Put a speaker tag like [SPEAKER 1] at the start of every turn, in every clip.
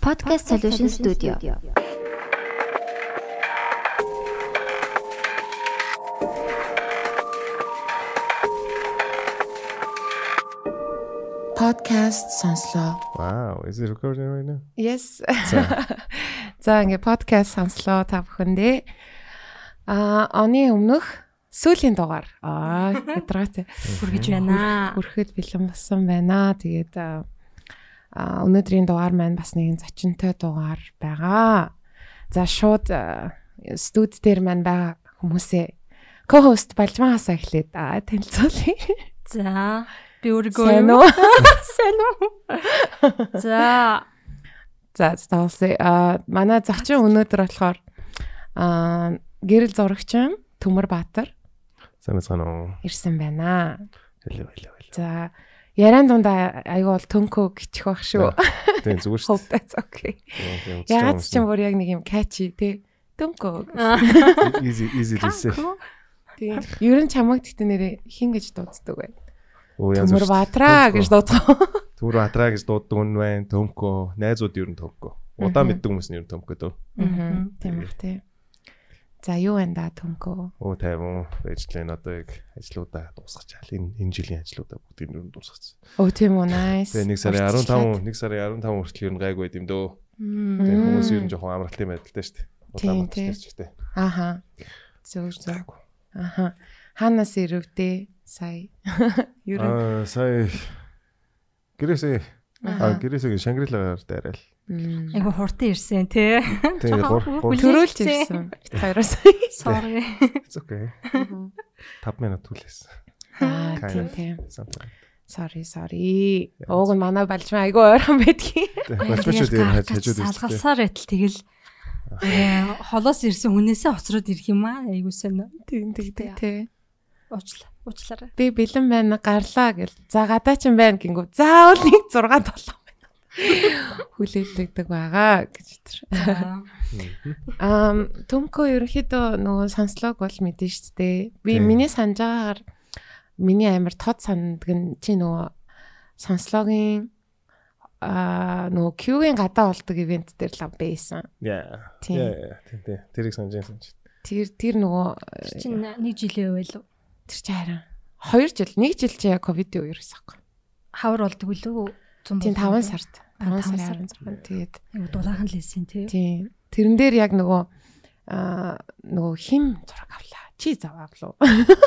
[SPEAKER 1] Podcast Solution Studio.
[SPEAKER 2] Podcast сонслоо.
[SPEAKER 3] Wow, is it recording right now?
[SPEAKER 2] Yes.
[SPEAKER 3] За.
[SPEAKER 2] За ингээ podcast сонслоо та бүхэндээ. Аа, оны өмнөх сүүлийн дугаар. Аа, ядраатай.
[SPEAKER 4] Хүргэж байна.
[SPEAKER 2] Хүрэхэд бэлэн болсон байна. Тэгээд аа, аа, өнөөдрийн дугаар маань бас нэгэн зочинтой дугаар байгаа. За шууд аа, студ дээр маань байгаа хүмүүсээ co-host Балжмаасаа эхлээд аа, танилцуулъя.
[SPEAKER 4] За би өөрийгөө
[SPEAKER 2] Сайн
[SPEAKER 4] юу-
[SPEAKER 2] уу?
[SPEAKER 4] Сайн уу? За
[SPEAKER 2] За таалсаа а манай зочин өнөөдөр болохоор а гэрэл зурагчин Төмөр Баатар
[SPEAKER 3] Сайн байна уу?
[SPEAKER 2] ирсэн байна.
[SPEAKER 3] Хэлээ хэлээ хэлээ.
[SPEAKER 2] За яриан дундаа айгүй бол төнкөө гिचх байх шүү.
[SPEAKER 3] Тийм зүгээр шүү.
[SPEAKER 2] Хувтай цоггүй.
[SPEAKER 3] дээ.
[SPEAKER 2] Яагаад ч юм бүр яг нэг юм catchy те төнкөө.
[SPEAKER 3] Easy easy гэсэн.
[SPEAKER 2] Тийм. Ер нь чамаг гэдэг нэрээ хин гэж дууддаг бай.
[SPEAKER 3] Оо
[SPEAKER 2] Төмөр Баатраа гэж дууддаг.
[SPEAKER 3] Төмөр Баатраа гэж дууддаг нь байна. Төмко, найзууд ер нь төмко. Удаа
[SPEAKER 2] Мгм.
[SPEAKER 3] мэддэг хүмүүс нь ер нь төмко дөө.
[SPEAKER 2] Мгм. Тийм бах те. За юу вэ да төнкөө?
[SPEAKER 3] Оо тайван. Ажлын одоо яг ажлуудаа дуусгачихлаа. Энэ энэ жилийн ажлуудаа бүгд ер нь дуусгачихсан.
[SPEAKER 2] Өө тийм үү nice.
[SPEAKER 3] Тэгээ нэг сарын 15, нэг сарын 15 хүртэл ер нь гайгүй байд юм дөө.
[SPEAKER 4] Мм.
[SPEAKER 3] Тэгээ хүмүүс
[SPEAKER 2] Мм.
[SPEAKER 3] ер нь жоохон амралтын байдалтай шүү дээ.
[SPEAKER 2] Тийм,
[SPEAKER 3] Удаан
[SPEAKER 2] тийм.
[SPEAKER 3] мэдчихсэн ч гэдэг.
[SPEAKER 2] Ааха. Зөв зөв. Аха. Ханаас ирвдээ сая. Юу юм?
[SPEAKER 3] Аа сая гэрээсээ аа гэрээсээ Шангрилагаар дайраал.
[SPEAKER 2] Мм.
[SPEAKER 4] айгу хурдан ирсэн те.
[SPEAKER 3] Тэгээ
[SPEAKER 4] Жоохон
[SPEAKER 3] гур гур
[SPEAKER 4] хүлээж
[SPEAKER 2] Төрүүлж
[SPEAKER 4] ирсэн.
[SPEAKER 2] ирсэн. Хоёроос.
[SPEAKER 4] Sorry.
[SPEAKER 3] It's okay. 5 минут түлээс.
[SPEAKER 2] Аа тийм
[SPEAKER 3] Kind of.
[SPEAKER 2] тийм.
[SPEAKER 3] Something.
[SPEAKER 2] Sorry sorry. Ууг нь манай балжмаа айгүй ойрхон байдгийн.
[SPEAKER 3] Болчиход юм хаж хажууд үзтээ.
[SPEAKER 4] Салгасаар байтал тэгэл э, холоос ирсэн хүнээсээ хоцроод ирэх юм аа. Айгу сайн.
[SPEAKER 2] Тийм тийм тийм.
[SPEAKER 4] Уучлаа. Уучлаарай.
[SPEAKER 2] Би бэлэн байна гарлаа гэл. За гадаа ч юм байна гингүү. Заавал нэг 6 7 байна. Хүлээлтдэг байгаа гэж тэр.
[SPEAKER 4] За.
[SPEAKER 2] Ам төмкөө ерөнхийдөө нөгөө сонслог бол мэдэн шүү дээ. Би
[SPEAKER 3] Тийм.
[SPEAKER 2] миний санаж байгаагаар миний амар тод сандаг нь чи нөгөө сонслогийн аа нөгөө Q-гийн гадаа болдог ивент дээр л байсан.
[SPEAKER 3] Яа.
[SPEAKER 2] Тийм.
[SPEAKER 3] Яа, Тийм тийм. Тэрийг санаж байсан ч.
[SPEAKER 2] Тэр тэр нөгөө
[SPEAKER 4] Тэр чинь нэг жилийн үе л үү?
[SPEAKER 2] тэр чи харин 2 жил 1 жил чи яг ковид юу ерөөсөхгүй.
[SPEAKER 4] хавар болдг үлээ.
[SPEAKER 2] Тийм 5 сард.
[SPEAKER 4] А,
[SPEAKER 2] 5
[SPEAKER 4] таван
[SPEAKER 2] сарын
[SPEAKER 4] сард.
[SPEAKER 2] 16. Тэгээд
[SPEAKER 4] Айгу дулаахан л хэлсэн те.
[SPEAKER 2] тийм тэрэн дээр яг нөгөө аа нөгөө хим зураг авлаа. Чи зав авлаа.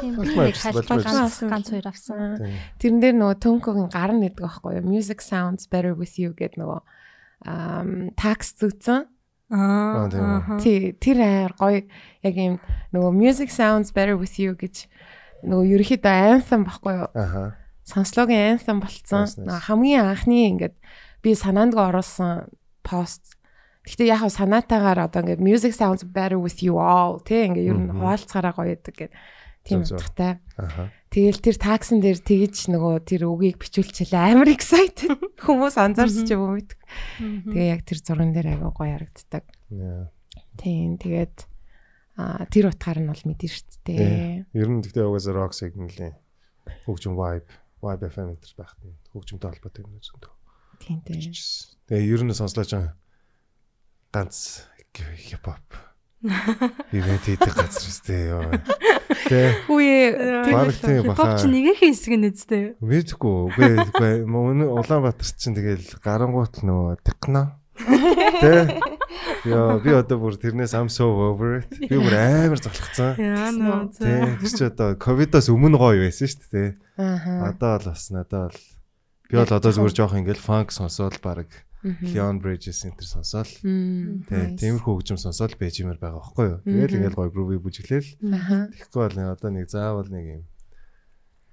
[SPEAKER 4] Тийм.
[SPEAKER 3] Болмай авчихсан, болмай
[SPEAKER 4] ганц
[SPEAKER 2] авчихсан.
[SPEAKER 4] ганц хоёр авсан.
[SPEAKER 3] Тийм.
[SPEAKER 2] Тэрэн дээр нөгөө Төнкөгийн гар нь гэдэг байхгүй юу? Music sounds better with you гэдэг нөгөө ам такс зүгцэн.
[SPEAKER 4] Аа.
[SPEAKER 3] Аа, тийм үү.
[SPEAKER 4] аха.
[SPEAKER 2] Тий, тэр аяр гоё яг юм нөгөө music sounds better with you гэж нөгөө ерөөхдөө anthem байхгүй юу?
[SPEAKER 3] Аха.
[SPEAKER 2] Сонслогийн anthem болцсон.
[SPEAKER 3] Nice, nice.
[SPEAKER 2] Нөгөө хамгийн анхны ингээд би санаандгаа оруулсан пост. Гэхдээ яг хав санаатаагаар одоо ингээд music sounds better with you all тий ингээд ер нь
[SPEAKER 3] Мгм.
[SPEAKER 2] хуваалцгаараа гоё гэдэг гэд. Тийм
[SPEAKER 3] Зөв, зөв.
[SPEAKER 2] утгатай.
[SPEAKER 3] Аха.
[SPEAKER 2] Тэгэл тэр таксн дээр тэгж нөгөө тэр үгийг бичүүлчихлээ. Амар excited. Хүмүүс анзаарч ч юм уу мэдгүй.
[SPEAKER 4] Мгм.
[SPEAKER 2] Тэгээ яг тэр зурган дээр агай гоё харагддаг.
[SPEAKER 3] Яа.
[SPEAKER 2] Тийм тэгээд аа тэр утгаар нь бол мэдэн шүү дээ.
[SPEAKER 3] Ер нь гэхдээ угаасаа rock signal-ийн хөгжим vibe, vibe FM энэ төр байхад нь хөгжимтэй холбоотой юм зөндөө.
[SPEAKER 2] Тийм тийм.
[SPEAKER 3] Тэгээ ер нь сонслооч аа. ганц хип хоп. Ивент хийдэг газар өстэй ёо. Тэ.
[SPEAKER 2] Үе
[SPEAKER 3] Бараг тийм баха.
[SPEAKER 4] Хипхоп чи нэг их хэсэг нь үстэй.
[SPEAKER 3] Мэдгүй. Үгүй үгүй. Өнөө Улаанбаатар чинь тэгэл гарангуут нөгөө тикна. Тэ. Яа би одоо бүр тэрнээс am so over it. Би бүр амар залхацсан.
[SPEAKER 4] Яа нөө.
[SPEAKER 3] Тэ. Тэр чи одоо ковидоос өмнө гоё байсан шүү дээ. тэ.
[SPEAKER 2] Аа.
[SPEAKER 3] Одоо бол бас надад бол би бол одоо зүгээр жоох ингээл фанк сонсоод баг Leon Bridges энэ төр сонсоод Тэ тиймэрхүү хөгжим сонсоод бэжимэр байгаа байхгүй юу. Тэгэл
[SPEAKER 2] Мгм.
[SPEAKER 3] ингээл гоё groovy бүжиглээл.
[SPEAKER 2] Аа.
[SPEAKER 3] Тэгэхгүй бол нэг- одоо нэг заавал нэг юм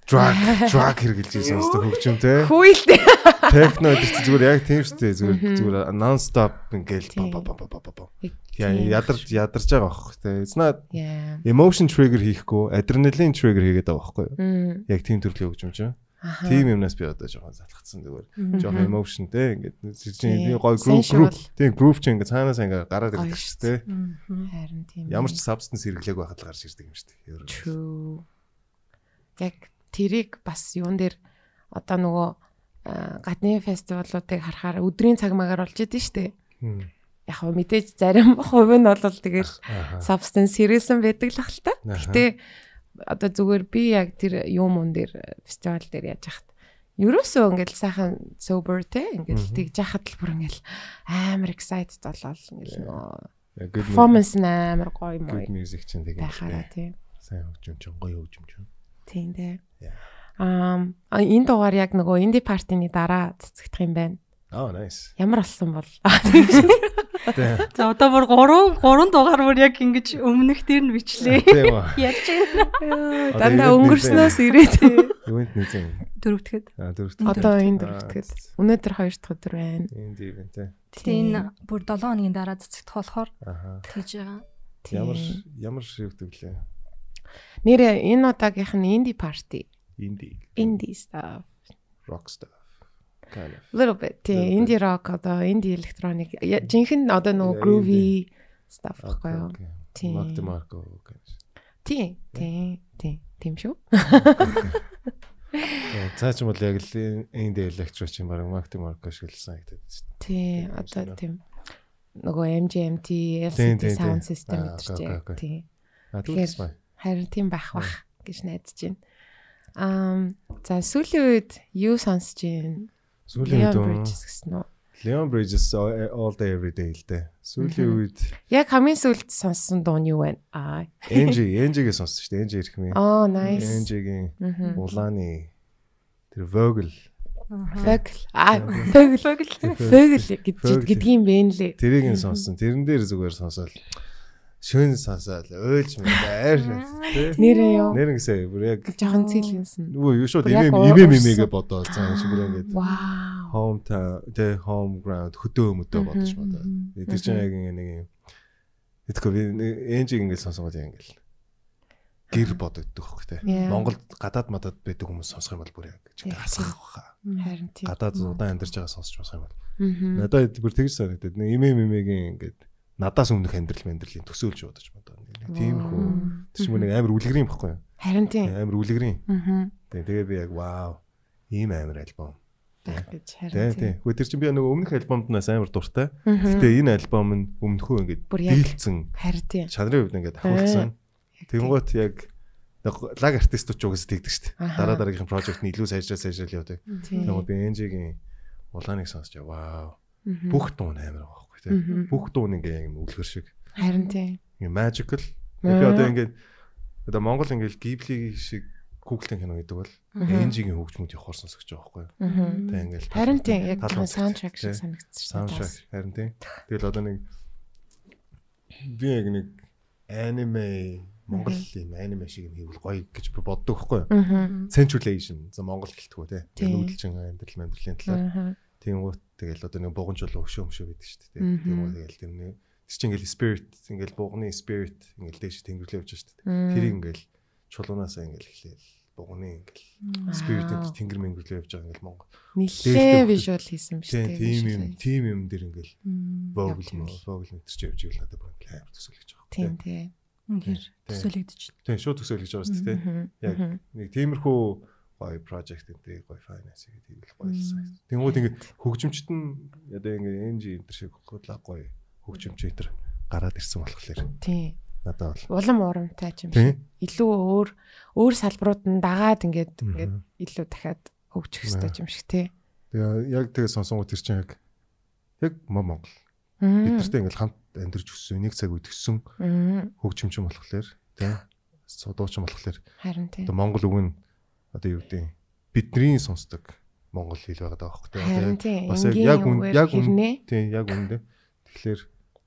[SPEAKER 3] drag drag хэрглэж сонсдог хөгжим те.
[SPEAKER 2] Хүүйлтэй.
[SPEAKER 3] Техно гэдэг чинь зүгээр яг тийм шүү дээ. Зүгээр зүгээр non stop ингээл
[SPEAKER 2] Тийм.
[SPEAKER 3] ба ба ба ба ба ба. Яа ядарч ядарч байгаа байхгүй те. It's not
[SPEAKER 2] Яа.
[SPEAKER 3] emotion trigger хийхгүй, adrenaline trigger хийгээд байгаа байхгүй юу.
[SPEAKER 2] Мм.
[SPEAKER 3] Яг тийм төрлийн хөгжим чинь.
[SPEAKER 2] Аха.
[SPEAKER 3] Тийм юмнаас би одоо жоохон залхацсан зүгээр. Жоохон
[SPEAKER 2] Мгм.
[SPEAKER 3] emotion те ингээд
[SPEAKER 2] Тийм.
[SPEAKER 3] чинь гой group
[SPEAKER 2] Sensual.
[SPEAKER 3] group тийм group чинь ингээд цаанаас ингээд гараад
[SPEAKER 2] Гоё
[SPEAKER 3] ирдэг шүү дээ.
[SPEAKER 2] Харин тийм.
[SPEAKER 3] Ямар ч substance хэрэглээг байхад л гарч ирдэг юм шүү дээ. Ер нь.
[SPEAKER 2] True. Яг тэрийг бас юун дээр одоо нөгөө аа, гадны фестивалуудыг харахаар өдрийн цаг магаар болж идэв штэ.
[SPEAKER 3] Мм.
[SPEAKER 2] яг хөө мэдээж зарим хувь нь бол тэгэл
[SPEAKER 3] Аха.
[SPEAKER 2] substance хэрэгсэн байдаг л хальта.
[SPEAKER 3] Аха.
[SPEAKER 2] Гэтэ одоо зүгээр би яг тэр юм он дээр фестивал дээр яаж яхад ерөөсөө ингээл сайхан sober те ингээл
[SPEAKER 3] Мгм.
[SPEAKER 2] тэгж яхад л бүр ингээл амар excited болол ингээл нөгөө
[SPEAKER 3] Yeah, good mu-
[SPEAKER 2] performance нь амар гоё мой
[SPEAKER 3] good music чинь тэгээд
[SPEAKER 2] байхаараа
[SPEAKER 3] тэгээ.
[SPEAKER 2] тийм.
[SPEAKER 3] Сайн хөгжим чинь гоё хөгжим чинь.
[SPEAKER 2] Тийм дээ.
[SPEAKER 3] Yeah.
[SPEAKER 2] Аа а, энэ дугаар яг нөгөө инди партины дараа цэцэгдэх юм байна.
[SPEAKER 3] Oh nice.
[SPEAKER 2] Ямар болсон бол
[SPEAKER 3] Тэ.
[SPEAKER 4] За одоо бүр 3 3 дугаар бүр яг ингэж өмнөх дээр нь бичлээ.
[SPEAKER 3] Тийм үү.
[SPEAKER 4] Ярьж байна.
[SPEAKER 2] дандаа
[SPEAKER 3] ирээд
[SPEAKER 2] өнгөрснөөс ирээд
[SPEAKER 3] Юунд нэгэн.
[SPEAKER 4] Дөрөвдөгэд.
[SPEAKER 3] А дөрөвт.
[SPEAKER 2] одоо энэ
[SPEAKER 3] Аа,
[SPEAKER 2] дөрөвдөгэд өнөөдөр хоёр дахь өдөр байна.
[SPEAKER 3] Энд ивент э. те.
[SPEAKER 4] Гэтэ энэ бүр 7 хоногийн дараа цэцэгдэх болохоор
[SPEAKER 3] Аха.
[SPEAKER 4] тэгж байгаа.
[SPEAKER 2] Тийм.
[SPEAKER 3] Ямар ямар шивдэг лээ.
[SPEAKER 2] нэр энэ удаагийнх нь инди парти.
[SPEAKER 3] Инди.
[SPEAKER 2] Инди stuff.
[SPEAKER 3] Rock stuff. Kind of.
[SPEAKER 2] Little bit.
[SPEAKER 3] Little
[SPEAKER 2] Тийм
[SPEAKER 3] bit.
[SPEAKER 2] инди рок одоо инди электроник Я- жинхэнэ одоо нөгөө
[SPEAKER 3] Yeah,
[SPEAKER 2] groovy stuff
[SPEAKER 3] Okay,
[SPEAKER 2] байхгүй юу?
[SPEAKER 3] okay.
[SPEAKER 2] Тийм.
[SPEAKER 3] Mark DeMarco гэж.
[SPEAKER 2] Тийм. Тийм. Тийм. Тийм шүү.
[SPEAKER 3] Э, Цаа ч юм бол яг л энд электро чинь баг Mark DeMarco шиг л санагдаад байна.
[SPEAKER 2] Тий,
[SPEAKER 3] Тийм,
[SPEAKER 2] одоо
[SPEAKER 3] сонирх.
[SPEAKER 2] тийм нөгөө MGMT,
[SPEAKER 3] Тийм, тийм,
[SPEAKER 2] LCD sound
[SPEAKER 3] тийм.
[SPEAKER 2] system
[SPEAKER 3] Аа,
[SPEAKER 2] гэдэг
[SPEAKER 3] окей, окей.
[SPEAKER 2] чинь. Тий.
[SPEAKER 3] А
[SPEAKER 2] Тэгэхээр-
[SPEAKER 3] дүүс бай.
[SPEAKER 2] Харин тийм байх бах гэж найдаж байна. Аа, за сүүлийн үед юу сонсож байна?
[SPEAKER 3] Сүүлийн
[SPEAKER 2] Leon
[SPEAKER 3] үед үү?
[SPEAKER 2] Bridges гэсэн үү?
[SPEAKER 3] Leon Bridges all all day every day л дээ.
[SPEAKER 2] Мгм.
[SPEAKER 3] Сүүлийн үед
[SPEAKER 2] Яг хамгийн сүүлд сонссон дуу нь юу вэ? Аа.
[SPEAKER 3] NG NG-гээ сонссон шүү дээ. NG ирэх мэ.
[SPEAKER 2] Оо, Oh, nice.
[SPEAKER 3] NG-гийн
[SPEAKER 2] Мгм.
[SPEAKER 3] улааны тэр Vogel
[SPEAKER 2] Vogel. Аа, Vogel. Vogel гэж
[SPEAKER 3] Vogel.
[SPEAKER 2] гэдэг юм бэ нэлээ.
[SPEAKER 3] тэрийг нь сонссон. Тэрэн дээр зүгээр сонсоол. Шөн сонсоол. Ойлж мэдээ. Тэ.
[SPEAKER 2] Нэрээ юу?
[SPEAKER 3] Нэр гисээ бүр яг
[SPEAKER 2] Жохон цэлгэнсэн.
[SPEAKER 3] нөгөө юу шүү
[SPEAKER 2] Бүр яг
[SPEAKER 3] дээ.
[SPEAKER 2] уу-
[SPEAKER 3] Имэм
[SPEAKER 2] уурсан.
[SPEAKER 3] имэгээ бодоо. Цаа шиг бүр ингээд
[SPEAKER 2] Вау.
[SPEAKER 3] home town тэ home ground хөдөө мөдөө
[SPEAKER 2] Мгм,
[SPEAKER 3] бодож бодоо.
[SPEAKER 2] мгм,
[SPEAKER 3] Тэр чинь яг ингэ нэг юм. Тэгэхгүй би энжиг ингэ сонсонгод яг ингэ л гэр бодогддог хөөх тэ.
[SPEAKER 2] Яа.
[SPEAKER 3] Монголд гадаад мадад байдаг хүмүүс сонсох юм бол бүр яг
[SPEAKER 2] Яг
[SPEAKER 3] гасах
[SPEAKER 2] тийм.
[SPEAKER 3] баха.
[SPEAKER 2] Харин тийм.
[SPEAKER 3] Гадаад удаан амьдарч байгаа сонсож байгаа юм бол.
[SPEAKER 2] Мгм.
[SPEAKER 3] Надад бүр тэгж санагдаад нэг имэ мэмэгийн ингэ надаас өмнөх амьдрал мэдрэлийн төсөөлж бодож бодоо. Нэг Тиймэрхүү.
[SPEAKER 2] Мм.
[SPEAKER 3] Тэр чинь бүр нэг амар үлгэрийн баггүй юу?
[SPEAKER 2] Харин тийм.
[SPEAKER 3] Амар үлгэрийн.
[SPEAKER 2] Мгм.
[SPEAKER 3] Тэг- Тэгээ би яг вау. Ийм амар альбом.
[SPEAKER 2] Байх гэж
[SPEAKER 3] Тэ
[SPEAKER 2] харин тийм.
[SPEAKER 3] тэ. Хөөе тэр чинь би нөгөө өмнөх альбомд нас амар дуртай.
[SPEAKER 2] Мгм.
[SPEAKER 3] Гэтэ энэ альбом нь өмнөхөө ингэ
[SPEAKER 2] Бүр яг.
[SPEAKER 3] дийлцэн
[SPEAKER 2] Харин тийм.
[SPEAKER 3] чанарын хувьд ингээд давхарсан. Тэнгуут яг нэг лаг артистууд ч угсаа тэгдэг шүү дээ.
[SPEAKER 2] Аха.
[SPEAKER 3] Дараа дараагийнхын прожект нь илүү сайжрал сайжрал явдаг.
[SPEAKER 2] Тийм.
[SPEAKER 3] Тэнгуут би NG-гийн улааныг сонсч вау.
[SPEAKER 2] Мгм.
[SPEAKER 3] Бүх дуу нь амар байгаа байхгүй тийм.
[SPEAKER 2] Мгм.
[SPEAKER 3] Бүх дуу нь ингээд яг юм өвлгөр шиг.
[SPEAKER 2] Харин тийм.
[SPEAKER 3] Ингээд magical. Би
[SPEAKER 2] Аа.
[SPEAKER 3] одоо ингээд одоо Монгол ингээд Ghibli шиг Google-ийн кино гэдэг бол NG-гийн хөгжмөд явахаар сонсогч байгаа байхгүй.
[SPEAKER 2] Мгм.
[SPEAKER 3] Тэг ингээд
[SPEAKER 2] Харин тийм. Яг
[SPEAKER 3] тал
[SPEAKER 2] тийм
[SPEAKER 3] унтдаг,
[SPEAKER 2] саундтрак
[SPEAKER 3] тийм.
[SPEAKER 2] шиг санагдчихсан.
[SPEAKER 3] Soundtrack харин тий. Тэгэл одоо нэг би яг нэг аниме Монгол юм аниме шиг юм хийвэл гоё гэж би боддог байхгүй юу?
[SPEAKER 2] Мгм.
[SPEAKER 3] Centralization за Монгол гэлтгүү тий.
[SPEAKER 2] Тий.
[SPEAKER 3] Тэр нүүдэлчин амьдрал амьдралын талаар.
[SPEAKER 2] Мгм.
[SPEAKER 3] Тэнгүүт тэгэл одоо нэг буган жол өшөө өмшөө байдаг шүү дээ тий.
[SPEAKER 2] Мгм.
[SPEAKER 3] Тэнгүү тэгэл тэр нэг тэр чинь ингээл spirit ингээл бугны spirit ингээл дээш тэнгэрлээ явж шүү дээ. Тэр ингээл чулуунаасаа ингээл эхлээл бугны ингээл spirit
[SPEAKER 2] Вау.
[SPEAKER 3] тэнгэр мэнгэрлээ явж байгаа ингээл Монгол.
[SPEAKER 2] Нилээ
[SPEAKER 3] Дээлтэй
[SPEAKER 2] вижюал хийсэн биз
[SPEAKER 3] Тий,
[SPEAKER 2] дээ.
[SPEAKER 3] тийм юм, тийм юм дээр ингээл
[SPEAKER 2] Вогл
[SPEAKER 3] Vogel мөн Vogel мэтэрч явж ивэл надад бүр ингээл амар төсөөлж байгаа.
[SPEAKER 2] Тийм тийм.
[SPEAKER 4] Үнэхээр
[SPEAKER 3] Тий.
[SPEAKER 4] төсөөлөгдөж байна.
[SPEAKER 3] Тийм шууд төсөөлж байгаа шүү дээ.
[SPEAKER 2] Мгм.
[SPEAKER 3] тий. Яг.
[SPEAKER 2] Мгм.
[SPEAKER 3] Нэг тиймэрхүү гоё project энэ гоё finance гэдэг юм л гоёлсан. Тэнгүүд ингээд хөгжимчт нь одоо ингээд NG энэ шиг хөдлөг гоё хөгжимч энэ гараад ирсэн болохоор
[SPEAKER 2] Тийм.
[SPEAKER 3] надад бол
[SPEAKER 2] Улам урамтай ч юм шиг.
[SPEAKER 3] тийм
[SPEAKER 2] Илүү өөр өөр салбарууд нь дагаад ингээд
[SPEAKER 3] Мгм.
[SPEAKER 2] ингээд илүү дахиад хөгжих хэрэгтэй ч юм шиг тий.
[SPEAKER 3] тэгээ яг тэгээ сонсонгууд тэр чинь яг яг мом Монгол
[SPEAKER 2] Мм.
[SPEAKER 3] бидэртэй ингээд хамт амьдарч өссөн нэг цаг үед өссөн
[SPEAKER 2] Мм.
[SPEAKER 3] хөгжимч юм болохоор тийм судууч юм болохоор
[SPEAKER 2] Харин тийм.
[SPEAKER 3] одоо Монгол үг нь одоо юу гэдэг вэ? бидний сонсдог Монгол хэл байгаа даа байхгүй юу? Одоо
[SPEAKER 2] Харин
[SPEAKER 3] яг-
[SPEAKER 2] тийм.
[SPEAKER 3] бас яг-
[SPEAKER 2] энгийн
[SPEAKER 3] яг үн-
[SPEAKER 2] үгээр
[SPEAKER 3] яг үн-
[SPEAKER 2] хэрнээ.
[SPEAKER 3] Тийм яг үндэ. Тэгэхээр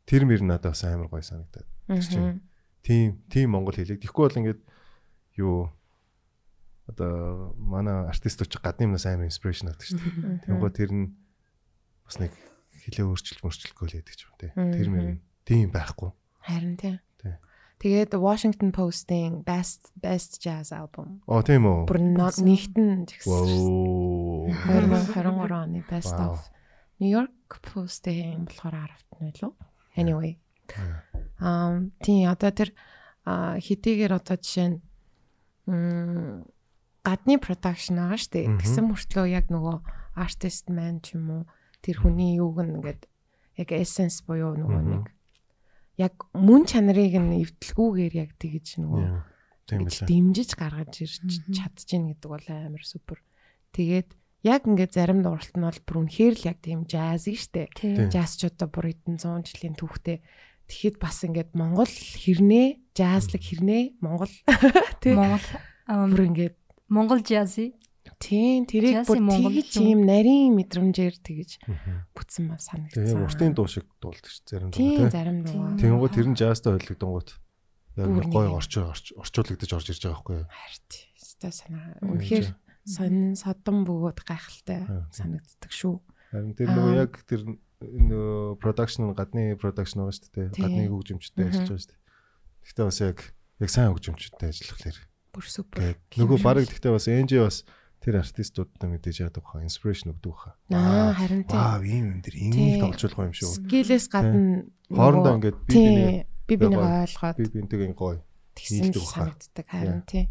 [SPEAKER 3] тэр мэр надад бас амар гоё санагдаад.
[SPEAKER 2] Мгм.
[SPEAKER 3] чинь. Тийм тийм монгол хэлэг. Тэгэхгүй бол ингээд юу одоо манай артистууд ч гадны юмнаас амар инспирашн авдаг шүү дээ.
[SPEAKER 2] Мгм.
[SPEAKER 3] Тэнгөө тэр нь бас нэг хилээ өөрчилж мөрчлөхгүй л яддаг ч юм тий. Тэр мэр
[SPEAKER 2] Мгм.
[SPEAKER 3] нь тийм байхгүй.
[SPEAKER 2] Харин тийм.
[SPEAKER 3] Тий.
[SPEAKER 2] Тэгээд Washington Post-ийн Best Best Jazz album.
[SPEAKER 3] Оо тийм үү.
[SPEAKER 2] Бүр но- нэгтэн жигсэрсэн.
[SPEAKER 3] Вау.
[SPEAKER 2] 2023 оны Best
[SPEAKER 3] Вау.
[SPEAKER 2] of New York Post-ийн болохоор 10-т нь лөө. Anyway. Ам тий одоо тэр а, хэдийгээр одоо жишээ нь м, гадны production байгаа шүү дээ.
[SPEAKER 3] Мгм.
[SPEAKER 2] Тэгсэн мөртлөө яг нөгөө artist man ч юм уу тэр хүний юуг нь ингээд яг эссенс буюу нөгөө нэг яг мөн чанарыг нь эвдлгүүгээр яг тэгж нөгөө
[SPEAKER 3] Яа, Тийм
[SPEAKER 2] гэж
[SPEAKER 3] билээ.
[SPEAKER 2] дэмжиж гаргаж ирж
[SPEAKER 4] Мгм.
[SPEAKER 2] чадчихна гэдэг бол амар супер. Тэгээд яг ингээд зарим дууралт нь бол бүр үнэхээр л яг тийм жаз штэ.
[SPEAKER 4] Тийм.
[SPEAKER 2] Жаз ч одоо бүр эдэн 100 жилийн түүхтэй. Тэгэхэд бас ингээд Монгол хэрнээ, жазлаг хэрнээ, Монгол тий.
[SPEAKER 4] Монгол ам,
[SPEAKER 2] бүр ингээд
[SPEAKER 4] Монгол жази.
[SPEAKER 2] тийм тэрийг
[SPEAKER 4] Жазын
[SPEAKER 2] бүр
[SPEAKER 4] Монгол
[SPEAKER 2] тэгж
[SPEAKER 4] юм.
[SPEAKER 2] юм нарийн мэдрэмжээр тэгж
[SPEAKER 3] Мгм.
[SPEAKER 2] бүтсэн ба
[SPEAKER 3] Тэгээ яг уртын
[SPEAKER 2] санагдсан.
[SPEAKER 3] дуу шиг дуулдаг ш зарим
[SPEAKER 2] Тийм
[SPEAKER 3] дуу
[SPEAKER 2] зарим дуу.
[SPEAKER 4] Тийм.
[SPEAKER 3] Тийм гоо тэр нь jazzтай ойлгодонгууд яг
[SPEAKER 2] Бүр
[SPEAKER 3] нэг
[SPEAKER 2] нэг
[SPEAKER 3] гой
[SPEAKER 2] юм.
[SPEAKER 3] орч орч- орчуулагдаж орж ирж байгаа байхгүй юу?
[SPEAKER 2] Харт. Өстой санаа. Үнэхээр сонин содон бөгөөд гайхалтай
[SPEAKER 3] Аа, тийм.
[SPEAKER 2] санагддаг шүү.
[SPEAKER 3] Харин тэр нөгөө
[SPEAKER 2] Аа.
[SPEAKER 3] яг тэр нөгөө production гадны production байгаа шүү дээ.
[SPEAKER 2] Тийм.
[SPEAKER 3] Гадны хөгжимчтэй
[SPEAKER 2] Мгм.
[SPEAKER 3] ажиллаж байгаа шүү дээ. Гэхдээ бас яг яг сайн хөгжимчтэй ажиллах лэр.
[SPEAKER 2] Бүр супер.
[SPEAKER 3] Гээд нөгөө
[SPEAKER 2] Хэмжиж.
[SPEAKER 3] баг гэхдээ бас NG бас тэр артистуудтай мэдээж яадаг баха инспирэшн өгдөг баха.
[SPEAKER 2] Аа харин тийм.
[SPEAKER 3] Вау, ийм юм дэр
[SPEAKER 2] Тийм.
[SPEAKER 3] ийм товчлох юм шүү.
[SPEAKER 2] Скилээс гадна
[SPEAKER 3] Хоорондоо ингээд би биний
[SPEAKER 2] би би
[SPEAKER 3] би
[SPEAKER 2] бинийг
[SPEAKER 3] гоё.
[SPEAKER 2] ойлгоод
[SPEAKER 3] би бинтэйг ин гой.
[SPEAKER 2] тэгсэн
[SPEAKER 3] нэгдэх
[SPEAKER 2] л
[SPEAKER 3] баха.
[SPEAKER 2] санагддаг харин тий.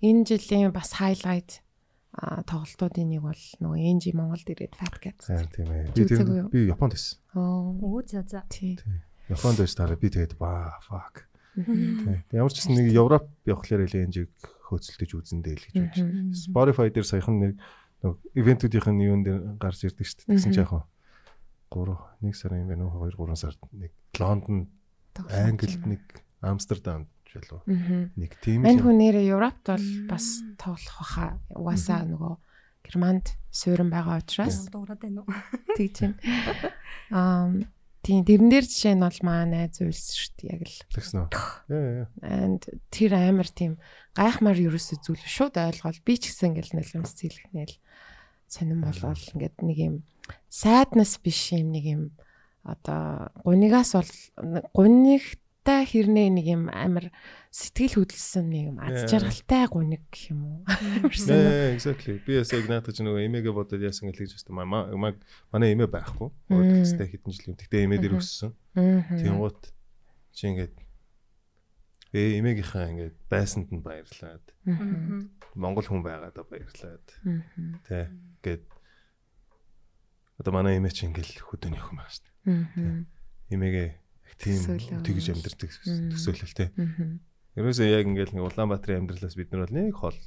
[SPEAKER 2] Энэ жилийн бас хайлайт а тоглолтуудын нэг бол нөгөө NG Монголд ирээд Fat Cat.
[SPEAKER 3] Харин тийм ээ. Би
[SPEAKER 2] Зүг
[SPEAKER 3] тэр
[SPEAKER 2] зүг юу?
[SPEAKER 3] би Японд байсан.
[SPEAKER 2] Оо
[SPEAKER 4] Оо за за.
[SPEAKER 2] тий.
[SPEAKER 3] Японд байж таараа би тэгээд ба fuck.
[SPEAKER 2] Мгм.
[SPEAKER 3] Тийм. Тэг Ямар ч гэсэн нэг Европ явахлаар илүү NG-г хөөцөлдөж үзэндээ л гэж бодчих.
[SPEAKER 2] Мгм.
[SPEAKER 3] Spotify дээр саяхан нэг нэг ивентүүдийнх нь юун дээр гарч ирдэг шүү дээ. Тэгсэн чи яг хуу 3 1 сарын юм байна уу 2 3 сард нэг Лондон,
[SPEAKER 2] Тоглолт.
[SPEAKER 3] Англид нэг Амстердамд жилүү.
[SPEAKER 2] Мгм.
[SPEAKER 3] Нэг тийм
[SPEAKER 2] Мань
[SPEAKER 3] л юм.
[SPEAKER 2] хүнээр Европт бол бас тоглох баха. Угаасаа нөгөө Германд суурин байгаа учраас
[SPEAKER 4] Дуурад байна уу?
[SPEAKER 2] тэгж байна. Аа тийм тэрэн дээр жишээ нь бол маа найз үйлс шүү дээ яг л.
[SPEAKER 3] тэгсэн үү. Яа яа.
[SPEAKER 2] and тэр амар тийм гайхмаар ерөөсөө зүйл биш шууд ойлгоол би ч гэсэн ингээл нулимс зэлхнээл сонирн болвол ингээд нэг юм sadness биш юм нэг юм одоо гунигаас бол гунигтай хэрнээ нэг юм амар сэтгэл хөдлөсөн нэг юм аз
[SPEAKER 3] Yeah.
[SPEAKER 2] жаргалтай гуник гэх юм уу
[SPEAKER 3] Яа,
[SPEAKER 2] Ерөөсөө
[SPEAKER 3] яа, Exactly. Би ясаа Игнатач нөгөө эмээгээ бодоод яасан гэж хэлж байна. Маа маа манай эмээ байхгүй.
[SPEAKER 2] Мм.
[SPEAKER 3] Өөрөлдөлттэй хэдэн жил юм. Тэгтээ эмээ дээр
[SPEAKER 2] Мгм.
[SPEAKER 3] өссөн.
[SPEAKER 2] Мгм.
[SPEAKER 3] Тэнгуут чи ингээд ээ эмээгийнхаа ингээд байсанд нь баярлаад
[SPEAKER 2] Мгм.
[SPEAKER 3] Монгол хүн байгаадаа баярлаад
[SPEAKER 2] Мгм.
[SPEAKER 3] Тэ. Гээд одоо манай эмээ чи ингээл хөдөөний өхөн байгаа шүү дээ.
[SPEAKER 2] Мгм.
[SPEAKER 3] Эмээгээ яг тийм
[SPEAKER 2] Төсөөлөл.
[SPEAKER 3] тэгж амьдэрдэг
[SPEAKER 2] Мм.
[SPEAKER 3] төсөөлөл тэ.
[SPEAKER 2] Мгм.
[SPEAKER 3] Ерөөсөө яг ингээл нэг Улаанбаатарын амьдралаас бид нар бол нэг хол.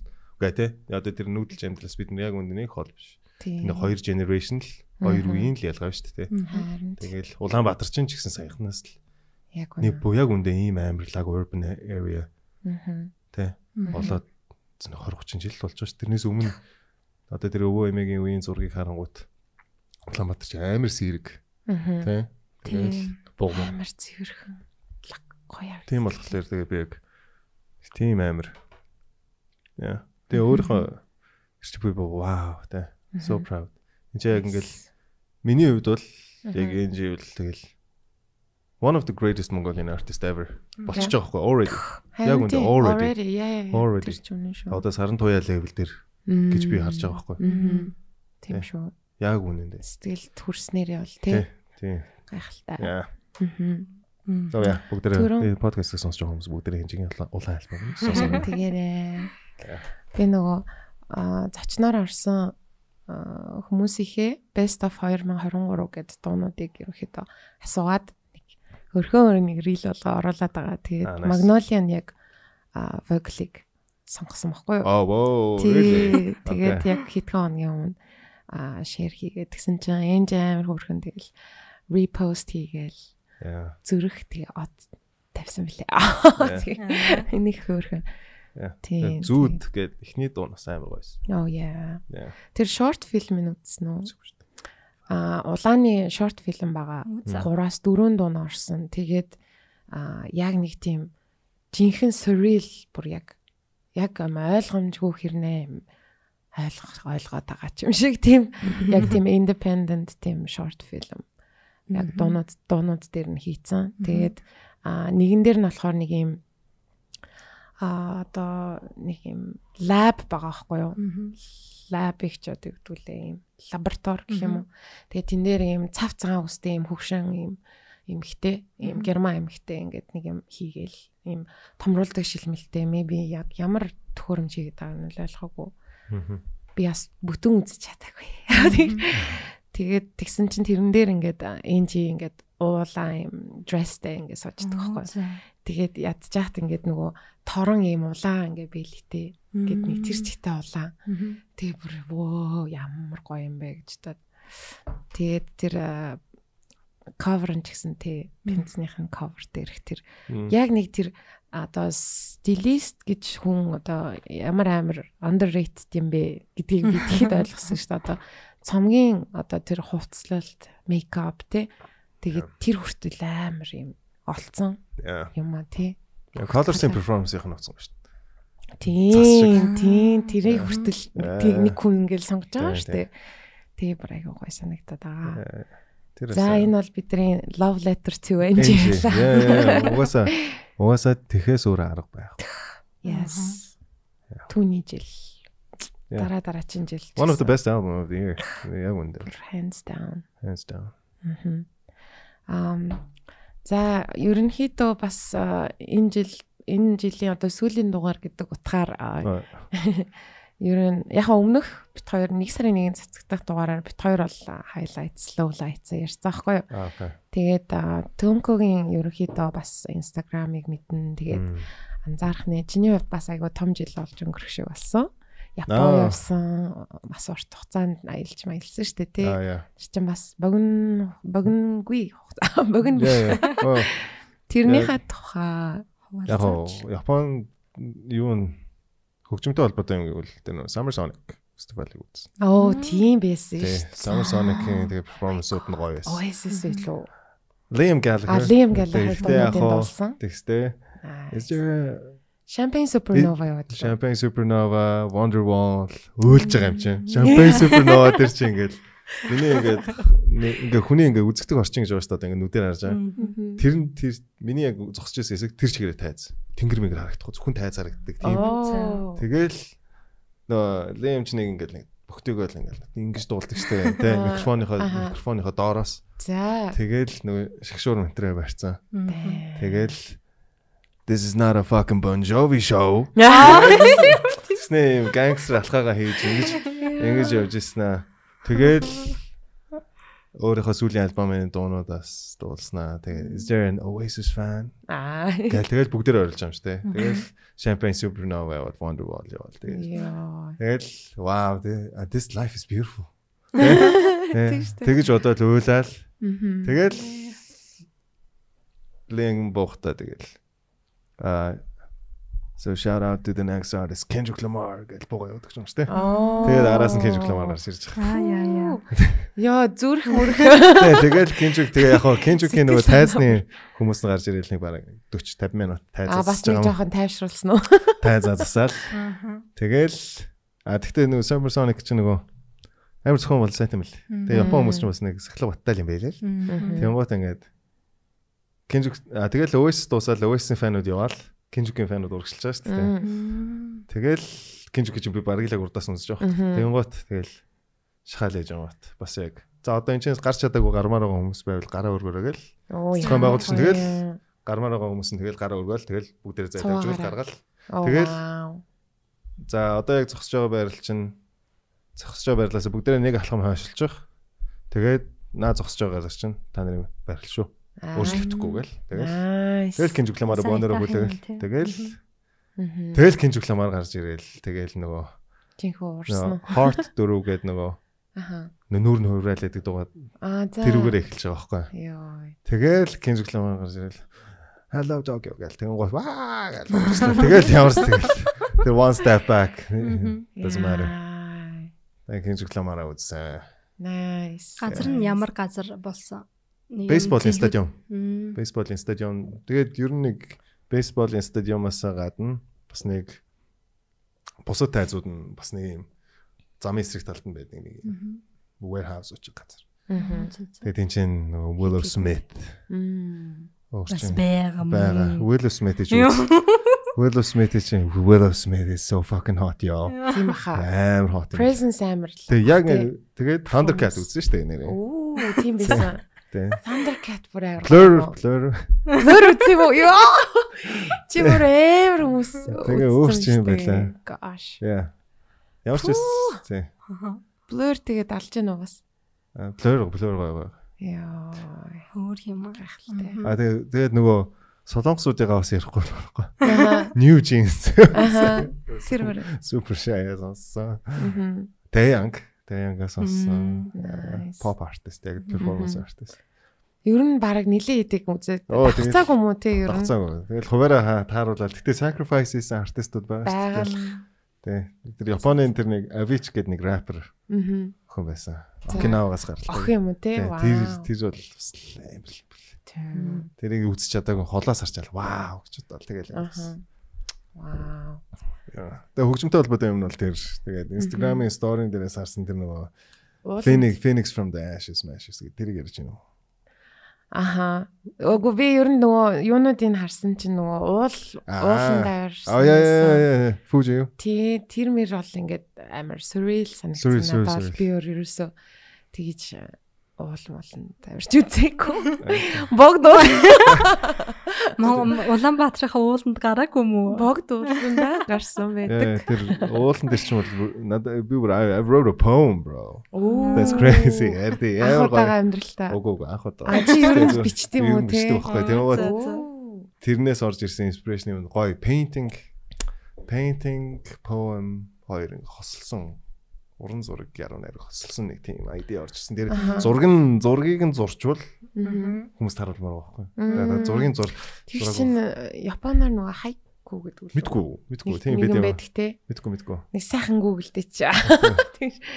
[SPEAKER 3] Үгүй тэ. Одоо тэр нүүдэлч амьдралаас бид нар яг үнд нэг хол биш.
[SPEAKER 2] Тийм.
[SPEAKER 3] Нэг хоёр generation л хоёр
[SPEAKER 2] Мгм.
[SPEAKER 3] үеийн л ялгаа шүү дээ тэ.
[SPEAKER 2] Харин тийм.
[SPEAKER 3] Тэгээл Улаанбаатар чинь ч гэсэн саяхнаас л
[SPEAKER 2] яг үнэ.
[SPEAKER 3] нэг бо яг үндэ ийм амьдралаг urban area
[SPEAKER 2] Мгм.
[SPEAKER 3] тэ. болоод зөв 20 30 жил болж байгаа ш. Тэрнээс өмнө одоо тэр өвөө эмээгийн үеийн зургийг харангуут Улаанбаатар ч амар сэрэг
[SPEAKER 2] Мгм.
[SPEAKER 3] тий. Тэгэл богом.
[SPEAKER 2] амар цэвэрхэн лаг гоё авдаг.
[SPEAKER 3] Тийм болохоор тэгээ би яг тийм амар. Яа. Тэгээ өөрийнхөө ирч би боо вау тий. So proud. Энд яг ингээл миний хувьд бол яг энэ жийл тэгэл one of the greatest Mongolian artist ever болчихж байгаа хгүй already. яг үнэ already. Already.
[SPEAKER 2] already ч үнэн шүү.
[SPEAKER 3] Одоо сарын туяа level дээр гэж би харж байгаа хгүй.
[SPEAKER 2] Мгм. Тийм
[SPEAKER 3] Тэ.
[SPEAKER 2] шүү.
[SPEAKER 3] Яг үнэндээ.
[SPEAKER 2] Сэтгэл төрснээрээ бол тий
[SPEAKER 3] Тий. Тий.
[SPEAKER 2] гайхалтай.
[SPEAKER 3] Яа.
[SPEAKER 2] Мгм.
[SPEAKER 3] За яа
[SPEAKER 2] Түрүүн-
[SPEAKER 3] бүгдээ энэ подкастыг сонсож байгаа хүмүүс бүгдээ хинжигийн улаан улаан айлбар нь сонсоо.
[SPEAKER 2] Тэгээрээ. Би нөгөө аа, зочноор орсон аа, хүмүүсийнхээ Best of 2023 гэдэг дуунуудыг ерөөхдөө асуугаад нэг өрхөө өөр нэг reel болго оруулаад байгаа.
[SPEAKER 3] Аа,
[SPEAKER 2] Тэгээд
[SPEAKER 3] nice.
[SPEAKER 2] Magnolia нь яг аа, vocal-ыг сонгосон байхгүй юу?
[SPEAKER 3] Аа воо.
[SPEAKER 2] Тий, Тэгээд яг хэдхэн хоногийн өмнө аа шеэр хийгээд тэгсэн чинь энэ амар хөөрхөн тэгэл репост хийгээл
[SPEAKER 3] Яа.
[SPEAKER 2] зүрх тэгээ од тавьсан билээ.
[SPEAKER 3] Яа.
[SPEAKER 2] Тэгээ, Энийг хөөрхөн.
[SPEAKER 3] Яа.
[SPEAKER 2] Тий. тий.
[SPEAKER 3] Зүуд гэд Э, эхний дуу нас амар гойсон.
[SPEAKER 2] Oh yeah.
[SPEAKER 3] Яа.
[SPEAKER 2] Тэр short film нь үзсэн үү?
[SPEAKER 3] зүгээр шүү дээ.
[SPEAKER 2] Аа улааны short film байгаа.
[SPEAKER 4] Үгүй за.
[SPEAKER 2] 3-аас 4 дуу нь орсон. Тэгээд аа яг нэг тийм жинхэнэ surreal бүр яг яг юм ойлгомжгүй хэрнээ юм ойлгох ойлгоод байгаа ч юм шиг тийм яг тийм independent тийм short film. Яг дуунууд дуунууд дээр нь хийцэн. Тэгээд аа нэгэн дээр нь болохоор нэг юм аа одоо нэг юм lab байгаа байхгүй юу? лабыг ч одоо гэдгүүлээ юм лаборатори гэх юм уу. Тэгээ тэн дээр юм цав цагаан үстэй юм хөвшин юм эмхтэй
[SPEAKER 4] Мгм.
[SPEAKER 2] юм герман эмхтэй ингээд нэг юм хийгээл юм томруулдаг шилмэлтэй maybe яг ямар төхөөрөмж хийгээд байгаа нь л ойлгоогүй.
[SPEAKER 3] Мгм.
[SPEAKER 2] Би бас бүтэн үзэж чадаагүй. Тэгээд тэгсэн чинь тэрэн дээр ингээд энжи ингээд уулаа юм дрэстэй ингээд суудаг байхгүй. Тэгээд ядчихт ингээд нөгөө торон ийм улаан ингээд бэлэгтэй гэд нэг тэр чигтэй улаан. Тэгээ бүр вөө ямар гоё юм бэ гэж таа. Тэгээд тэр cover нь ч гэсэн тий пенцнийх нь cover дээрх тэр яг нэг тэр одоо стилист гэж хүн одоо ямар амар underrated юм бэ гэдгийг би тэгэхэд ойлгосон шүү дээ одоо цомгийн одоо тэр хувцлалт мейкап тий тэгээд тэр хүртэл амар юм олцсон
[SPEAKER 3] Яа.
[SPEAKER 2] юм а тий
[SPEAKER 3] Colors-ийн performance-ийнх нь утсан ба шүү дээ. Цас шиг.
[SPEAKER 2] Тийм, тийм, тэрийг хүртэл
[SPEAKER 3] Аа.
[SPEAKER 2] тэг нэг хүн ингээл сонгож байгаа
[SPEAKER 3] Тийм,
[SPEAKER 2] шүү дээ. Тэгээ бүр аягүй гоё санагдаад байгаа.
[SPEAKER 3] Э, Тэр
[SPEAKER 2] За
[SPEAKER 3] бас-
[SPEAKER 2] энэ бол бидний love letter to
[SPEAKER 3] Энжи. Э,
[SPEAKER 2] Angie.
[SPEAKER 3] Яа, яа, яа. Угаасаа угаасаа тэхээс өөр арга байх.
[SPEAKER 2] Yes. Түүний жил.
[SPEAKER 3] Yeah.
[SPEAKER 2] Дараа дараагийн жил. ч
[SPEAKER 3] One of the
[SPEAKER 2] гэсэн.
[SPEAKER 3] best album of the year. Яг үндэ.
[SPEAKER 2] hands down.
[SPEAKER 3] Hands down.
[SPEAKER 2] Мгм. Ам за ерөнхийдөө бас а, энэ жил энэ жилийн одоо сүүлийн дугаар гэдэг утгаар а,
[SPEAKER 3] Э,
[SPEAKER 2] Ер нь яг хаа өмнөх бит хоёр нэг сарын нэгэн цацагдах дугаараар бит хоёр бол highlights, lowlights ярьсан байхгүй юу.
[SPEAKER 3] Аа, окей.
[SPEAKER 2] Тэгээд аа, Төмкөгийн ерөнхийдөө бас Instagram-ыг мэднэ. Тэгээд
[SPEAKER 3] Мм.
[SPEAKER 2] анзаарах нэ. Чиний хувьд бас айгүй том жил болж өнгөрөх шиг болсон.
[SPEAKER 3] Аа.
[SPEAKER 2] Япон явсан, бас урт хугацаанд аялж маялсан шүү дээ тий.
[SPEAKER 3] Аа, яа.
[SPEAKER 2] Тэр чинь бас богино богингүй хугацаа богино.
[SPEAKER 3] Яа, яа. Оо.
[SPEAKER 2] Тэрнийхээ тухай
[SPEAKER 3] Яг гоо Япон юу н хөгжмөнтэй холбоотой юм гэвэл тэр нөө Summer Sonic фестивалыг үзсэн.
[SPEAKER 2] оо тийм байсан
[SPEAKER 3] Тэ
[SPEAKER 2] шүү.
[SPEAKER 3] Summer Sonic-ийн тэгээ перформансууд нь гоё байсан.
[SPEAKER 2] Oasis билүү?
[SPEAKER 3] Liam
[SPEAKER 2] А
[SPEAKER 3] Gallagher.
[SPEAKER 2] Liam Gallagher
[SPEAKER 3] Тэгтээ яг
[SPEAKER 2] дууданд
[SPEAKER 3] гоо,
[SPEAKER 2] болсон.
[SPEAKER 3] Тэгстэй. Is there
[SPEAKER 2] Champagne Supernova яваад байна.
[SPEAKER 3] Champagne Supernova, Wonderwall өөлж байгаа юм чинь. Champagne Supernova тэр чинь ингээд миний ингээд нэ- ингээд хүний ингээд үзэгдэг орчин гэж байна шүү дээ. Ингээд нүдээр харж байгаа.
[SPEAKER 2] Mm.
[SPEAKER 3] Тэр нь тэр миний яг зогсож байсан хэсэг тэр чигээрээ тайз. Тэнгэр мэнгэр харагдахгүй зөвхөн тайз харагддаг
[SPEAKER 2] Oh,
[SPEAKER 3] тийм.
[SPEAKER 2] Оо.
[SPEAKER 3] Тэгэл нөө Лем ч нэг ингээд нэг бөхтэйгөө л ингээд ингэж дуулдаг штэ тий
[SPEAKER 2] Аа.
[SPEAKER 3] микрофоныхоо
[SPEAKER 2] Аха.
[SPEAKER 3] микрофоныхоо доороос
[SPEAKER 2] За.
[SPEAKER 3] тэгэл нөгөө шагшуур метрээ барьцсан.
[SPEAKER 2] Тэгээ.
[SPEAKER 3] Тэгэл This is not a fucking Bon Jovi show.
[SPEAKER 2] Ah.
[SPEAKER 3] Снэ юм гангстер алхаагаа хийж ингэж ингэж явж ирсэн аа. Тэгэл өөрийнхөө сүүлийн альбомын дуунуудаас дуулснаа. Тэгээ Is there an Oasis fan?
[SPEAKER 2] Аа.
[SPEAKER 3] Тэгэл тэгэл бүгдээр орилж байгаа юм штэ. Тэгэл Champagne Supernova яваад Wonderwall яваад тэгэл
[SPEAKER 2] Йоо.
[SPEAKER 3] Тэгэл вау тий а, this life is beautiful. Тий, Тэгэж бодоод уйлаал. Тэгэл лэн бохта тэгэл. А so shout out to the next artist Kendrick Lamar гэж богоо явуудаг юм штэ.
[SPEAKER 4] Oh.
[SPEAKER 2] Оо.
[SPEAKER 3] Тэгээд араас нь Kendrick Lamar гарч ирж байгаа.
[SPEAKER 4] Аа яа яа.
[SPEAKER 2] Йоо, зүрх мөрх.
[SPEAKER 3] Тий, Тэгэл Kendrick тэгээ яг хоо Kendrick-ийн нөгөө тайзны хүмүүс нь гарч ирэл нэг бараг 40 50 минут тайз
[SPEAKER 2] Аа бас
[SPEAKER 3] засаж
[SPEAKER 2] нэг
[SPEAKER 3] байгаа юм.
[SPEAKER 2] жоохон тайвшруулсан уу?
[SPEAKER 3] Тайз засаал.
[SPEAKER 4] Аа.
[SPEAKER 3] Тэгэл а тэгтээ нөгөө Summer Sonic чинь нөгөө амар зөвхөн бол сайт юм л. Тэгээ Япон хүмүүс ч бас нэг сахлаг баттай юм байлээ л. Тэнгуут ингээд Kendrick а тэгэл Oasis дуусаад Oasis-ийн фанууд яваал Kendrick-ийн фанууд урагшилж байгаа шүү дээ. Тэгэл Kendrick гэж би бараг л яг урдаас сонсож байгаа. Тэнгуут тэгэл шахаал яж юмат бас яг за одоо энэ ч гарч чадаагүй гармаар байгаа хүмүүс байвал гараа өргөөрэй гэл
[SPEAKER 2] Оо.
[SPEAKER 3] зохион байгуулалт чинь тэгэл гармаар байгаа хүмүүс нь тэгэл гараа өргөөл тэгэл бүгдээрээ зайлж
[SPEAKER 2] Цуваа
[SPEAKER 3] өгөл
[SPEAKER 2] гараа.
[SPEAKER 3] гаргал.
[SPEAKER 2] Тэгэл.
[SPEAKER 3] тэгэл- За одоо яг зогсож байгаа байрал чинь зогсож байгаа байрлаас бүгдээрээ нэг алхам хойшилж явах. Тэгээд наа зогсож байгаа газар чинь та нарын байрал шүү. Өөрчлөгдөхгүй гэл. Тэгэл Тэгэл
[SPEAKER 2] Тэгэл.
[SPEAKER 3] кинжүглэмээр
[SPEAKER 4] Сайн
[SPEAKER 3] бооноро
[SPEAKER 4] таах юм
[SPEAKER 3] хүлээл.
[SPEAKER 4] тий.
[SPEAKER 3] Тэгэл
[SPEAKER 4] Мгм.
[SPEAKER 3] тэгэл кинжүглэмээр гарч ирээл. Тэгэл нөгөө
[SPEAKER 2] Жинхэнэ уурсан уу?
[SPEAKER 3] нөгөө Heart дөрөв гээд нөгөө
[SPEAKER 2] Аха.
[SPEAKER 3] нүүр нь хувраал гэдэг дугаар
[SPEAKER 2] Аа за.
[SPEAKER 3] тэрүүгээр эхэлж байгаа байхгүй.
[SPEAKER 2] Йоо.
[SPEAKER 3] Тэгэл кинжүглэмээр гарч ирээл. Hello dog гээл тэгэн гоо ваа гээл. урагшлаа. Тэгэл ямарс тэгэл. Тэр one step back. Doesn't matter.
[SPEAKER 2] Яа.
[SPEAKER 3] Кинжүглэмээр үзсэн.
[SPEAKER 2] Nice.
[SPEAKER 4] Газар нь ямар газар болсон? Нэг юм
[SPEAKER 3] Бейсболын
[SPEAKER 4] тийхүү-
[SPEAKER 3] стадион.
[SPEAKER 4] Мм.
[SPEAKER 3] Бейсболын стадион. Тэгээд ер нь нэг бейсболын стадиумаас гадна бас нэг бусад тайзууд нь бас нэг юм замын эсрэг талд нь байдаг нэг юм
[SPEAKER 4] Мгм.
[SPEAKER 3] warehouse учраас газар.
[SPEAKER 2] Мгм.
[SPEAKER 3] Тэгээд энэ чинь нөгөө Willow Smith
[SPEAKER 2] Мм.
[SPEAKER 4] Бас
[SPEAKER 3] өөрчлөн
[SPEAKER 4] байгаа
[SPEAKER 3] байгаа.
[SPEAKER 4] мөн.
[SPEAKER 3] Willow Smith гэж
[SPEAKER 4] Юу?
[SPEAKER 3] үү. Willow Smith чинь Willow Smith is so fucking hot y'all.
[SPEAKER 2] Тийм баха.
[SPEAKER 3] Амар hot. юм.
[SPEAKER 2] Presence амар л.
[SPEAKER 3] Тэгээд яг
[SPEAKER 2] Тий.
[SPEAKER 3] тэгээд Thundercat үзсэн шүү дээ нэрээ.
[SPEAKER 2] Оо, тийм байсан.
[SPEAKER 3] Тэ.
[SPEAKER 2] Thundercat бүр амар.
[SPEAKER 3] Blur Blur
[SPEAKER 2] Blur үзэв үү? Йоо. Чи бүр амар хүмүүс.
[SPEAKER 3] Тэгээ өөр чи юм байлаа.
[SPEAKER 2] Gosh.
[SPEAKER 3] яа. Ямар ч байсан.
[SPEAKER 2] Blur тэгээд алж гин угаас.
[SPEAKER 3] А, Blur Blur гоё гоё.
[SPEAKER 2] Яа.
[SPEAKER 4] Өөр юм аа.
[SPEAKER 2] Гайхалтай.
[SPEAKER 3] А тэгээ тэгээд нөгөө солонгосуудыгаа бас ярихгүй болохгүй.
[SPEAKER 2] Аха.
[SPEAKER 3] New Jeans
[SPEAKER 2] Аха. Сервер.
[SPEAKER 3] Super Shy сонссон.
[SPEAKER 2] Мгм.
[SPEAKER 3] Taeyang Taeyang сонссон.
[SPEAKER 2] Мм,
[SPEAKER 3] Яа,
[SPEAKER 2] nice.
[SPEAKER 3] Pop artist яг performance artist.
[SPEAKER 2] Ер нь баг нилийн хэдэг үзээд
[SPEAKER 3] Оо, тэгээд-
[SPEAKER 2] багцаагүй мүү те ер нь.
[SPEAKER 3] Багцаагүй. Тэгэл хуваараа хаа- тааруулаад. Гэтэ sacrifice хийсэн артистууд
[SPEAKER 2] Байгаа
[SPEAKER 3] байгаа шүү
[SPEAKER 2] л.
[SPEAKER 3] дээ. Тэ. Тэр Японы тэр нэг Avicii гэдэг нэг rapper
[SPEAKER 2] Мгм.
[SPEAKER 3] хүн байсан.
[SPEAKER 2] За.
[SPEAKER 3] Окинавагаас гарлаа.
[SPEAKER 2] Ох юм уу те.
[SPEAKER 3] Тэ,
[SPEAKER 2] Вау.
[SPEAKER 3] Тэр тэр бол бас aim л.
[SPEAKER 2] Тэр.
[SPEAKER 3] Тэрийг үзэж чадаагүй холоос харчаал. Вау гэж бодлоо. Тэгэл.
[SPEAKER 2] Аха. Вау.
[SPEAKER 3] Яа. Тэгээ хөгжмөнтэй холбоотой юм нь бол тэр. Тэгээд Instagram-ийн story-н дээрээс харсан тэр нөгөө
[SPEAKER 2] Уул-
[SPEAKER 3] Phoenix Phoenix from the Ashes Mashes гэдэг тэрийг ярьж байна уу?
[SPEAKER 2] Аха. Өгөө би ер нь нөгөө юунуудыг харсан чинь нөгөө уул
[SPEAKER 3] Аа.
[SPEAKER 2] уулын даяар.
[SPEAKER 3] Аа яа яа яа. Фүүж юу?
[SPEAKER 2] Тий, тэр мэр бол ингээд амар surreal
[SPEAKER 3] Surreal, surreal,
[SPEAKER 2] санагдсан надад.
[SPEAKER 3] surreal.
[SPEAKER 2] Би өөр ерөөсөө тэгэж уул молн тавирч үзээгүй. Богд уул.
[SPEAKER 4] Мон- Улаанбаатарынхаа ууланд гараагүй мүү?
[SPEAKER 2] Богд уулсандаа гарсан
[SPEAKER 3] Яа,
[SPEAKER 2] байдаг.
[SPEAKER 3] Тэр уулан дээр ч юм бол надад би бүр I I wrote a poem bro.
[SPEAKER 2] Оо.
[SPEAKER 3] That's crazy. Ярди ямар гоё.
[SPEAKER 2] Ахуудаа амьдралтай.
[SPEAKER 3] Уг уг анх удаа.
[SPEAKER 2] А чи ер нь бичдэг юм уу
[SPEAKER 3] Ер нь
[SPEAKER 2] те?
[SPEAKER 3] бичдэг байхгүй.
[SPEAKER 4] За,
[SPEAKER 3] Тэгээд
[SPEAKER 4] за.
[SPEAKER 2] Оо.
[SPEAKER 3] тэрнээс орж ирсэн inspiration юм гоё painting painting poem хоёр ингэ хосолсон уран зураг яруу найр хосолсон нэг тийм idea орж ирсэн. Тэр
[SPEAKER 2] Аха.
[SPEAKER 3] зураг нь зургийг нь зурчвал
[SPEAKER 2] Мгм.
[SPEAKER 3] хүмүүс таруулмаар байхгүй.
[SPEAKER 2] Мм.
[SPEAKER 3] Тэгээд зургийн зур
[SPEAKER 2] Тэр
[SPEAKER 3] Зураг
[SPEAKER 2] чинь э, Японоор нөгөө хайку гэдэг үү?
[SPEAKER 3] мэдгүй мэдгүй
[SPEAKER 2] Нэг
[SPEAKER 3] тийм
[SPEAKER 2] нэг
[SPEAKER 3] бид
[SPEAKER 2] юм
[SPEAKER 3] яа.
[SPEAKER 2] байдаг те.
[SPEAKER 3] Мэдгүй мэдгүй.
[SPEAKER 2] Нэг сайхан гуглдэ чи.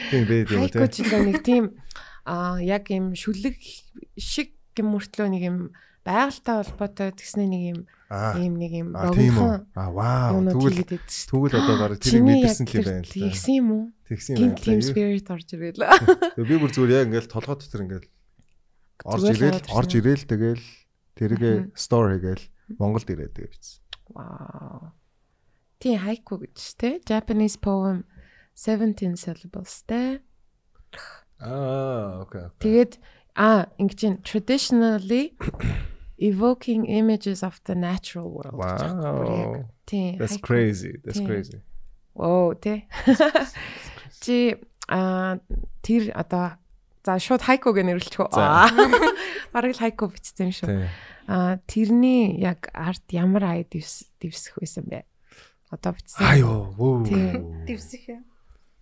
[SPEAKER 3] Тийм бид яа
[SPEAKER 2] Хайку
[SPEAKER 3] тийм.
[SPEAKER 2] жилээ нэг тийм аа яг юм шүлэг шиг юм мөртлөө нэг юм байгальтай холбоотой тэгснэ нэг юм
[SPEAKER 3] Аа.
[SPEAKER 2] ийм нэг юм
[SPEAKER 3] А тийм үү.
[SPEAKER 2] богинохон
[SPEAKER 3] А вау.
[SPEAKER 2] юмнууд
[SPEAKER 3] Тэгвэл
[SPEAKER 2] хийгээд идэж.
[SPEAKER 3] тэгвэл одоо барыг тэрийг мэдэрсэн л юм байна л да.
[SPEAKER 2] Тэгсэн юм уу?
[SPEAKER 3] Тэгсэн юм
[SPEAKER 2] Гин
[SPEAKER 3] байна.
[SPEAKER 2] team
[SPEAKER 3] л да.
[SPEAKER 2] spirit орж ирээ л.
[SPEAKER 3] Тэгээ Би бүр зүгээр яг ингээл толгой дотор ингээл орж
[SPEAKER 2] Зүгээр л
[SPEAKER 3] ирээл
[SPEAKER 2] орж
[SPEAKER 3] орж ирээл тэгэл тэргээ store хийгээл Монголд ирээд тэгээ биз.
[SPEAKER 2] Вау. Тий хайку гэж те. Japanese poem 17 syllables те.
[SPEAKER 3] Аа окей.
[SPEAKER 2] Тэгээд а ингэж ин traditionally evoking images of the natural world. гэж байгаа бүр яг.
[SPEAKER 3] Wow.
[SPEAKER 2] Тий.
[SPEAKER 3] That's
[SPEAKER 2] хайку.
[SPEAKER 3] crazy. That's
[SPEAKER 2] Тийм.
[SPEAKER 3] crazy.
[SPEAKER 2] Оо тий. Чи а тэр одоо за шууд хайку гэж нэрлэлчихв.
[SPEAKER 3] За.
[SPEAKER 2] Бараг л хайку бичсэн юм шүү.
[SPEAKER 3] Тий.
[SPEAKER 2] А тэрний яг арт ямар ай дивс дивсэх байсан бэ? Одоо бичсэн.
[SPEAKER 3] Айо. Вөө.
[SPEAKER 2] Тийм.
[SPEAKER 4] Дэвсэх юм.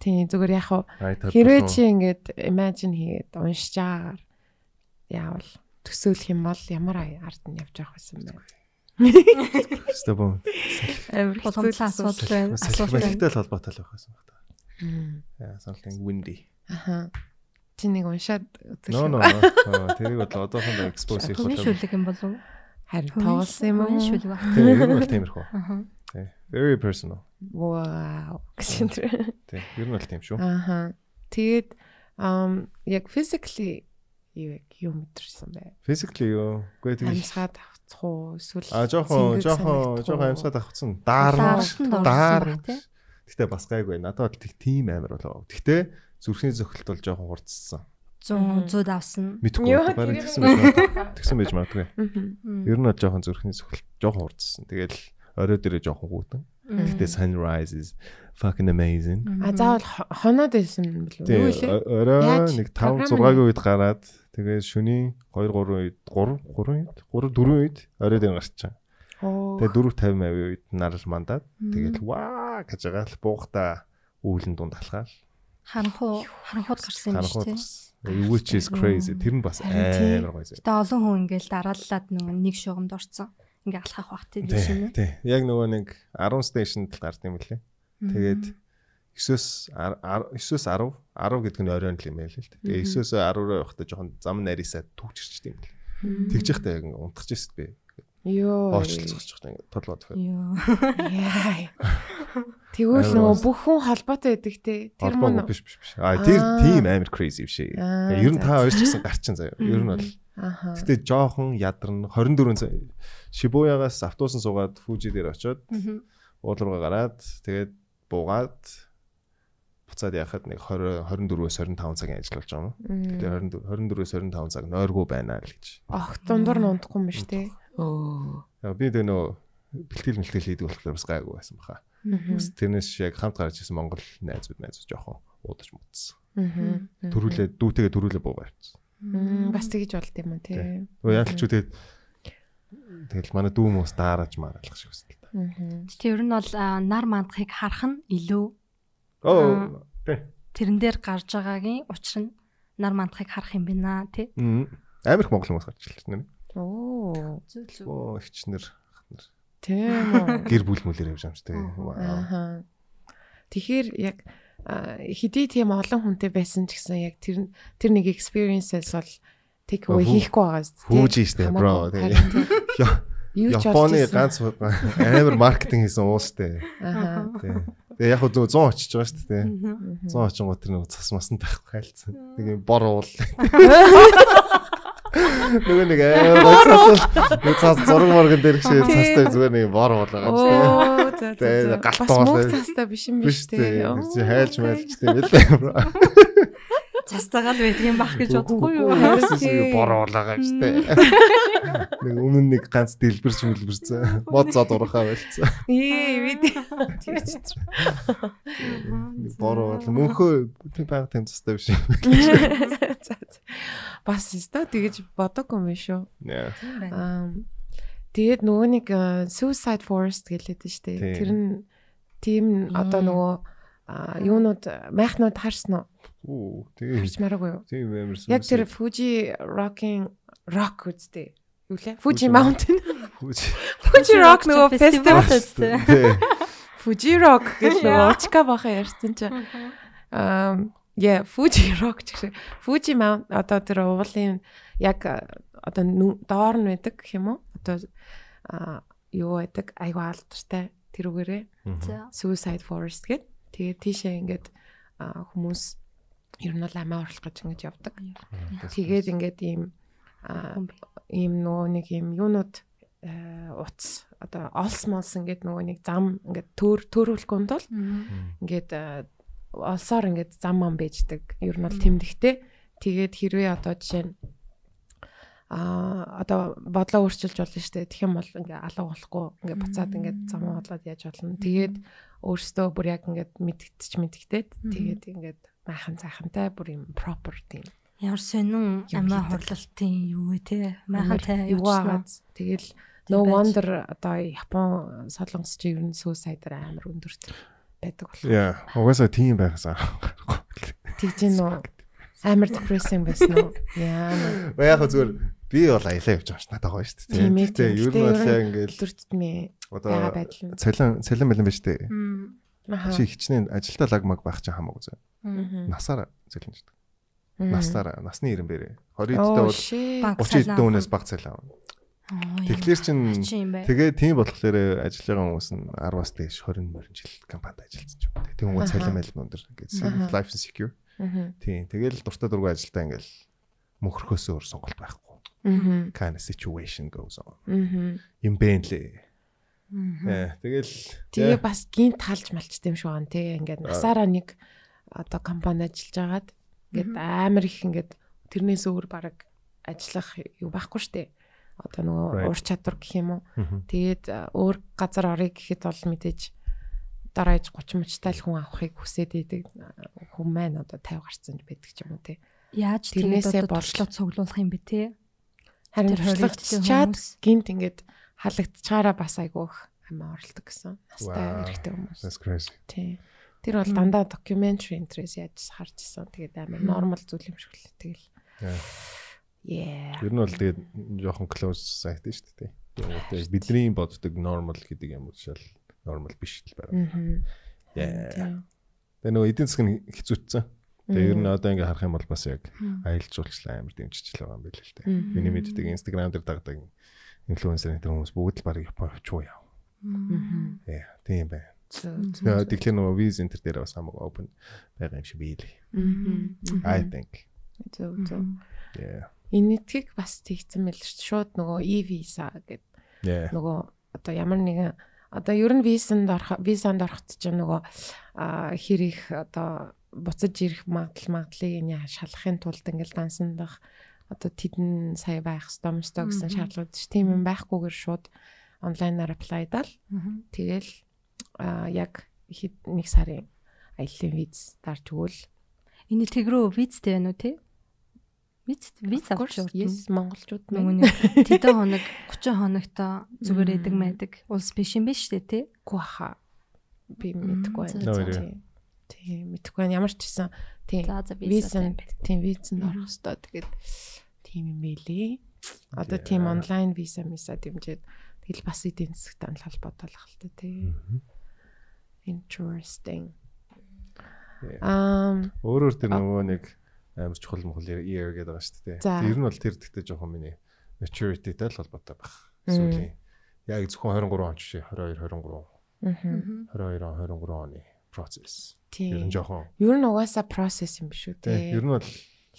[SPEAKER 2] Тий зүгээр яг хав
[SPEAKER 3] Ай, тархлаа.
[SPEAKER 2] Хэрвээ чи ингээд imagine хийгээд уншиж байгаагаар яавал төсөөлөх юм бол ямар ай- ард нь явж явах байсан бэ?
[SPEAKER 3] Өстой бом.
[SPEAKER 2] Амар
[SPEAKER 4] Боломжтой асуудал байна. Асуулт байна.
[SPEAKER 3] Салхилттай холбоотой л байх байсан байна.
[SPEAKER 2] Мм.
[SPEAKER 3] Яа, something windy.
[SPEAKER 2] Аха. Чи нэг уншаад үзэх
[SPEAKER 3] No
[SPEAKER 2] юм.
[SPEAKER 3] no. Аа, Тэрийг бол одоохондоо expose хийх
[SPEAKER 4] Хувийн
[SPEAKER 3] болов.
[SPEAKER 4] шүлэг юм болов уу?
[SPEAKER 2] Харин тоглосон юм
[SPEAKER 4] Хувийн
[SPEAKER 2] уу?
[SPEAKER 4] шүлэг ба.
[SPEAKER 3] Тийм, ер нь бол тиймэрхүү.
[SPEAKER 4] Аха.
[SPEAKER 3] Тий. Very personal.
[SPEAKER 2] Вау. Гэшинтэр.
[SPEAKER 3] Тий. Ер нь бол тийм шүү.
[SPEAKER 2] Аха. Тэгээд ам яг physically юу яг юу мэдэрсэн бэ?
[SPEAKER 3] Physically юу? Гэхдээ тийм.
[SPEAKER 2] Амсгаад авцах уу? Эсвэл
[SPEAKER 3] А жоохон
[SPEAKER 2] зингэг
[SPEAKER 3] жоохон
[SPEAKER 2] санагдах уу?
[SPEAKER 3] жоохон амсаад авчихсан.
[SPEAKER 4] Даарч нь
[SPEAKER 3] Даарна.
[SPEAKER 4] дорсон
[SPEAKER 3] Даарна.
[SPEAKER 4] баг, тий.
[SPEAKER 3] Гэтэ бас гайгүй. Надад бол тэг тийм амар болоо. Гэтэ зүрхний зөхөлт бол жоохон хурцсан.
[SPEAKER 4] 100 100 давсан.
[SPEAKER 3] Мэдхгүй
[SPEAKER 2] Йоо,
[SPEAKER 3] бол барин
[SPEAKER 2] тэрийг
[SPEAKER 3] тэгсэн байж магадгүй. Тэгсэн байж магадгүй.
[SPEAKER 2] Мгм.
[SPEAKER 3] Ер нь бол жоохон зүрхний зөхөлт жоохон хурцсан. Тэгэл орой дээрээ жоохон гүйтэн. Гэтэ sunrise is fucking amazing.
[SPEAKER 2] А заавал хо- хоноод байсан билүү? Юу
[SPEAKER 3] Тэг
[SPEAKER 2] вэ?
[SPEAKER 3] орой
[SPEAKER 2] Яаж?
[SPEAKER 3] нэг 5
[SPEAKER 2] Програм
[SPEAKER 3] 6-гийн үед гараад тэгээ шөнийн 2 3 үед 3 3 үед 3 4 үед орой дээр гарчихсан.
[SPEAKER 2] Оо.
[SPEAKER 3] Тэгээ 4 50 авийн үед нарал мандаад тэгэл ваа гэж байгаа л буухта үүлэн дунд алхаал.
[SPEAKER 4] харанхуу харанхууд гарсан юм шүү
[SPEAKER 3] Харанхууд
[SPEAKER 4] дээ.
[SPEAKER 3] гарсан. Which is crazy. Тэр нь бас
[SPEAKER 2] Харин тий.
[SPEAKER 3] амар гоё зүйл.
[SPEAKER 4] Гэтэ олон хүн ингээл дарааллаад нөгөө нэг шугамд орцсон. Ингээ алхах бах тийм юм.
[SPEAKER 3] Тий. тий. Яг нөгөө нэг 10 stationд л гарсан юм лээ. Тэгээд 9-өөс 9-өөс 10 10 гэдэг нь оройн л юм байл л дээ. Тэгээ 9-өөс 10-оор явахдаа жоохон зам нарийсаа түгчэрчтэй юм лээ. Тэгж яхтаа яг ингээ унтчихжээ би.
[SPEAKER 2] Йоо.
[SPEAKER 3] Орчлцохчих та ингээ толгойд хөө.
[SPEAKER 4] Йоо.
[SPEAKER 2] Яй. Тэгвэл
[SPEAKER 3] Амар
[SPEAKER 2] нөгөө
[SPEAKER 3] бас.
[SPEAKER 2] бүх хүн холбоотой байдаг те. Тэр
[SPEAKER 3] Холбоогүй
[SPEAKER 2] мөн үү?
[SPEAKER 3] биш биш биш. Аа тэр
[SPEAKER 2] Аа.
[SPEAKER 3] тийм амар crazy биш. ээ.
[SPEAKER 2] Аа,
[SPEAKER 3] Тэгээ Ер нь
[SPEAKER 2] за,
[SPEAKER 3] та хоёр ч гэсэн гарчин заяа. Ер нь бол
[SPEAKER 2] Аха.
[SPEAKER 3] Гэтэ жоохон ядарн 24 цаг Шибуягаас автобусан суугаад Фужи дээр очиод уул руугаа гараад тэгээд буугаад буцаад яхад нэг 20 24-өөс 25 цагийн ажил болж байгаа юм.
[SPEAKER 2] Мм.
[SPEAKER 3] Тэгээд 24-өөс 25 цаг нойргүй байна л гэж.
[SPEAKER 2] Огт дундуур нь унтахгүй юм биш те. Оо.
[SPEAKER 3] Яг би тэ нөө бэлтгэл мэлтгэл хийдэг болохоор бас гайгүй байсан баха. Бас Тэрнээс яг хамт гарч ирсэн Монгол найзууд найзууд жоохон уудаж муудсан.
[SPEAKER 2] Аа.
[SPEAKER 3] төрүүлээ дүүтэйгээ төрүүлээ буу барьчихсан.
[SPEAKER 2] Мм, Бас тэгэж болд юм уу тий.
[SPEAKER 3] Нөгөө яалтчгүй тэгээд тэгэл манай дүү мөс даараж маарлах шиг өсөл та.
[SPEAKER 2] Аа.
[SPEAKER 4] Гэтэ ер нь бол аа, нар мандахыг харах нь илүү
[SPEAKER 3] Оо тий.
[SPEAKER 4] тэрэн дээр гарч байгаагийн учир нь нар мандахыг харах юм байна тий.
[SPEAKER 3] Мм. Амар их монгол хүмүүс гарч ирлээ нэр.
[SPEAKER 2] Оо.
[SPEAKER 4] Зүйл зүйл.
[SPEAKER 3] Оо ихчнэр ахнэр.
[SPEAKER 2] Тийм үү.
[SPEAKER 3] гэр бүл мүлээр явж амжтай.
[SPEAKER 4] Мгм.
[SPEAKER 3] Вау.
[SPEAKER 2] Аа. Тэгэхээр яг а, хэдий тийм олон хүнтэй байсан ч гэсэн яг тэр тэр нэг experiences бол take away
[SPEAKER 3] Ба, хүү-
[SPEAKER 2] хийхгүй байгаа зү.
[SPEAKER 3] Хөөж штэ бро. тий. Я- Японы ганц амар маркетинг хийсэн уустай.
[SPEAKER 2] Аа.
[SPEAKER 3] Тий. Тэгээ яг хөө зөв 100 очиж байгаа шүү дээ.
[SPEAKER 4] Мгм.
[SPEAKER 3] 100 очин гоо тэр нэг цас масан тахгүй хайлцсан. Нэг юм бор уул. Нөгөө нэг аа цас нэг цас зураг моргон
[SPEAKER 2] Тий.
[SPEAKER 3] дээр хшээ цастай зүгээр нэг бор уул байгаа юм шүү дээ.
[SPEAKER 2] Оо за
[SPEAKER 3] Тэ,
[SPEAKER 2] за. за.
[SPEAKER 3] галт
[SPEAKER 2] Бас
[SPEAKER 3] болоо.
[SPEAKER 2] муу цаастай биш юм
[SPEAKER 3] Биш
[SPEAKER 2] биш
[SPEAKER 3] тий.
[SPEAKER 2] те.
[SPEAKER 3] Тэр чи хайлж мэлж тий мэлээ бро.
[SPEAKER 4] Цастайгаа л байдаг юм бах гэж бодохгүй юу?
[SPEAKER 3] Хайлсан шиг
[SPEAKER 2] Тий.
[SPEAKER 3] бор уул байгаа юм шүү дээ. Нэг өмнө нэг ганц дэлбэрч мэлбэрсэн. Мод зад урахаа байлцсан.
[SPEAKER 2] Ээ бид тийч.
[SPEAKER 3] Нэг Бор уул мөнхөө тий байга тийм цастай биш.
[SPEAKER 2] За, за. Бас өстө тэгэж бодоггүй юм биш үү?
[SPEAKER 3] Яа.
[SPEAKER 4] Байна.
[SPEAKER 2] Аа, Тэгээд нөгөө нэг э, Suicide Forest гэлээд нь штэ.
[SPEAKER 3] Тийм.
[SPEAKER 2] Тэр нь тийм одоо
[SPEAKER 4] Мм.
[SPEAKER 2] нөгөө аа, юунууд майхнууд харсан уу?
[SPEAKER 3] Оо тэгээ
[SPEAKER 2] Харж мараагүй юу?
[SPEAKER 3] Тийм амарсан.
[SPEAKER 2] Яг тэр Fuji Rock-ийн Rock үстэй. Юу лээ? Fuji Mountain. Fuji Rock нөгөө фестивал.
[SPEAKER 4] Фестивал.
[SPEAKER 2] Fuji Rock гэж нөгөө
[SPEAKER 4] Яа.
[SPEAKER 2] Очка баха ярьсан чи. Аа, я Fuji Rock гэсэн. Fuji Mountain одоо тэр уулын яг э, одоо нү- доор нь байдаг гэх юм уу? Одоо аа, юу байдаг? Айгу алдартай тэр үгээрээ.
[SPEAKER 4] За.
[SPEAKER 2] Suicide Forest гэд. Тэгээд тийшээ ингээд аа, хүмүүс ер нь бол амиа орлох гэж ингэж явдаг. Тэгээд ингээд ийм аа,
[SPEAKER 4] Хүн бий.
[SPEAKER 2] ийм нөгөө нэг ийм юунууд аа, утас одоо олс молс ингээд нөгөө нэг зам ингээд төөр төөрүүлэхгүй тул
[SPEAKER 4] Мгм.
[SPEAKER 2] ингээд аа, олсоор ингээд зам ам бийждэг. Ер нь бол
[SPEAKER 4] Мм.
[SPEAKER 2] тэмдэгтэй. Тэгээд хэрвээ одоо жишээ нь аа одоо бодлоо өөрчилж болно шүү дээ. Тэгэх юм бол ингээ алга болохгүй. Ингээ буцаад ингээ
[SPEAKER 4] Мм.
[SPEAKER 2] замаа бодлоод яаж болно. Тэгээд өөртөө бүр яг ингээд мэдгэдэж мэдгдээд
[SPEAKER 4] Мм.
[SPEAKER 2] тэгээд ингээд майхан цайхантай бүр юм proper тийм.
[SPEAKER 4] Ямар сонин
[SPEAKER 2] Юм
[SPEAKER 4] амиа
[SPEAKER 2] хийдэг.
[SPEAKER 4] хурлалтын юу вэ те? Майхантай
[SPEAKER 2] Юу
[SPEAKER 4] явуулсан.
[SPEAKER 2] агаад тэгэл
[SPEAKER 4] Тийм
[SPEAKER 2] no
[SPEAKER 4] байж.
[SPEAKER 2] wonder одоо Япон солонгос чи ер нь suicide амар өндөрт байдаг болох.
[SPEAKER 3] Яа, угаасаа тийм байхсан.
[SPEAKER 2] Тэгж гин үү? Амар depressing байсан уу? Яа нэ.
[SPEAKER 3] Яг хөө зүгээр би бол аялаа явж байгаа ш надад гоё шүү
[SPEAKER 2] Тийм ээ,
[SPEAKER 3] дээ.
[SPEAKER 2] тийм.
[SPEAKER 3] ер нь
[SPEAKER 2] Гэтэ
[SPEAKER 3] бол
[SPEAKER 2] ер
[SPEAKER 3] яг ингээл
[SPEAKER 2] өндөртмээ
[SPEAKER 3] одоо
[SPEAKER 2] байгаа байдал нь.
[SPEAKER 3] цалин цалин мэлэн биш дээ.
[SPEAKER 4] Мм.
[SPEAKER 2] Аха.
[SPEAKER 3] Чи хичнээн ажилдаа лаг маг байх чинь хамаагүй зөө.
[SPEAKER 4] Мм.
[SPEAKER 2] Мгм.
[SPEAKER 3] Насаараа цалин шүү дээ.
[SPEAKER 2] Мгм.
[SPEAKER 3] Наснаараа, насны ирэн бэрээ. 20
[SPEAKER 2] Оо,
[SPEAKER 3] дэдтэй бол
[SPEAKER 2] shit.
[SPEAKER 4] Банк цалин
[SPEAKER 3] 30 дэдтэй хүнээс баг цалин авна.
[SPEAKER 4] Оо, ямар
[SPEAKER 3] Тэгэхээр чин
[SPEAKER 4] хачин юм бэ?
[SPEAKER 3] тэгээ тийм болохоор ажил байгаа хүмүүс нь 10-аас дээш 20 морин жил компанид ажилласан ч юм. Тэг хүмүүс
[SPEAKER 2] Аха.
[SPEAKER 3] цалин мэлэн өндөр ингээд
[SPEAKER 2] Аха.
[SPEAKER 3] life is secure.
[SPEAKER 2] Мгм.
[SPEAKER 3] Тийм. Тэгээл дуртай дургүй ажилдаа ингээл мөнхөрхөөсөө өөр сонголт байхгүй.
[SPEAKER 2] Мгм.
[SPEAKER 3] Kind of situation goes on.
[SPEAKER 2] Мгм.
[SPEAKER 3] Им бэ нэлээ. Э,
[SPEAKER 4] Мгм.
[SPEAKER 3] Ээ, Тэгэл
[SPEAKER 2] Тэгээ бас гинт талж малчтай юм шиг байна те. Ингээд насаараа нэг одоо компани ажиллаж агаад ингээд амар их ингээд тэрнээс өөр баг ажиллах юу байхгүй штэ. Одоо нөгөө
[SPEAKER 3] Right.
[SPEAKER 2] уур чадвар гэх юм уу.
[SPEAKER 3] Мгм.
[SPEAKER 2] Тэгээд а, өөр газар орё гэхэд бол мэдээж дараа иж 30 мчтай л хүн авахыг хүсээд идэг хүмүүс маань одоо 50 гарсан ч байдаг ч юм уу те.
[SPEAKER 4] Яаж
[SPEAKER 2] Тэрнээсээ
[SPEAKER 4] тэрнээсээ
[SPEAKER 2] болж-
[SPEAKER 4] борчлог цуглуулах юм бэ те?
[SPEAKER 2] Харин
[SPEAKER 4] Тэр хоригдсон
[SPEAKER 2] туршлагачаад
[SPEAKER 4] хүмүүс.
[SPEAKER 2] гинт ингээд халагдчихаараа бас айгүйх амиа оролдог гэсэн. Настай
[SPEAKER 3] Вау.
[SPEAKER 2] эрэгтэй хүмүүс.
[SPEAKER 3] That's crazy.
[SPEAKER 2] Тий. Тэр бол
[SPEAKER 4] Мм.
[SPEAKER 2] дандаа documentary interest яаж харж исэн. Тэгээд амар
[SPEAKER 4] Мм.
[SPEAKER 2] нормал зүйл юм шиг л тэгэл.
[SPEAKER 3] Яа.
[SPEAKER 2] Yeah.
[SPEAKER 3] Э, Ер нь бол тэгээд жоохон close society шүү дээ. Тэгээд бидний боддог normal гэдэг юм уу шал normal биш л байна.
[SPEAKER 2] Мгм.
[SPEAKER 3] Яа. Тэгээд нөгөө эдийн засаг нь хэцүүцсэн. Тэгээд ер нь одоо ингээ харах юм бол бас яг аялал жуулчлал амар дэмжиж л байгаа юм билээ л дээ. Миний мэддэг Instagram дээр дагдаг инфлюенсер энэ хүмүүс бүгд л баг Япон очоо яв.
[SPEAKER 2] Мм.
[SPEAKER 3] Яа, тийм бай.
[SPEAKER 2] Мм.
[SPEAKER 3] Яа, Тэгэхээр нөгөө виз энтер дээр бас хамаг open байгаа юм шиг бий л. I think.
[SPEAKER 2] Зөв зөв.
[SPEAKER 3] Yeah.
[SPEAKER 2] Энэ нэтгийг бас тэгсэн мэл шүү. дээ. Шууд нөгөө e-visa гэдэг
[SPEAKER 3] Yeah.
[SPEAKER 2] нөгөө одоо ямар нэгэн одоо ер нь визанд орох визанд орохт ч юм нөгөө аа, хэр их одоо буцаж ирэх магадлал магадлыг энэ шалахын тулд ингээл дансандах одоо тэдэн сая байх ёстой юм ёстой гэсэн
[SPEAKER 4] Мгм.
[SPEAKER 2] шаардлагууд ш тийм юм байхгүйгээр шууд онлайнаар аплайдал тэгэл аа, яг хэд- нэг сарын аяллаа виз дарж өгвөл
[SPEAKER 4] Энэ тэг рүү визтэй байна уу те? Виз виз авч
[SPEAKER 2] Yes,
[SPEAKER 4] явуулсан.
[SPEAKER 2] монголчууд
[SPEAKER 4] Нөгөө
[SPEAKER 2] мөн
[SPEAKER 4] нэг тэдэн хоног 30 хоногтой зүгээр эдэг мэдэг улс биш юм биш үү те?
[SPEAKER 2] үгүй хаа. Би
[SPEAKER 4] Мм,
[SPEAKER 2] мэдэхгүй
[SPEAKER 4] за,
[SPEAKER 3] за,
[SPEAKER 2] байна.
[SPEAKER 3] за.
[SPEAKER 2] Тийм. Тийм, мэдэхгүй байна. Ямар ч гэсэн тийм
[SPEAKER 4] За за визтэй.
[SPEAKER 2] визэн тийм визэнд орох хэвээр тэгээд тийм юм байлээ. Одоо тийм
[SPEAKER 3] Яа.
[SPEAKER 2] онлайн виза миса дэмжиж тэгэл бас эдийн засгт анал холбоотой л та тий. Interesting.
[SPEAKER 3] Yeah.
[SPEAKER 2] Ам
[SPEAKER 3] Өөрөөр тэр нөгөө нэг амар чухал мохол ear гэдэг байгаа шүү дээ.
[SPEAKER 2] За.
[SPEAKER 3] Тэр нь бол тэр дэхтэй жоохон миний maturityтэй л холбоотой байх.
[SPEAKER 2] Мм.
[SPEAKER 3] Сүүлийн. Яг зөвхөн 23 он ч биш 22 23
[SPEAKER 2] мгм.
[SPEAKER 4] Мгм.
[SPEAKER 3] 22 он 23 оны process. Ер
[SPEAKER 2] тийм.
[SPEAKER 3] нь жоохон
[SPEAKER 2] Ер нь угаасаа process юм шүү
[SPEAKER 3] тий.
[SPEAKER 2] тий.
[SPEAKER 3] Ер нь бол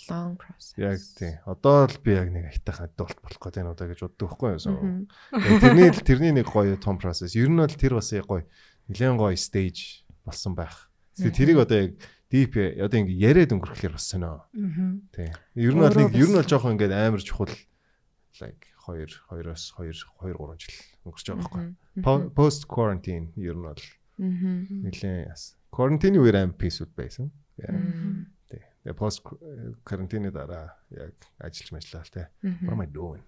[SPEAKER 2] long process.
[SPEAKER 3] яг тий. Одоо л би яг нэг айтайхан адуулт болох гэдэг нь удаа гэж боддог байхгүй юу?
[SPEAKER 2] Мгм.
[SPEAKER 3] Тэгээ, Тэрний л- тэрний нэг гоё том process. Ер нь бол тэр бас яг гоё. Нилээн гоё stage болсон байх. Тэгээ
[SPEAKER 2] Мгм.
[SPEAKER 3] тэрийг одоо яг deep одоо ингэ яриад өнгөрөхлөөр бас сонио.
[SPEAKER 4] Мгм.
[SPEAKER 3] Тий. Ер нь бол нэг
[SPEAKER 2] Өөрөө
[SPEAKER 3] ер нь бол
[SPEAKER 2] бас-
[SPEAKER 3] жоохон ингээд амар чухал like 2 2-оос 2 2 3 жил өнгөрч байгаа байхгүй.
[SPEAKER 2] Мгм. Мгм.
[SPEAKER 3] По- Post quarantine ер нь бол
[SPEAKER 2] Мгм.
[SPEAKER 3] нилээн яс. Quarantine үеэр амар peaceful байсан. Яа,
[SPEAKER 2] Мгм.
[SPEAKER 3] Тий. Тэгээ post quarantine дараа яг ажиллаж мэжлээ л тий. What am I doing?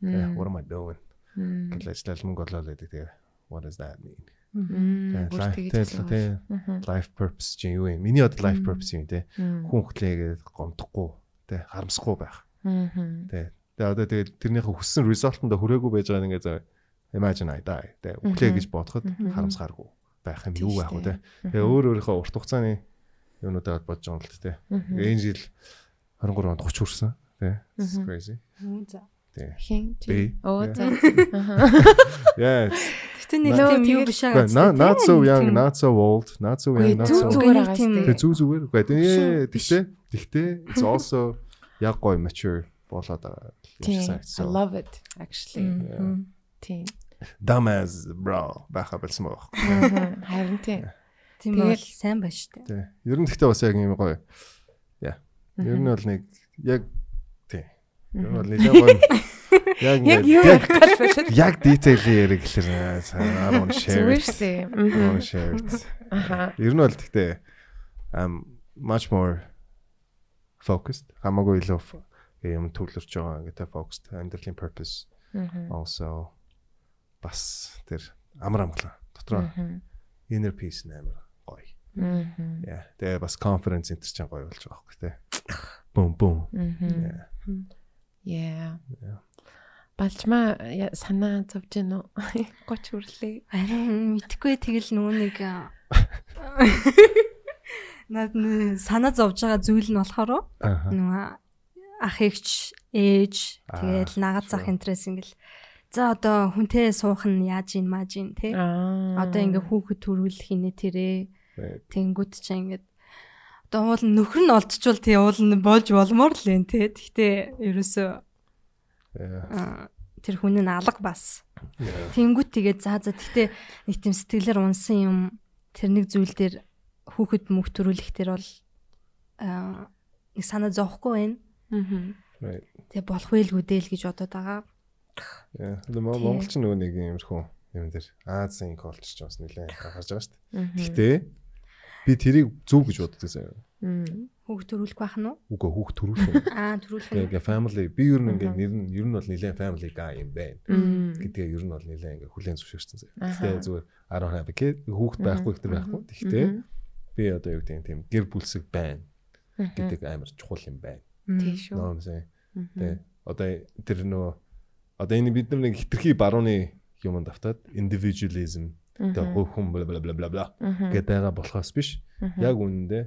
[SPEAKER 3] Yeah,
[SPEAKER 2] Мгм.
[SPEAKER 3] what am I doing?
[SPEAKER 2] Мм.
[SPEAKER 3] Гэл ажиллал мөнгө олоод байдаг тэгээ. What does that mean?
[SPEAKER 2] Мм, бүр
[SPEAKER 3] Тэгээ,
[SPEAKER 2] тэгэж
[SPEAKER 3] тэгээ,
[SPEAKER 2] л
[SPEAKER 3] тэгээ,
[SPEAKER 2] Мгм.
[SPEAKER 3] life purpose чинь юу юм? Миний одоо
[SPEAKER 4] Мм.
[SPEAKER 3] life purpose юм те.
[SPEAKER 2] Мм.
[SPEAKER 3] Хүн хөтлөөгээд гомдохгүй те, харамсахгүй байх.
[SPEAKER 2] Мгм.
[SPEAKER 3] Тэ. Тэгээ одоо тэгээ тэрнийхээ хүссэн result-нд хүрээгүй байж байгаа нэг зав. Imagine I die. Тэ. Өглөө гэж бодоход
[SPEAKER 2] Мгм.
[SPEAKER 3] харамсгааргүй байх юм
[SPEAKER 2] Тийм
[SPEAKER 3] юу
[SPEAKER 2] шүү
[SPEAKER 3] байх вэ
[SPEAKER 2] дээ.
[SPEAKER 3] тэ. Тэгээ өөр өөрийнхөө урт хугацааны юмнуудаа бодож байгаа юм л тэ.
[SPEAKER 2] Мгм.
[SPEAKER 3] Энэ жил 23 онд 30 хүрсэн. Тэ. It's
[SPEAKER 2] Мгм.
[SPEAKER 3] Crazy.
[SPEAKER 4] Үу, за.
[SPEAKER 3] Тэ.
[SPEAKER 2] Хин
[SPEAKER 3] Би.
[SPEAKER 2] чи. Оо
[SPEAKER 3] Yeah.
[SPEAKER 2] за.
[SPEAKER 3] Yeah. it's-
[SPEAKER 4] Гэтэ нэг
[SPEAKER 2] Нөө,
[SPEAKER 4] тийм юм
[SPEAKER 2] тэгэл-
[SPEAKER 4] биш аа.
[SPEAKER 3] Not not so young, not so old, not so
[SPEAKER 2] Үгүй,
[SPEAKER 3] young, not
[SPEAKER 2] зүү
[SPEAKER 3] so.
[SPEAKER 2] зүгээр агаас
[SPEAKER 4] Тийм.
[SPEAKER 3] Тэгээ зүү зүгээр. Үгүй ээ.
[SPEAKER 4] Биш.
[SPEAKER 3] Тэгтээ тэгтээ it's also яг гоё mature болоод байгаа.
[SPEAKER 2] Тийм. I love it actually. Тийм.
[SPEAKER 3] Dumbass bro байха болсон мөн.
[SPEAKER 2] Мгм. Харин тийм.
[SPEAKER 4] Тийм
[SPEAKER 2] Тэгэл-
[SPEAKER 4] бол сайн байна шүү дээ.
[SPEAKER 3] Тий. Ер нь гэхдээ бас яг юм гоё. Яа. Ер нь бол нэг яг тий. Ер нь бол нэг гоё. Яг
[SPEAKER 2] Яг
[SPEAKER 3] ингээд-
[SPEAKER 2] юу
[SPEAKER 3] яг
[SPEAKER 2] ярих гэж байна.
[SPEAKER 3] яг дитейлийн яриг хэлэр цаарон
[SPEAKER 2] Зүгээр
[SPEAKER 3] share.
[SPEAKER 2] шээ.
[SPEAKER 3] Цаарон
[SPEAKER 2] Мгм.
[SPEAKER 3] share.
[SPEAKER 2] Аха.
[SPEAKER 3] Ер нь бол гэхдээ um much more focused. Хамаагүй илүү ф- юм төвлөрч байгаа гэдэг focused амьдралын purpose
[SPEAKER 2] Мгм.
[SPEAKER 3] also бас тэр амар амгалан дотроо
[SPEAKER 2] Мгм.
[SPEAKER 3] inner peace нэмэр гоё.
[SPEAKER 2] Мгм.
[SPEAKER 3] Яа. Тэгээ бас конференц энтер чинь гоё болж байгаа хөөх тээ. Бүм бүм.
[SPEAKER 2] Мгм. Yeah.
[SPEAKER 3] Яа. Yeah.
[SPEAKER 2] Балчмаа я- санаа зовж гэнэ үү? 30 хүрлээ.
[SPEAKER 4] Харин мэдхгүй тэгэл нөгөө нэг аа, над нэ- санаа зовж байгаа зүйл нь болохоор
[SPEAKER 3] Аха.
[SPEAKER 4] нөгөө ах эгч ээж
[SPEAKER 3] Аа,
[SPEAKER 4] тэгээл нагац ах
[SPEAKER 3] sure.
[SPEAKER 4] интерес ингээл за одоо хүнтэй суух нь яаж ийн мааж ийн те
[SPEAKER 2] Аа.
[SPEAKER 4] одоо ингээ хүүхэд төрүүлэх инэ тэрээ
[SPEAKER 3] Right.
[SPEAKER 4] тэнгүүд ч ингээд одоо уул нь нөхөр нь олдчихвол тий уул нь болж болмоор л энэ те гэхдээ ерөөсөө
[SPEAKER 3] Яа.
[SPEAKER 4] аа, тэр хүн нь алга бас
[SPEAKER 3] Яа.
[SPEAKER 4] Тэнгүүт тэгээд заа заа гэхдээ нэг тийм сэтгэлээр унсан юм тэр нэг зүйл дээр хүүхэд мөх төрүүлэх тэр бол аа, нэг санаа зовхгүй байна.
[SPEAKER 2] Мгм.
[SPEAKER 3] Right.
[SPEAKER 4] Тэг болох вэ л үдэл гэж бодоод байгаа.
[SPEAKER 3] Яа. Тэ Мон-
[SPEAKER 4] Тий.
[SPEAKER 3] Монгол ч нөгөө нэг иймэрхүү юм дээр Азийн колч ч бас нэлээд гарч байгаа шүү дээ.
[SPEAKER 2] Мгм.
[SPEAKER 3] Гэхдээ би тэрийг зөв гэж боддог заяа.
[SPEAKER 2] Мм.
[SPEAKER 4] Хүүхэд төрүүлэх байх нь уу?
[SPEAKER 3] Үгүй хүүхд төрүүлэх юм.
[SPEAKER 4] Аа төрүүлэх нь.
[SPEAKER 3] Тэгээ family би ер нь ингээд
[SPEAKER 2] Мгм.
[SPEAKER 3] нэр нь ер нь бол нэлээд family guy юм байна
[SPEAKER 2] Мм.
[SPEAKER 3] гэдгээ ер нь бол нэлээд ингээд хүлэн зөвшөөрсөн заяа.
[SPEAKER 2] Аха.
[SPEAKER 3] Гэхдээ зүгээр 10 have a kid хүүхд байхгүй гэдэг байхгүй. Гэхдээ
[SPEAKER 2] Мгм.
[SPEAKER 3] би одоо юу гэдэг юм тийм гэр бүлсэг байна
[SPEAKER 2] Мгм.
[SPEAKER 3] гэдэг амар чухал юм байна.
[SPEAKER 2] Тийш
[SPEAKER 3] Нөө
[SPEAKER 2] үү.
[SPEAKER 3] юм заяа.
[SPEAKER 2] Мгм.
[SPEAKER 3] Тэ. Одоо тэр нөө одоо энэ бид нар нэг хитрхи барууны юм давтаад individualism
[SPEAKER 2] Мгм.
[SPEAKER 3] тэ хүн бла бла бла бла бла
[SPEAKER 2] Мгм.
[SPEAKER 3] гэдэг болохоос биш.
[SPEAKER 2] Мгм.
[SPEAKER 3] Яг үнэндээ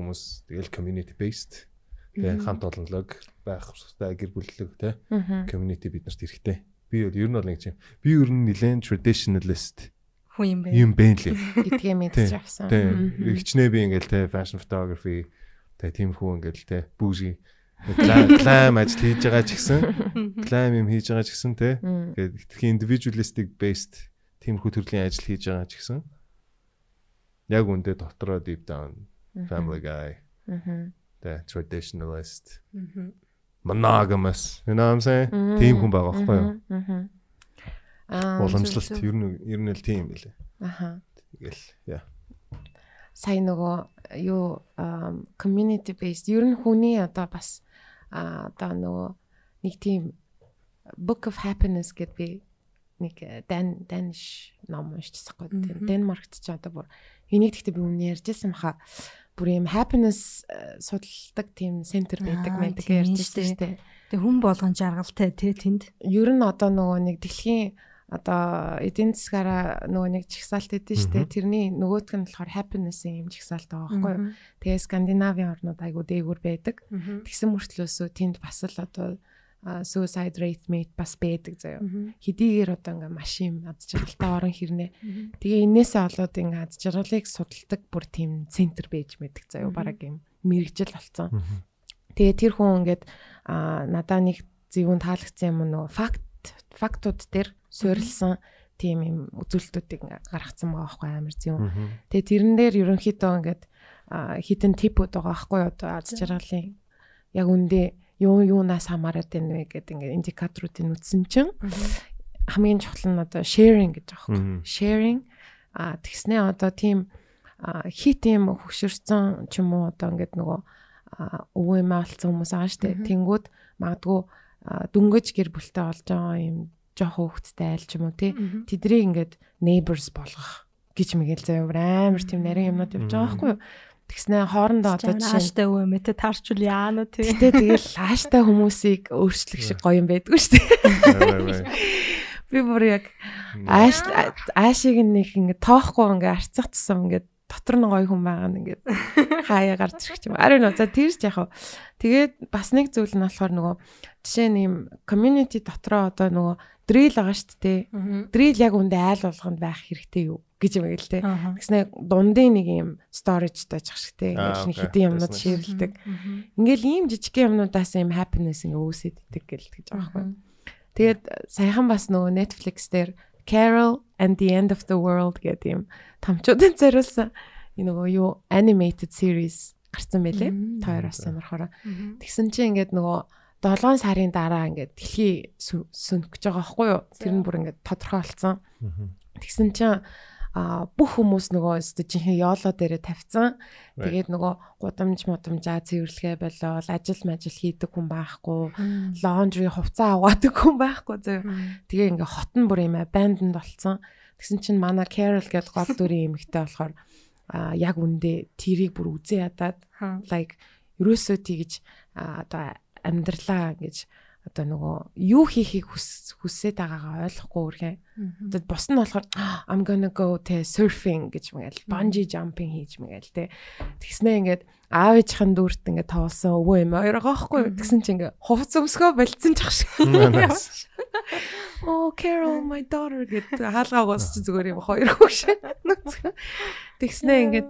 [SPEAKER 3] хүмүүс тэгэл community based тэ
[SPEAKER 4] Мгм.
[SPEAKER 3] хамт олонлог байх хэрэгтэй гэр бүллэг тэ
[SPEAKER 2] Мгм.
[SPEAKER 3] community биднэрт хэрэгтэй. Би бол ер нь бол нэг юм. Би ер нь нэгэн traditionalist
[SPEAKER 4] Хүн юм бэ.
[SPEAKER 3] юм бэ лээ.
[SPEAKER 2] гэдгээ мэдчих авсан.
[SPEAKER 3] Тэ
[SPEAKER 2] Мгм.
[SPEAKER 3] ихчнээ би ингээл те fashion photography те тийм хүү ингээл те бүүжи клайм ажил хийж байгаа ч гэсэн клайм юм хийж байгаа ч гэсэн те
[SPEAKER 2] Мм.
[SPEAKER 3] ингээд хитрхи individualistic based тиймэрхүү төрлийн ажил хийж байгаа ч гэсэн яг үндэ дотроо deep down family guy
[SPEAKER 2] Мгм.
[SPEAKER 3] те traditionalist
[SPEAKER 4] Мгм.
[SPEAKER 3] monogamous you know what i'm saying тийм хүн байгаа байхгүй юу
[SPEAKER 2] Мгм. Аа.
[SPEAKER 3] уламжлалт
[SPEAKER 4] зөв, зөв.
[SPEAKER 3] ер нь ер нь л тийм юм билээ
[SPEAKER 2] Аха.
[SPEAKER 3] тэгэл яа
[SPEAKER 2] сая нөгөө э, юу community based ер нь хүний одоо бас а, одоо нөгөө нэг тийм book of happiness гэдэг би нэг э, дан данш ном уншчихсахгүй тийм
[SPEAKER 4] Мгм.
[SPEAKER 2] Денмаркт ч одоо бүр энийг гэхдээ би өмнө ярьжсэн баха бүр юм happiness э, судалдаг тийм центр байдаг
[SPEAKER 4] Аа,
[SPEAKER 2] байдаг
[SPEAKER 4] тийм
[SPEAKER 2] ярьжсэн
[SPEAKER 4] шүү
[SPEAKER 2] шүү дээ.
[SPEAKER 4] Тэг хүн болгон жаргалтай те тэнд.
[SPEAKER 2] Ер нь одоо нөгөө нэг дэлхийн одоо эдийн засгаараа нөгөө нэг чагсаалт өгдөн шүү дээ.
[SPEAKER 3] Мгм.
[SPEAKER 2] Тэрний нөгөөтг нь болохоор happiness-ийн юм чагсаалт байгаа байхгүй юу?
[SPEAKER 4] Мгм.
[SPEAKER 2] Тэгээ Скандинавийн орнууд айгу дээгүр байдаг.
[SPEAKER 4] Мгм.
[SPEAKER 2] Тэгсэн мөртлөөсөө тэнд бас л одоо а, suicide rate мэд бас байдаг заяа.
[SPEAKER 4] Мгм.
[SPEAKER 2] Хэдийгээр одоо ингээ машин аз жаргалтай орон хэрнээ. Тэгээ энээсээ олоод ингээ аз жаргалыг судалдаг бүр тийм центр байж мэддэг заяа.
[SPEAKER 4] Мгм.
[SPEAKER 2] Бараг юм мэрэгжил болсон.
[SPEAKER 3] Мгм.
[SPEAKER 2] Тэгээ тэр хүн ингээд аа надаа нэг зөвүүн таалагдсан юм нөгөө факт фактууд дээр суурилсан тийм юм үзүүлэлтүүдийг ингээ гаргацсан байгаа байхгүй амар зөвүүн.
[SPEAKER 3] Мгм.
[SPEAKER 2] Тэгээ тэрэн дээр ерөнхийдөө ингээд аа, хитэн типүүд байгаа байхгүй юу одоо аз жаргалын яг үндэ юу юунаас хамаарат энэ вэ гэдэг ингээд индикаторуудыг үтсэн чинь хамгийн чухал нь одоо sharing гэж байгаа байхгүй юу.
[SPEAKER 3] Мгм.
[SPEAKER 2] Sharing а тэгснээ одоо тийм а, хит юм хөшөрсөн ч юм уу одоо ингээд нөгөө а, өвөө юм алдсан хүмүүс байгаа шүү дээ.
[SPEAKER 4] Мгм.
[SPEAKER 2] Тэнгүүд магадгүй а, дүнгэж гэр бүлтэй болж байгаа юм жоох хөвгттэй айл ч юм уу тий
[SPEAKER 4] Мгм.
[SPEAKER 2] тэдрийг ингээд neighbors болгох гэж мэгэл заяа амар тийм нарийн юмнууд явж байгаа байхгүй юу. Тэгснээ хоорондоо одоо жишээ
[SPEAKER 4] Ааштай өвөө мэтэ таарчул яана те.
[SPEAKER 2] Гэтэ тэгэл лааштай хүмүүсийг өөрчлөх шиг гоё юм байдгүй шүү дээ.
[SPEAKER 3] Бай, бай, бай.
[SPEAKER 2] Би бүр яг
[SPEAKER 3] Мгм.
[SPEAKER 2] ааш аашиг нэг ингэ тоохгүй ингээ арцах тусам ингээ дотор нь гоё хүн байгаа нь ингээ хаяа гарч ирэх юм. Ари нуу за тэрч яг хав. Тэгээд бас нэг зүйл нь болохоор нөгөө жишээ нь юм community дотроо одоо нөгөө drill байгаа шүү дээ. Drill яг үндэ айл болгонд байх хэрэгтэй юу гэж юм гээл те.
[SPEAKER 4] Аа.
[SPEAKER 2] Тэгснэ дундын нэг юм storage тааж ах шүү дээ.
[SPEAKER 3] Аа,
[SPEAKER 2] Ингээд шинэ
[SPEAKER 3] окей.
[SPEAKER 2] хэдэн юмнууд
[SPEAKER 3] Business.
[SPEAKER 2] ширэлдэг. Ингээл ийм жижиг юмнуудаас юм happiness ингээ үүсэт идэг гээл гэж байгаа байхгүй. Тэгээд саяхан бас нөгөө Netflix дээр Carol and the End of the World гэдэг юм томчуудын зориулсан энэ нөгөө юу animated series гарсан байлээ. Тойр бас ямархороо. Тэгсэн чинь ингээд нөгөө 7 сарын дараа ингээд дэлхий сү- сөнөх гэж байгаа байхгүй юу? Тэр нь бүр ингээд тодорхой болсон.
[SPEAKER 3] Мгм.
[SPEAKER 2] Тэгсэн чинь а бүх хүмүүс нөгөө өстө жинхэнэ ёолоо дээрээ тавьсан.
[SPEAKER 3] Right.
[SPEAKER 2] Тэгээд нөгөө гудамж мудамжаа цэвэрлэгээ болол ажил мажил хийдэг хүн байхгүй, лондри хувцас аваадаг хүн байхгүй зөө. Тэгээ ингээ хот нь бүр юм абандонд болсон. Тэгсэн чинь манай Carol гэдэг гол дүрийн эмэгтэй болохоор а яг үндэ тэрийг бүр үзээ ядаад like ерөөсөө тийгэж а, одоо амьдралаа гэж одоо нөгөө юу хийхийг хүс- хүсээд байгаагаа ойлгохгүй үргэлж. Одоо бос нь болохоор "Ah, I'm gonna go те surfing гэж мэгэл bungee jumping хийж мэгэл те. Тэгснээ ингээд аав ээжийн дүүрт ингээд тоолсон өвөө юм хоёр гоохгүй.
[SPEAKER 4] Мгм.
[SPEAKER 2] Тэгсэн чинь ингээд хувц өмсгөө болцсон ч ахш.
[SPEAKER 3] Nice.
[SPEAKER 2] Oh Carol my daughter гэдэг хаалгаагаас чи зүгээр юм хоёр хөвгшээ. Тэгснээ ингээд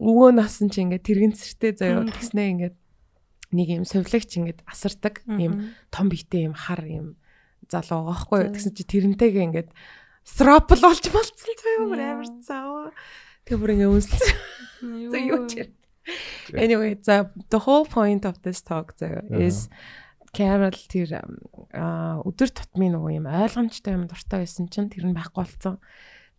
[SPEAKER 2] өвөө насан чи ингээд тэрэгэнцэртэй заяа.
[SPEAKER 4] Мгм.
[SPEAKER 2] Тэгснээ ингээд нэг юм сувлагч ингээд асардаг юм том битээ юм хар юм залуу гоохгүй
[SPEAKER 4] За.
[SPEAKER 2] тэгсэн чи тэрнтэйгээ ингээд стропл болж болцсон заяа бүр
[SPEAKER 4] Яа.
[SPEAKER 2] амар цаава тэгээ бүр ингээд үнсэлсэн за юу ч юм. anyway за the whole point of this talk заяа is Carol тэр ам, а, өдөр тутмын нөгөө юм ойлгомжтой юм дуртай байсан чинь тэр нь байхгүй болсон.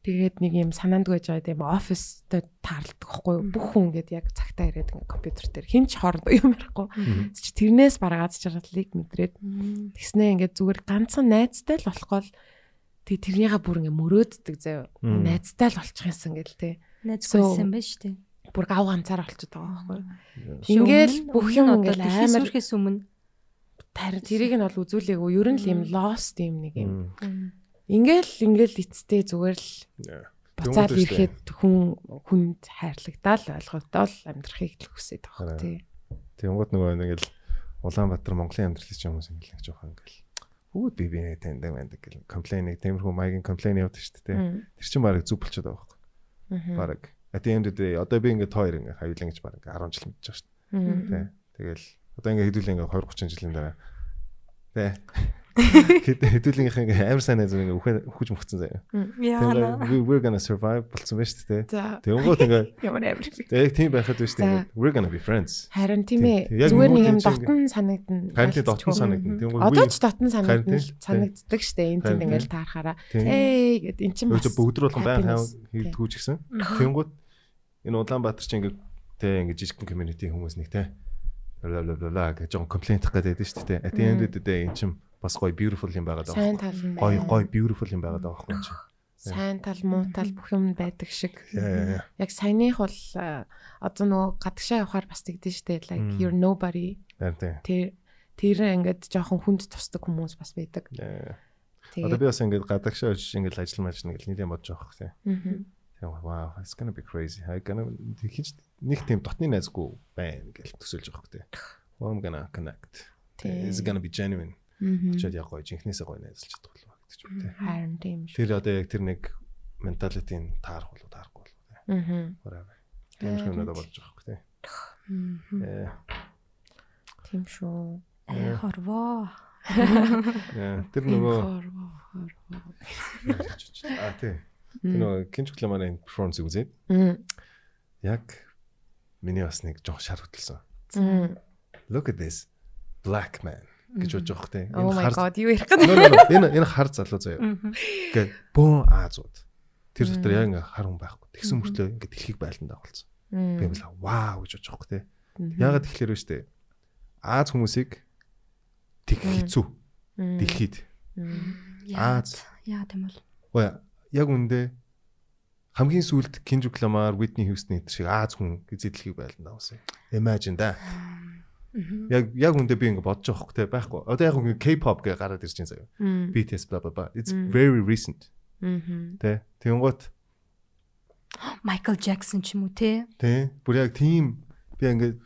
[SPEAKER 2] Тэгээд нэг юм санаандгүй байж байгаа юм оффистэй таарлдаг хгүй юу. бүх хүн ингээд яг цагтаа ирээд ингээд компьютер дээр хэн ч хоорондоо юм ярихгүй.
[SPEAKER 3] Мгм.
[SPEAKER 2] Тэс чи Тэрнээс бараг аз жаргалыг мэдрээд Тэгснээ ингээд зүгээр ганцхан найзтай л болохгүй л тэг тэрнийхээ бүр ингээд мөрөөддөг заяа.
[SPEAKER 3] Мм.
[SPEAKER 2] Найзтай л олчих юмсан гэл те.
[SPEAKER 4] Найз
[SPEAKER 2] So-
[SPEAKER 4] хүссэн байж тээ.
[SPEAKER 2] Бүр гав ганцаар олчиход байгаа байхгүй юу.
[SPEAKER 3] Yes.
[SPEAKER 2] Ингээл бүх юм ингээд амар-
[SPEAKER 4] сүрхээс өмнө.
[SPEAKER 2] Тарин тэрийг нь бол үзүүлээгүй. Ер нь л юм lost юм нэг юм.
[SPEAKER 3] Мм.
[SPEAKER 2] Ингээл ингээл эцтэй зүгээр л
[SPEAKER 3] Yeah.
[SPEAKER 2] буцаад
[SPEAKER 3] Дөнгөж штэ.
[SPEAKER 2] ирэхэд хүн хүнд хайрлагдаал ойлгогдоол амьдрахыг л хүсэж байгаа
[SPEAKER 3] Арай.
[SPEAKER 2] байхгүй тий.
[SPEAKER 3] Тэнгууд нөгөө ингээл Улаанбаатар Монголын амьдрал чинь хүмүүс ингээл нэг жоохон ингээл үүд би би таньдаг байдаг гэл комплейн нэг темирхүү маягийн комплейн явдаг шүү дээ. Тэр чинь баг зүг болчиход байгаа байхгүй. Бараг at the end of the day одоо би ингээд хоёр ингээд хавилан гэж баг 10 жил мэдчихэж шүү
[SPEAKER 2] Мгм.
[SPEAKER 3] дээ. Тэгэл одоо ингээд хэдүүлээ ингээд 20 30 жилийн дараа. Тэ. Хэд- Хэдүүлгийнхээ ингээд амар сайн найз ингээд үхэн үхэж мөхцөн заяа.
[SPEAKER 4] Яана.
[SPEAKER 3] Тэнгууд we're gonna survive болсон байна шүү дээ.
[SPEAKER 2] За
[SPEAKER 3] Тэнгууд ингээд
[SPEAKER 2] ямар амир.
[SPEAKER 3] яг тийм байхад биш
[SPEAKER 2] За.
[SPEAKER 3] тийм we're gonna be friends.
[SPEAKER 2] Харин тийм ээ.
[SPEAKER 3] Тий, тий. Яг
[SPEAKER 2] Зүгээр нэг
[SPEAKER 3] мөн
[SPEAKER 2] юм
[SPEAKER 3] тийм чинь
[SPEAKER 2] дотн санагдана.
[SPEAKER 3] Харин дотн санагдна.
[SPEAKER 4] Мгм.
[SPEAKER 3] Тэнгууд
[SPEAKER 2] Одоо ч дотн
[SPEAKER 3] Харин тийм
[SPEAKER 2] санагдна
[SPEAKER 3] л, тий.
[SPEAKER 2] санагддаг штэ энэ тэнд
[SPEAKER 3] Харин
[SPEAKER 2] ингээл
[SPEAKER 3] тийм.
[SPEAKER 2] таарахаараа
[SPEAKER 3] тийм.
[SPEAKER 2] эй гэд эн чинь
[SPEAKER 3] Өөч
[SPEAKER 2] бас
[SPEAKER 3] бүгд рүү болгон байн хаа
[SPEAKER 2] happiness.
[SPEAKER 3] хийдгүү ч гэсэн. Тэнгууд энэ Улаанбаатар чинь ингээд те ингээд жижигхэн community хүмүүс нэг те бла бла бла бла гэж жоон комплейнт хийх гэдэг шүү дээ. At the end of the day эн чим бас гоё beautiful юм байгаад
[SPEAKER 2] Сайн
[SPEAKER 3] байгаа.
[SPEAKER 2] тал нь
[SPEAKER 3] Гоё
[SPEAKER 2] байна.
[SPEAKER 3] гоё beautiful юм байгаад байгаа байхгүй чи.
[SPEAKER 2] Сайн тал, муу тал бүх юм байдаг шиг.
[SPEAKER 3] Яа яа.
[SPEAKER 2] Яг саяных бол э, одоо нөгөө гадагшаа явахаар бас тэгдэж штэ like
[SPEAKER 3] Мм.
[SPEAKER 2] you're nobody
[SPEAKER 3] Нартай.
[SPEAKER 2] тэр тэр ингээд жоохон хүнд тусдаг хүмүүс бас байдаг.
[SPEAKER 3] Яа.
[SPEAKER 2] Тэгээд
[SPEAKER 3] Одоо би бас ингээд гадагшаа очиж ингээд ажил мэлжнэ гэл нилийн бодож байгаа хөх те.
[SPEAKER 2] мгм.
[SPEAKER 3] Wow, it's going to be crazy. I gonna хич нэг тийм дотны найзгүй байна гэл төсөөлж байгаа хөх те. Well, I'm gonna connect.
[SPEAKER 2] Тий.
[SPEAKER 3] It's going to be genuine.
[SPEAKER 2] Мгм.
[SPEAKER 3] Чад яг гоё жинхнээсээ гоё найзлж чадах болов уу гэдэг юм те.
[SPEAKER 2] харин тийм шүү.
[SPEAKER 3] Тэр одоо яг тэр нэг менталитийн таарах болов уу, таарахгүй болов уу те.
[SPEAKER 2] Мгм.
[SPEAKER 3] Whatever. Ямар юм
[SPEAKER 2] Харин
[SPEAKER 3] надад болж байгаа хөх те.
[SPEAKER 4] Мгм.
[SPEAKER 3] Э.
[SPEAKER 2] Тийм шүү.
[SPEAKER 4] Ай, Э, Хорвоо.
[SPEAKER 3] Яа, э, Тэр нөгөө
[SPEAKER 2] Хорвоо, хорвоо.
[SPEAKER 3] аа тий. Тэр
[SPEAKER 2] Мм.
[SPEAKER 3] нөгөө кинч рекламын перформанс үзээд
[SPEAKER 2] Мм.
[SPEAKER 3] яг миний бас нэг жоох шар хөтлсөн.
[SPEAKER 2] Мм.
[SPEAKER 3] Look at this black man гэж бодож байгаа хөх те.
[SPEAKER 2] Oh my god, юу ярих гэдэг.
[SPEAKER 3] No, no, no. Энэ энэ хар залуу заяа.
[SPEAKER 4] Мгм.
[SPEAKER 3] Гэт бөөн Азууд. Тэр дотор
[SPEAKER 2] Мм.
[SPEAKER 3] яг ингээ хар хүн байхгүй. Тэгсэн мөртлөө ингээ дэлхийг байлдан дагуулсан. Би
[SPEAKER 2] Мм.
[SPEAKER 3] бол вау гэж бодож байгаа хөх те. Ягаад тэгэхээр вэ штэ. Аз хүмүүсийг тэг
[SPEAKER 2] Мм.
[SPEAKER 3] хизүү
[SPEAKER 2] Мм.
[SPEAKER 3] дэлхийд.
[SPEAKER 2] Мм.
[SPEAKER 4] Яа.
[SPEAKER 3] Аз.
[SPEAKER 4] Яа тийм бол.
[SPEAKER 3] Ой, яг үндэ хамгийн сүүлд Кинжу Кламар, Whitney Houston гэх шиг Аз хүн эзэдлэхийг байлдан давсан. Imagine да.
[SPEAKER 4] Мгм.
[SPEAKER 3] Яг яг үндэ би ингэ бодож байгаа хөх те байхгүй. Одоо яг ингэ K-pop гэ гараад ирж байгаа заяа.
[SPEAKER 2] Мм.
[SPEAKER 3] BTS blah blah blah. It's
[SPEAKER 2] Мм.
[SPEAKER 3] very recent.
[SPEAKER 2] Мм.
[SPEAKER 3] Тэ. Тэнгуут
[SPEAKER 4] Майкл Джексон ч юм уу те.
[SPEAKER 3] тэ бүр яг тийм би ингэ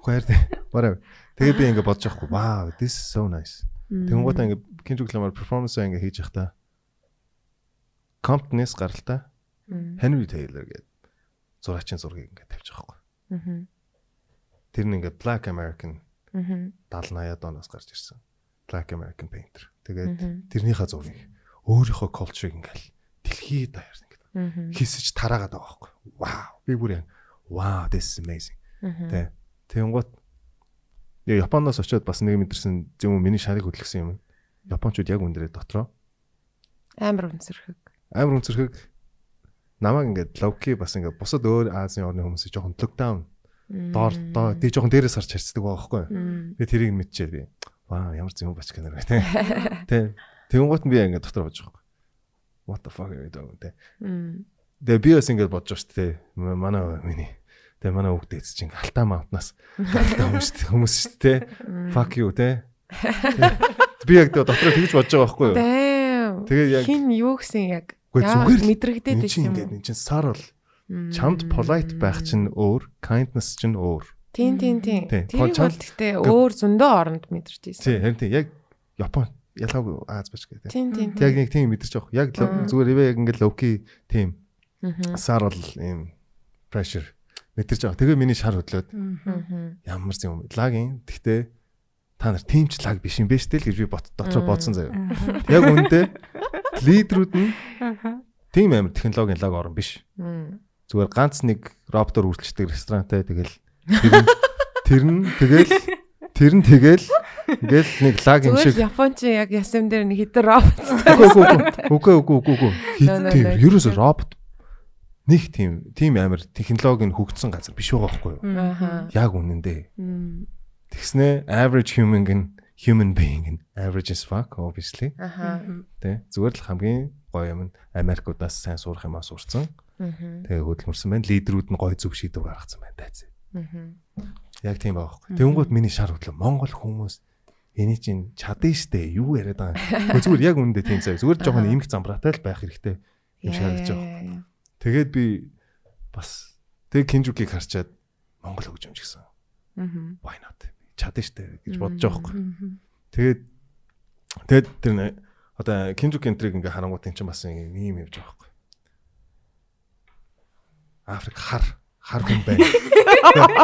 [SPEAKER 3] хөөд whatever. Тэгээ би ингэ бодож байгаа хөх. Wow, this is so nice. Тэнгуут ингэ Кинжу Кламар performance ингэ хийж явах та. Compton-с гаралтай
[SPEAKER 2] Мм.
[SPEAKER 3] Henry Taylor гэдэг зураачийн зургийг ингэ тавьж байгаа хөх.
[SPEAKER 2] Мм.
[SPEAKER 3] Тэр нь ингээд Black American
[SPEAKER 2] Мм.
[SPEAKER 3] 70-80-аад оноос гарч ирсэн. Black American painter.
[SPEAKER 2] Мгм.
[SPEAKER 3] Тэгээд тэрнийхээ зургийг өөрийнхөө culture-ыг ингээд дэлхийд даяар ингээд
[SPEAKER 2] Мм.
[SPEAKER 3] хийсэж тараагаад байгаа байхгүй. Wow. Би бүр яг wow this is amazing.
[SPEAKER 2] Мм.
[SPEAKER 3] Тэ. Тэнгуут яа, Японоос очиод бас нэг мэдэрсэн юм уу миний шарыг хөдөлгсөн юм. Япончууд яг өндрөө дотроо
[SPEAKER 2] Амар үнсэрхэг.
[SPEAKER 3] амар өнцөрхөг намайг ингээд ловки бас ингээд бусад өөр Азийн орны хүмүүсийг жоохон lockdown доор доо тий жоохон дээрээс харж харцдаг байгаа байхгүй.
[SPEAKER 2] Мм.
[SPEAKER 3] Би тэрийг мэдчихээ би. Ваа ямар зөв бач гэнэ гэх тээ. Тэ. Тэнгуут нь би ингээд дотор бодож байгаа. юм. What the fuck are you doing тэ.
[SPEAKER 2] Мм.
[SPEAKER 3] Тэгээ би бас ингээд бодож байгаа шүү дээ. М- Манай миний тэ манай хүүхдээс чинь алтаа маунтнаас алтаа хүмүүс шүү дээ, хүмүүс шүү дээ. тэ. Fuck you тэ. Би яг тэ дотор тэгж бодож байгаа байхгүй юу?
[SPEAKER 2] Damn.
[SPEAKER 3] Тэгээ яг
[SPEAKER 2] хин юу гэсэн яг
[SPEAKER 3] Үгүй,
[SPEAKER 2] яагаад
[SPEAKER 3] зүгээр л
[SPEAKER 2] мэдрэгдээд
[SPEAKER 3] эн чинь
[SPEAKER 2] байсан
[SPEAKER 3] ингээд
[SPEAKER 2] юм.
[SPEAKER 3] эн чинь сар бол
[SPEAKER 2] уу?
[SPEAKER 3] чамд polite байх чинь өөр, kindness чинь өөр.
[SPEAKER 2] Тийм тийм тийм.
[SPEAKER 3] Тий,
[SPEAKER 2] Тэр
[SPEAKER 3] чамд-
[SPEAKER 2] бол гэхдээ өөр зөндөө оронд мэдэрч
[SPEAKER 3] Тий,
[SPEAKER 2] байсан.
[SPEAKER 3] харин тий яг Япон ялаагүй Аз бач гэдэг.
[SPEAKER 2] Тийм тийм.
[SPEAKER 3] Яг нэг тийм мэдэрч авах. Яг л-
[SPEAKER 2] Аа.
[SPEAKER 3] зүгээр ивэ яг ингээд ловки тийм
[SPEAKER 2] Мгм.
[SPEAKER 3] сар бол ийм pressure мэдэрч авах. Тэгээ миний шар хөдлөөд
[SPEAKER 4] Мгм.
[SPEAKER 2] Мгм.
[SPEAKER 3] ямар ч юм лагийн. Гэхдээ та нар тийм ч лаг биш юм бэ штэ л гэж би бот дотор
[SPEAKER 2] Мм.
[SPEAKER 3] бодсон заяа.
[SPEAKER 4] Мгм.
[SPEAKER 3] Яг үүндээ лидерүүд нь тийм амар технологийн лаг орон биш.
[SPEAKER 2] Мм.
[SPEAKER 3] Зүгээр ганц нэг роботор үргэлжлэдэг ресторантай тэгэл тэр нь- тэр нь тэгэл тэр нь тэгэл ингээл нэг лаг юм шиг
[SPEAKER 2] Зүгээр л Японч яг ясам дээр нэг хитэр робот.
[SPEAKER 3] Үгүй үгүй үгүй үгүй үгүй.
[SPEAKER 2] No, no,
[SPEAKER 3] Хит тийм
[SPEAKER 2] no.
[SPEAKER 3] ерөөсө робот нэг тийм тийм амар технологи нь хөгжсөн газар биш байгаа байхгүй юу?
[SPEAKER 2] Ааха.
[SPEAKER 3] Яг үнэндээ.
[SPEAKER 2] Мм.
[SPEAKER 3] Тэгснэ average human гэн human being гэн average as fuck obviously.
[SPEAKER 2] Ааха.
[SPEAKER 3] Тэ зүгээр л хамгийн гоё юм нь Америкудаас сайн сурах юм аас сурцсан.
[SPEAKER 2] Мгм.
[SPEAKER 3] Тэгээ хөдөлмөрсөн байна. Лидерүүд нь гоё зүг шийдвэр гаргацсан байна. That's it.
[SPEAKER 2] Мгм.
[SPEAKER 3] Яг тийм байгаа байхгүй. Тэнгүүт миний шар хөдлөө Монгол хүмүүс Эний чинь чадна штэ юу яриад байгаа юм. Гэхдээ Зүгээр яг үнэндээ тийм заяа. Зүгээр жоохон имх замбраатай л байх хэрэгтэй. Юм шиг харагдаж байгаа.
[SPEAKER 2] Яа, яа, яа.
[SPEAKER 3] Тэгээд би бас тэг кинжукийг харчаад Монгол хөгжимч гэсэн.
[SPEAKER 2] Мгм.
[SPEAKER 3] Why not? Чадна штэ гэж бодож
[SPEAKER 2] Мгм.
[SPEAKER 3] байгаа хөөхгүй. Тэгээд тэгээд тэр нэ- одоо кинжук энтриг ингээ харангуут эн чинь бас ингээ ийм явж байгаа хөөхгүй. Африк хар хар хүн байна.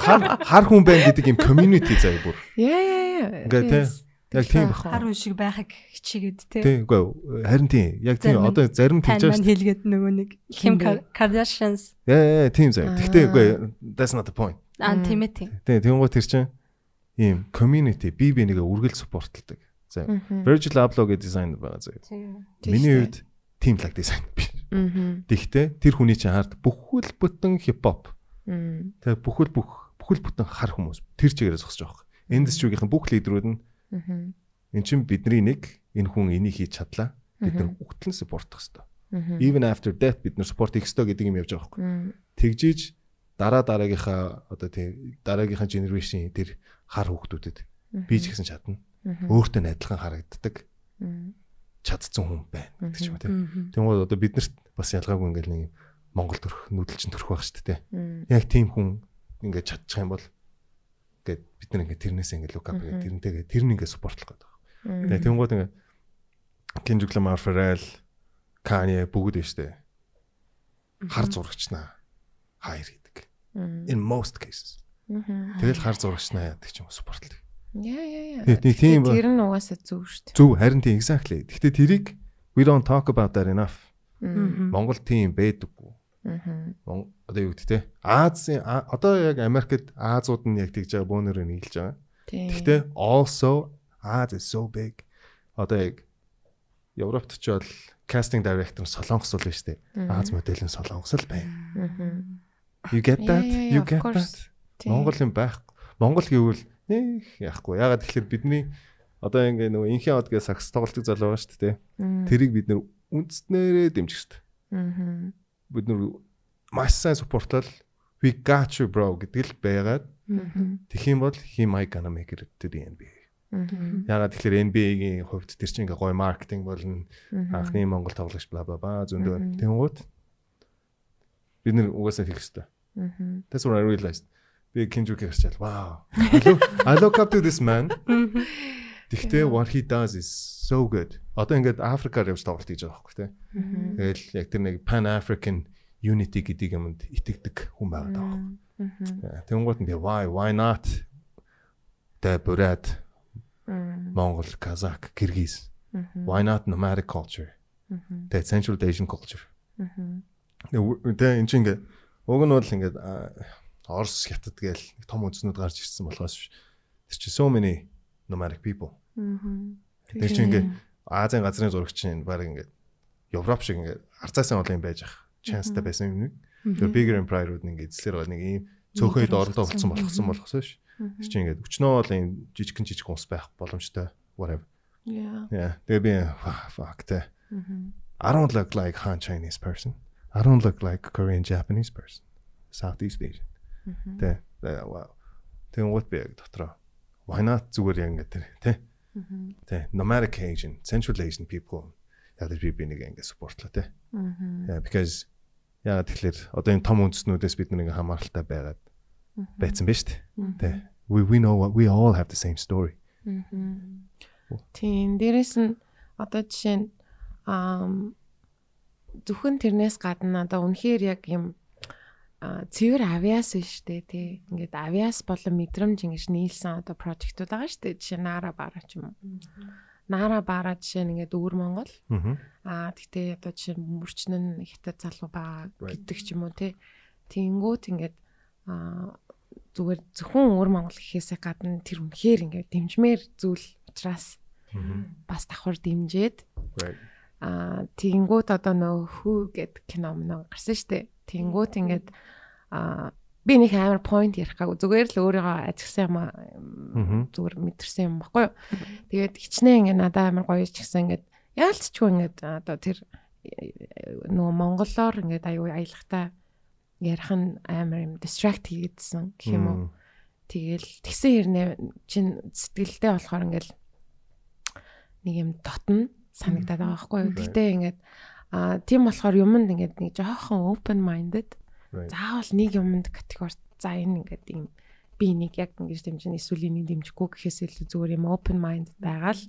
[SPEAKER 3] хар, хар хүн байна гэдэг юм community заяа бүр.
[SPEAKER 2] Яа яа яа.
[SPEAKER 3] Ингээ тий.
[SPEAKER 2] Yes.
[SPEAKER 3] Яг тийм
[SPEAKER 2] Бах.
[SPEAKER 3] байна.
[SPEAKER 4] Хар хүн шиг байхыг хичээгээд те.
[SPEAKER 3] Тий, үгүй ээ, харин тийм. Яг
[SPEAKER 4] Зарим
[SPEAKER 3] тийм.
[SPEAKER 4] нь-
[SPEAKER 3] Одоо зарим
[SPEAKER 4] Тань
[SPEAKER 3] тэгж байгаа
[SPEAKER 4] маань
[SPEAKER 3] шүү.
[SPEAKER 4] хэлгээд нөгөө нэг Kim
[SPEAKER 2] Хин бэ?
[SPEAKER 4] Kardashians
[SPEAKER 3] Яа, яа, тийм заяа. Гэхдээ үгүй ээ, that's not the point.
[SPEAKER 4] аа
[SPEAKER 2] Мм.
[SPEAKER 4] тийм ээ тийм.
[SPEAKER 3] Тэ тэгэн гоо тэр чинь ийм community бие бие нэгэ үргэлж supportалдаг. За.
[SPEAKER 2] Мгм.
[SPEAKER 3] Virgil Abloh гэдэг дизайнер байгаа зөө.
[SPEAKER 4] Тийм.
[SPEAKER 2] Тий,
[SPEAKER 3] Миний
[SPEAKER 2] тий.
[SPEAKER 3] хувьд team lag дизайн биш.
[SPEAKER 2] Мгм.
[SPEAKER 3] Тэгтээ тэр хүний чинь хард бүхэл бүтэн хипхоп.
[SPEAKER 2] Мм.
[SPEAKER 3] Тэгээ бүхэл бүх бүхэл бүтэн хар хүмүүс тэр чигээрээ зогсож байгаа. Энд зчүүгийнхэн бүх лидерүүд нь
[SPEAKER 2] Мгм.
[SPEAKER 3] эн чинь бидний нэг энэ хүн энийг хийж чадлаа. Бид
[SPEAKER 2] Мгм.
[SPEAKER 3] нар бүгдлэн суппортлох хэрэгтэй.
[SPEAKER 2] Мгм.
[SPEAKER 3] Even after death бид нар support хийх ёстой гэдэг юм явж байгаа байхгүй.
[SPEAKER 2] Мм.
[SPEAKER 3] Тэгжиж дараа дараагийнхаа одоо тийм дараагийнхаа generation тэр хар хүүхдүүдэд би ч гэсэн чадна.
[SPEAKER 2] Мгм.
[SPEAKER 3] Өөртөө нь адилхан харагддаг
[SPEAKER 2] Мм.
[SPEAKER 3] чадцсан хүн байна гэдэг ч юм уу тийм.
[SPEAKER 4] Мгм.
[SPEAKER 3] Тэгмээд одоо биднэрт бас ялгаагүй ингээл нэг юм Монгол төрх нүүдэлчин төрх байх шүү дээ.
[SPEAKER 2] Мм.
[SPEAKER 3] Яг тийм хүн ингээд чадчих юм бол ингээд бид нар ингээд тэрнээс ингээд look up
[SPEAKER 2] Мгм.
[SPEAKER 3] гэдэг тэрнтэйгээ тэр нь ингээд суппортлох гэдэг.
[SPEAKER 2] Мм.
[SPEAKER 3] Тэгээ тэнгууд ингээд Kendrick Lamar, Pharrell, Kanye бүгд байна шүү дээ. Хар зурагчнаа хайр гэдэг.
[SPEAKER 2] Мм.
[SPEAKER 3] In most cases.
[SPEAKER 2] Мгм.
[SPEAKER 3] Тэгэл хар зурагчнаа яадаг ч юм уу суппортлог.
[SPEAKER 2] Яа яа яа.
[SPEAKER 3] Тэг- тэг тийм ба-
[SPEAKER 2] Тэр нь угаасаа зөв шүү дээ.
[SPEAKER 3] Зөв харин тийм exactly. Гэхдээ тэрийг we don't talk about that enough.
[SPEAKER 4] Мгм.
[SPEAKER 2] Мм.
[SPEAKER 3] Монгол тийм байдаггүй.
[SPEAKER 2] Мгм.
[SPEAKER 3] Мон- одоо юу гэдэг те Азийн а- одоо яг Америкт Аазууд нь яг тэгж байгаа бөөнөрөө нийлж байгаа.
[SPEAKER 2] Тийм.
[SPEAKER 3] Гэхдээ also Аз is so big. Одоо яг Европт ч бол casting director нь солонгос л байна шүү дээ.
[SPEAKER 2] Мгм.
[SPEAKER 3] Аз модель нь солонгос л байна.
[SPEAKER 2] Мгм.
[SPEAKER 3] You get
[SPEAKER 2] Yeah,
[SPEAKER 3] that?
[SPEAKER 2] yeah, yeah,
[SPEAKER 3] You
[SPEAKER 2] of
[SPEAKER 3] get
[SPEAKER 2] course.
[SPEAKER 3] that?
[SPEAKER 2] Тийм.
[SPEAKER 3] Монгол юм байхгүй. Монгол гэвэл нэг яахгүй. Ягаад тэгэхээр бидний одоо ингээ нөгөө инхийн од гэж сакс тоглолтыг залуу байна шүү дээ.
[SPEAKER 2] Мм.
[SPEAKER 3] Тэрийг бид нэр үндснээрээ дэмжих хэрэгтэй.
[SPEAKER 2] Мгм.
[SPEAKER 3] бид нэр маш сайн суппортлал we got you bro гэдэг л байгаад
[SPEAKER 2] Мгм.
[SPEAKER 3] тэгэх юм бол he my gonna make it to the NBA.
[SPEAKER 2] Мгм.
[SPEAKER 3] Ягаад тэгэхээр NBA-гийн хувьд тэр чинь ингээ гоё маркетинг болно.
[SPEAKER 2] Мгм.
[SPEAKER 3] Анхны Монгол тоглогч бла бла бла
[SPEAKER 2] Мгм.
[SPEAKER 3] зөндөө. Тэнгуут бид нэр угаасаа хийх хэрэгтэй.
[SPEAKER 2] Мгм.
[SPEAKER 3] That's what I realized. Би Кинжуки гарчаал. Wow. I look- I look up to this man.
[SPEAKER 4] Мгм.
[SPEAKER 3] Тэгтээ what he does is so good. Одоо ингээд Африкаар явж тоглолт хийж байгаа байхгүй тий.
[SPEAKER 2] Мгм.
[SPEAKER 3] Тэгэл яг тэр нэг Pan African Unity гэдэг юмд итгэдэг хүн байгаад байгаа.
[SPEAKER 2] Мгм.
[SPEAKER 3] Тэнгууд нь тэгээ why why not тэ бурад
[SPEAKER 2] Мм.
[SPEAKER 3] Монгол, Казак, Киргиз.
[SPEAKER 2] Мгм.
[SPEAKER 3] Why not nomadic culture?
[SPEAKER 2] Мгм.
[SPEAKER 3] Тэ Central Asian culture.
[SPEAKER 2] Мгм.
[SPEAKER 3] Тэ энэ чинь ингээ уг нь бол ингээд а, Орос, Хятад гээл нэг том үндэснүүд гарч ирсэн болохоос биш. Тэр чинь so many nomadic people.
[SPEAKER 2] Мгм.
[SPEAKER 3] Тэр чинь ингээ Азийн газрын зурагч чинь баг ингээ Европ шиг ингээ арзаасан олон юм байж ах. Chance та
[SPEAKER 2] Мгм.
[SPEAKER 3] байсан юм. Тэр bigger empire-ууд нь ингээ эзлэр байгаа нэг ийм цөөхөйд оролдоо болцсон болгосон болгосон ш.
[SPEAKER 2] Мгм.
[SPEAKER 3] Тэр чинь ингээд өчнөө бол юм жижигхэн жижиг ус байх боломжтой. Whatever.
[SPEAKER 2] Яа.
[SPEAKER 3] Yeah. Тэгээ би "Fuck, fuck те.
[SPEAKER 2] Мгм.
[SPEAKER 3] I don't look like Han Chinese person. I don't look like Korean Japanese person. Southeast Asian.
[SPEAKER 2] Мгм.
[SPEAKER 3] Тэ. Тэ, Wow. Тэгээ what би яг дотроо. Why not зүгээр яг ингээд тэр те.
[SPEAKER 2] Мгм.
[SPEAKER 3] Тэ. Nomadic Asian, Central Asian people. Яагаад би би нэг ингээд суппортлоо те.
[SPEAKER 2] Мгм.
[SPEAKER 3] Yeah, because яагаад тэгэхээр одоо энэ том үндэснүүдээс бид нэг хамааралтай байгаад
[SPEAKER 2] Мгм.
[SPEAKER 3] байцсан ба штэ.
[SPEAKER 2] Мгм.
[SPEAKER 3] Тэ. We we know what we all have the same story.
[SPEAKER 2] Мгм. Тийм, дээрэс нь одоо жишээ нь аа зөвхөн тэрнээс гадна одоо үнэхээр яг юм аа цэвэр авиас биш үү тий. Ингээд авиас болон мэдрэмж ингэж нийлсэн одоо прожектууд байгаа шүү дээ. Жишээ нь Нара бара ч юм уу. Нара бара жишээ нь ингээд өвөр Монгол Аа
[SPEAKER 3] Аа.
[SPEAKER 2] тэгтээ одоо жишээ нь мөрчнөн хятад залуу байгаа
[SPEAKER 3] Right.
[SPEAKER 2] гэдэг ч юм уу тий. Тэнгүүт ингээд аа зүгээр зөвхөн өөр Монгол гэхээсээ гадна тэр үнэхээр ингээд дэмжмээр зүйл учраас бас давхар дэмжиэд
[SPEAKER 3] Right.
[SPEAKER 2] аа тэнгүүт одоо нөө хүү гэд кино мөн гарсан штэ. Тэнгүүт ингээд аа би нэг амар point ярих гаг зүгээр л өөрийгөө ажигсан юм аа
[SPEAKER 3] Мгм.
[SPEAKER 2] зүгээр мэдэрсэн юм баггүй юу. Тэгээд хичнээн ингээ надад амар гоё ч гэсэн ингээд яалтчгүй ингээд одоо тэр э, нөгөө монголоор ингээд аюу аялахтаа ярих нь амар юм distract хийгээдсэн гэх юм уу. Тэгэл тэгсэн хэрнээ чин сэтгэлдээ болохоор ингээл нэг юм дотно санагдаад байгаа байхгүй юу.
[SPEAKER 4] Мгм.
[SPEAKER 2] Гэтэ ингээд аа тийм болохоор юмд ингээд нэг жоохон open minded
[SPEAKER 3] Right.
[SPEAKER 2] заавал нэг юмд категори за энэ ингээд юм би нэг яг ингэж дэмжин эсвэл энийг дэмжихгүй гэхээс илүү зүгээр юм open minded байгаа л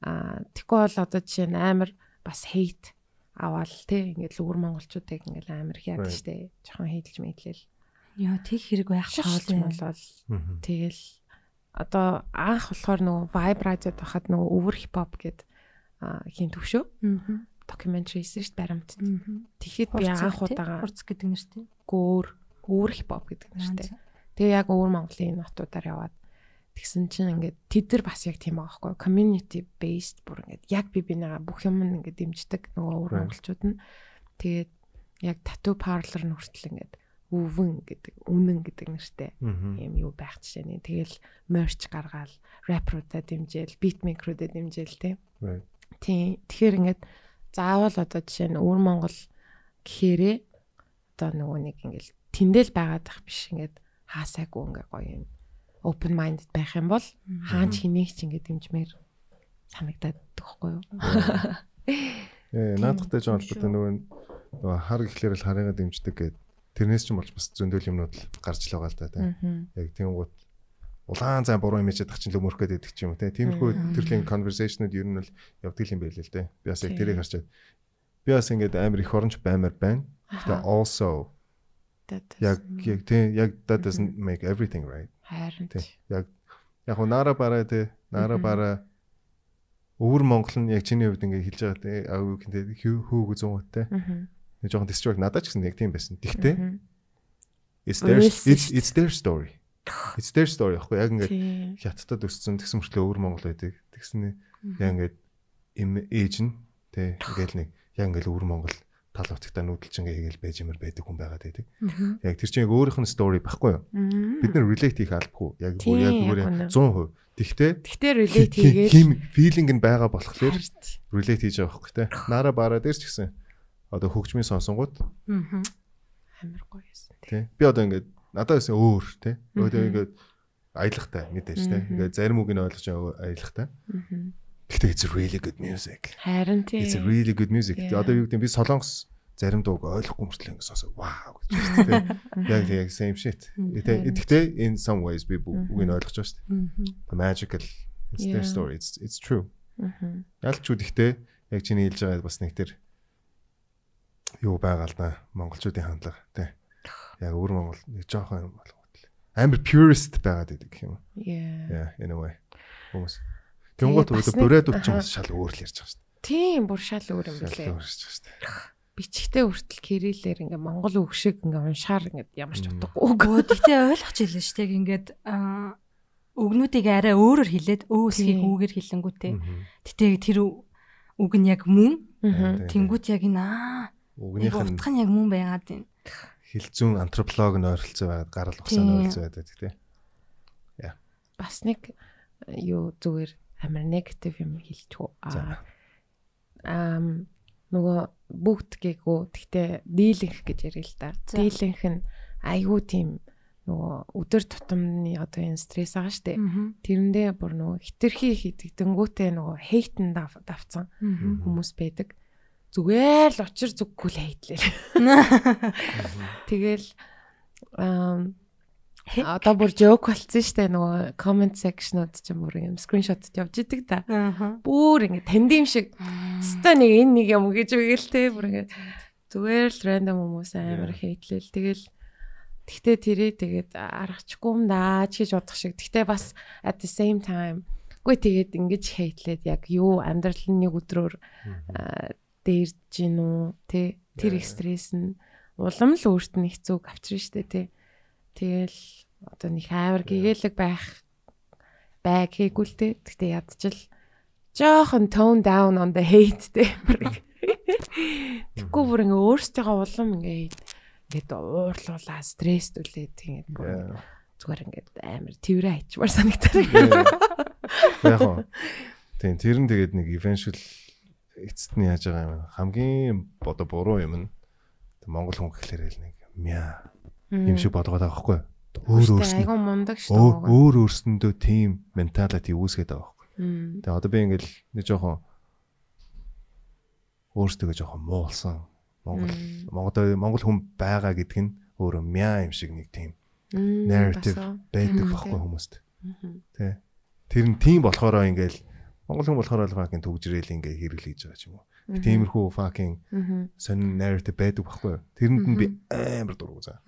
[SPEAKER 2] аа тэггүй бол одоо жишээ нь амар бас hate аваал те ингээд л өвөр монголчуудыг ингээд амар хяад
[SPEAKER 3] Right.
[SPEAKER 2] штэ жоохон хейтэлж мэдлэл
[SPEAKER 4] Яа тэг хэрэг байх
[SPEAKER 2] шахалт юм бол
[SPEAKER 3] Мгм.
[SPEAKER 2] Тэгэл одоо анх болохоор нөгөө Vibe Radio-д байхад нөгөө өвөр хипхоп гэд а, хийн төвшөө documentary хийсэн шүү дээ баримт. Тэгэхэд би анх удаага
[SPEAKER 4] хурц гэдэг нэртэй.
[SPEAKER 2] гөөр өвөр хипхоп гэдэг нэртэй. Тэгээ яг өвөр Монголын нотуудаар яваад тэгсэн чинь ингээд тэд нар бас яг тийм байгаа байхгүй community based бүр ингээд яг би бинага бүх юм нь ингээд дэмждэг нөгөө өвөр
[SPEAKER 3] Right.
[SPEAKER 2] монголчууд нь Тэгээд яг тату parlor нь хүртэл ингээд өвөн гэдэг үнэн гэдэг нэртэй
[SPEAKER 3] Мгм.
[SPEAKER 2] юм юу байх жишээ нэ. Тэгэл merch гаргаал, rapper-уудаа дэмжээл, beatmaker-уудаа дэмжээл тийм.
[SPEAKER 3] Right.
[SPEAKER 2] Тийм. Тэгэхээр ингээд заавал одоо жишээ нь өвөр Монгол гэхээрээ одоо нөгөө нэг ингээд тэндэл байгаад ах биш ингээд хаасайгүй ингээд гоё юм open minded байх юм бол хаач хэнийг ч ингээд дэмжмээр санагдаад төгхгүй юу.
[SPEAKER 3] Ээ наадахтай Э, ч холбоотой нөгөө нөгөө хар гэхлээр л харыгаа дэмждэг гэд тэрнээс ч юм болж бас зөндөл юмнууд л гарч л байгаа л да тийм.
[SPEAKER 2] Аа.
[SPEAKER 3] Яг тэнгууд улаан цай буруу юм яж чадах чинь л өмөрөх гэдэг ч юм уу те. Тиймэрхүү төрлийн conversation-ууд ер нь бол явдаг юм байл л те. Би бас яг
[SPEAKER 2] Тийм.
[SPEAKER 3] тэрийг харчаад би бас ингээд амар их оронч баймаар байна. Тэгээ also яг яг те яг that doesn't make everything right.
[SPEAKER 2] хайрын
[SPEAKER 3] Те. Яг яг хуу нара бараа те. Нара бараа өвөр Монгол нь яг чиний хувьд ингээд хэлж байгаа те. Аа юу гэдэг хөөг зүүн те.
[SPEAKER 2] Мгм.
[SPEAKER 3] Нэг жоохон distract надад ч гэсэн яг тийм байсан. Тэгтээ
[SPEAKER 2] Мгм.
[SPEAKER 3] it's their
[SPEAKER 2] Өөрөөс
[SPEAKER 3] it's,
[SPEAKER 2] шүү дээ.
[SPEAKER 3] it's their story. It's their story аахгүй яг ингээд
[SPEAKER 2] Тийм.
[SPEAKER 3] хятадд өссөн тэгсэн мөртлөө өвөр Монгол байдаг. Тэгснэ яг ингээд эм- ээж нь тэ ингээл нэг яг ингээл өвөр Монгол тал утгатай нүүдэлч ингээ хийгээл байж юмэр байдаг хүн байгаад байдаг. Яг тэр чинь яг өөрийнх нь story байхгүй юу?
[SPEAKER 2] Мгм.
[SPEAKER 3] Бид нэр relate хийх албагүй. Яг
[SPEAKER 2] Тийм,
[SPEAKER 3] бүр яг
[SPEAKER 2] яг
[SPEAKER 3] бүр
[SPEAKER 2] үнэ.
[SPEAKER 3] 100%. Тэгтээ
[SPEAKER 2] Тэгтээ relate
[SPEAKER 3] хи-
[SPEAKER 2] хийгээл
[SPEAKER 3] хим feeling нь байгаа болохоор
[SPEAKER 2] Харт.
[SPEAKER 3] relate хийж байгаа байхгүй тэ. Нара бараа дээр ч гэсэн одоо хөгжмийн сонсонгууд
[SPEAKER 2] амар гоё юмсан тийм.
[SPEAKER 3] тий. Би одоо ингээд надад гэсэн өөр тий. Өөдөө
[SPEAKER 2] Мгм.
[SPEAKER 3] ингээд аялахтай мэдээж тий.
[SPEAKER 2] Мгм.
[SPEAKER 3] Ингээд зарим үг нь ойлгож байгаа аялахтай.
[SPEAKER 2] Мгм.
[SPEAKER 3] Гэхдээ it's really good music.
[SPEAKER 2] Харин тийм.
[SPEAKER 3] It's really good music.
[SPEAKER 2] Yeah.
[SPEAKER 3] Тэгээ одоо юу гэдэг би солонгос зарим дууг ойлгохгүй мөртлөө ингээд сонсоо вау гэж байна тий. Яг тий, яг same shit.
[SPEAKER 4] Мгм.
[SPEAKER 3] Тэ- Гэхдээ in some ways би
[SPEAKER 2] Мгм.
[SPEAKER 3] бу- үг нь ойлгож байгаа шүү дээ. The magical it's
[SPEAKER 2] Yeah.
[SPEAKER 3] their story. It's it's true.
[SPEAKER 2] Мгм.
[SPEAKER 3] Ялчуд ихтэй яг чиний хэлж байгаа бас нэг төр юу байгаа л да. Монголчуудын хандлага тий. Яг өөр Монгол нэг жоохон юм болгоод л. Амар purist байгаад байдаг гэх юм уу.
[SPEAKER 2] Yeah.
[SPEAKER 3] Yeah, in a way. Хүмүүс. Тэнгуут
[SPEAKER 2] бас
[SPEAKER 3] үүдээ
[SPEAKER 2] нэг-
[SPEAKER 3] бүрээд үтч юм
[SPEAKER 2] аха.
[SPEAKER 3] бас шал өөр л ярьж байгаа шүү
[SPEAKER 2] Тийм бүр шал өөр юм
[SPEAKER 3] дээ. Шал
[SPEAKER 2] билээ.
[SPEAKER 3] өөр ярьж байгаа шүү дээ.
[SPEAKER 2] Бичгтээ хүртэл кириллээр ингээ монгол үг шиг ингээ уншаар ингээ ямар ч
[SPEAKER 3] Мм.
[SPEAKER 2] утгагүй үг.
[SPEAKER 4] Гөө тэгтээ ойлгож хэлнэ шүү дээ. Ингээд аа, өгнүүдийг арай өөрөөр хэлээд өөсгийг
[SPEAKER 2] Тийм.
[SPEAKER 4] үгээр хэлэнгүүтэй.
[SPEAKER 3] Мгм.
[SPEAKER 4] Тэгтээ тэр ү- үг нь яг мөн.
[SPEAKER 3] Тийм,
[SPEAKER 2] Мгм.
[SPEAKER 3] тийм.
[SPEAKER 4] Тэнгүүт яг энэ аа.
[SPEAKER 3] Үгнийх нь
[SPEAKER 4] Утга нь яг мөн байгаад байна.
[SPEAKER 3] хилцүүн антрополог нь ойролцоо байгаад гарал ухсаа нь
[SPEAKER 4] Тийм.
[SPEAKER 3] ойролцоо байдаг тий.
[SPEAKER 2] Бас нэг э, юу зүгээр амар негатив юм хэлчихв.
[SPEAKER 3] За.
[SPEAKER 2] Аа. Ам нөгөө бүгд гээгүү тэгтээ дийлэнх гэж ярил л да.
[SPEAKER 4] За.
[SPEAKER 2] Дийлэнх нь айгүй тийм нөгөө өдөр тутамны одоо энэ стресс агаа штэ. Тэрэндээ бүр нөгөө хитрхи хитгэдэнгүүтээ нөгөө хейтэн дав- давцсан хүмүүс байдаг. Зүгээр л учир зүггүй л хейтлээ. Тэгэл ам
[SPEAKER 4] Хэ-
[SPEAKER 2] одоо бүр жоок болсон штэ нөгөө comment section-ууд ч юм бүр юм скриншотд явж идэг да.
[SPEAKER 4] Аа.
[SPEAKER 2] Бүр ингэ танд юм шиг өстой нэг энэ нэг юм гэж үгээл те бүр ингэ зүгээр л random хүмүүс амар
[SPEAKER 3] Yeah.
[SPEAKER 2] хейтлээл тэгэл тэгтээ тэрээ тэгээд аргачгүй юм даа ч гэж бодох шиг. Тэгтээ бас at the same time үгүй тэгээд ингэж хейтлээд яг юу амьдрал нь нэг өдрөөр аа, дээрж гин үү те тэр
[SPEAKER 3] Yeah,
[SPEAKER 2] их
[SPEAKER 3] yeah.
[SPEAKER 2] стресс нь улам л өөрт нь их зүг авчрын штэ те тэгэл одоо нэг амар гэгээлэг байх бай гэхгүй л те гэтээ ядчил жоохон tone down on the hate те бүр ингэ. Тэгэхгүй бүр ингээ өөрсдийнхөө улам ингээ ингээд уурлуулаа стресс түлээд тэгээд бүр ингээ
[SPEAKER 3] Yeah.
[SPEAKER 2] зүгээр ингээд амар тэрэ хайчмаар санагддаг.
[SPEAKER 3] Яг гоо. Тийм, тэр нь тэгээд нэг eventual эцэд нь яаж байгаа юм. Хамгийн одоо буруу юм нь Монгол хүн гэхлээр л нэг мя юм шиг бодгоод байгаа байхгүй. Өөр өөрснөө
[SPEAKER 2] айгу мундаг шүү
[SPEAKER 3] өөр
[SPEAKER 2] дээ.
[SPEAKER 3] өөр өөрсөндөө тийм менталити үүсгээд байгаа байхгүй. Тэгээ одоо би ингээл нэг жоохон өөртөө жоохон муулсан. Монгол
[SPEAKER 2] Мм.
[SPEAKER 3] Монгол Монгол хүн байгаа гэдэг нь өөрөө мя юм шиг нэг тийм narrative байдаг
[SPEAKER 2] Мм,
[SPEAKER 3] байхгүй
[SPEAKER 2] тийм.
[SPEAKER 3] хүмүүст. Тэ. Тэр нь тийм болохоор ингээл Монгол хүн болохоор л fucking төгжрэл ингээ хэрэглэж байгаа ч юм уу. Тиймэрхүү fucking сонин narrative байдаг байхгүй юу? Тэрэнд нь би амар дургу заа.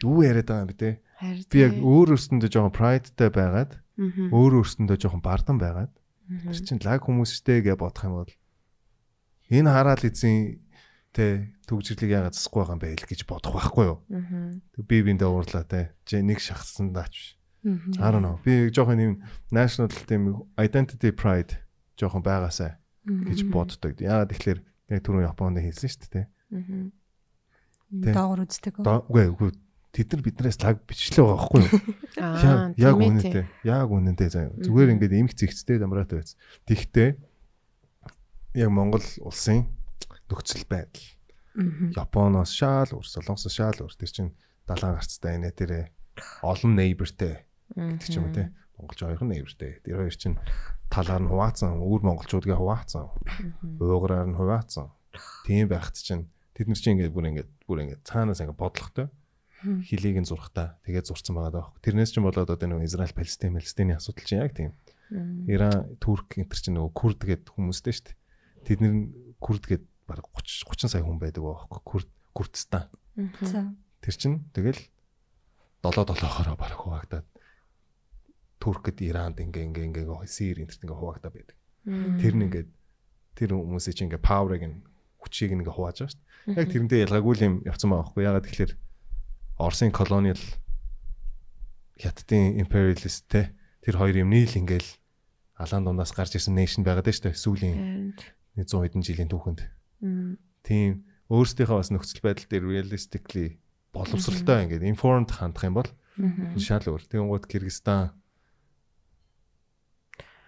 [SPEAKER 3] Юу яриад байгаа юм бэ те?
[SPEAKER 2] Харин
[SPEAKER 3] Би яг өөр өөрсөндөө жоохон prideтай байгаад, өөр өөрсөндөө жоохон бардан байгаад, тэр чинь лаг хүмүүстэй гэж бодох юм бол энэ хараал эзэн те төгжрэлийг яагаад засахгүй байгаа юм бэ л гэж бодох байхгүй юу? Тэг Би биндээ уурлаа те. Жи нэг шахсан даач. I don't know. Би жоохон юм national тийм identity pride жоохон байгаасаа гэж боддог. Яагаад тэгэхээр яг түрүүн Японд хийсэн шүү дээ.
[SPEAKER 2] Мгм.
[SPEAKER 3] Тэ.
[SPEAKER 4] доогор үздэг. үү?
[SPEAKER 3] Доо- Үгүй үгүй тэд нар биднээс лаг бичлээ байгаа байхгүй юу?
[SPEAKER 2] Аа,
[SPEAKER 3] Яг яг
[SPEAKER 2] тийм ээ,
[SPEAKER 3] үнэтэй. Яг үнэтэй заяа. Зүгээр
[SPEAKER 2] Мгм.
[SPEAKER 3] ингээд эмх зэгцтэй дамраад байсан. Тэгтээ яг Монгол улсын нөхцөл байдал
[SPEAKER 2] Мгм.
[SPEAKER 3] Японоос шал өөр, Солонгосоос шал өөр. Тэр чинь далайн гарцтай инэ тэрэ олон нейбертэй гэдэг ч юм уу те. Монголч хоёрхан нейбертэй. Тэр хоёр чинь талаар нь хуваацсан, өөр монголчуудгээ хуваацсан,
[SPEAKER 2] Мгм.
[SPEAKER 3] уугараар нь хуваацсан. Тийм байхад чинь тэд нар чинь ингээд бүр ингээд бүр ингээд цаанаас ингээд бодлоготой
[SPEAKER 4] Мгм.
[SPEAKER 3] хилийг нь зурхтаа тэгээд зурцсан байгаа даахгүй. Тэрнээс чинь болоод одоо нөгөө Израиль, Палестин, Палестиний асуудал чинь яг тийм.
[SPEAKER 2] Мгм.
[SPEAKER 3] Иран, Турк энэ төр чинь нөгөө Курд гэд хүмүүстэй шүү дээ. Тэд нар Курд гэд баг 30 30 сая хүн байдаг байхгүй. Курд, Курдстан.
[SPEAKER 2] Мгм.
[SPEAKER 4] За.
[SPEAKER 3] Тэр чинь тэгэл 7 7-хоороо баг хуваагдаад Туркэд, Иранд ингээ ингээ ингээ ингээ Сирийн энэ төрт ингээ хуваагдаад байдаг.
[SPEAKER 2] Мгм.
[SPEAKER 3] Тэр нь ингээд тэр хүмүүсийн чинь ингээд паврыг нь хүчийг нь ингээд хувааж байгаа шүү дээ. Яг тэрнтэй ялгаагүй л юм явцсан байгаа байхгүй. Ягаад тэгэхээр Оросын колониал хятадын imperialist те тэр хоёр юм нийл ингээд алаан дундаас гарч ирсэн nation байгаад шүү дээ. Сүүлийн
[SPEAKER 2] Энд.
[SPEAKER 3] 100 хэдэн жилийн түүхэнд.
[SPEAKER 2] Мгм.
[SPEAKER 3] Тийм өөрсдийнхөө бас нөхцөл байдал дээр realistically боловсралтай ингээд informed хандах юм бол
[SPEAKER 2] Мгм.
[SPEAKER 3] шал өөр. Тэгэнгუთ Кыргызстан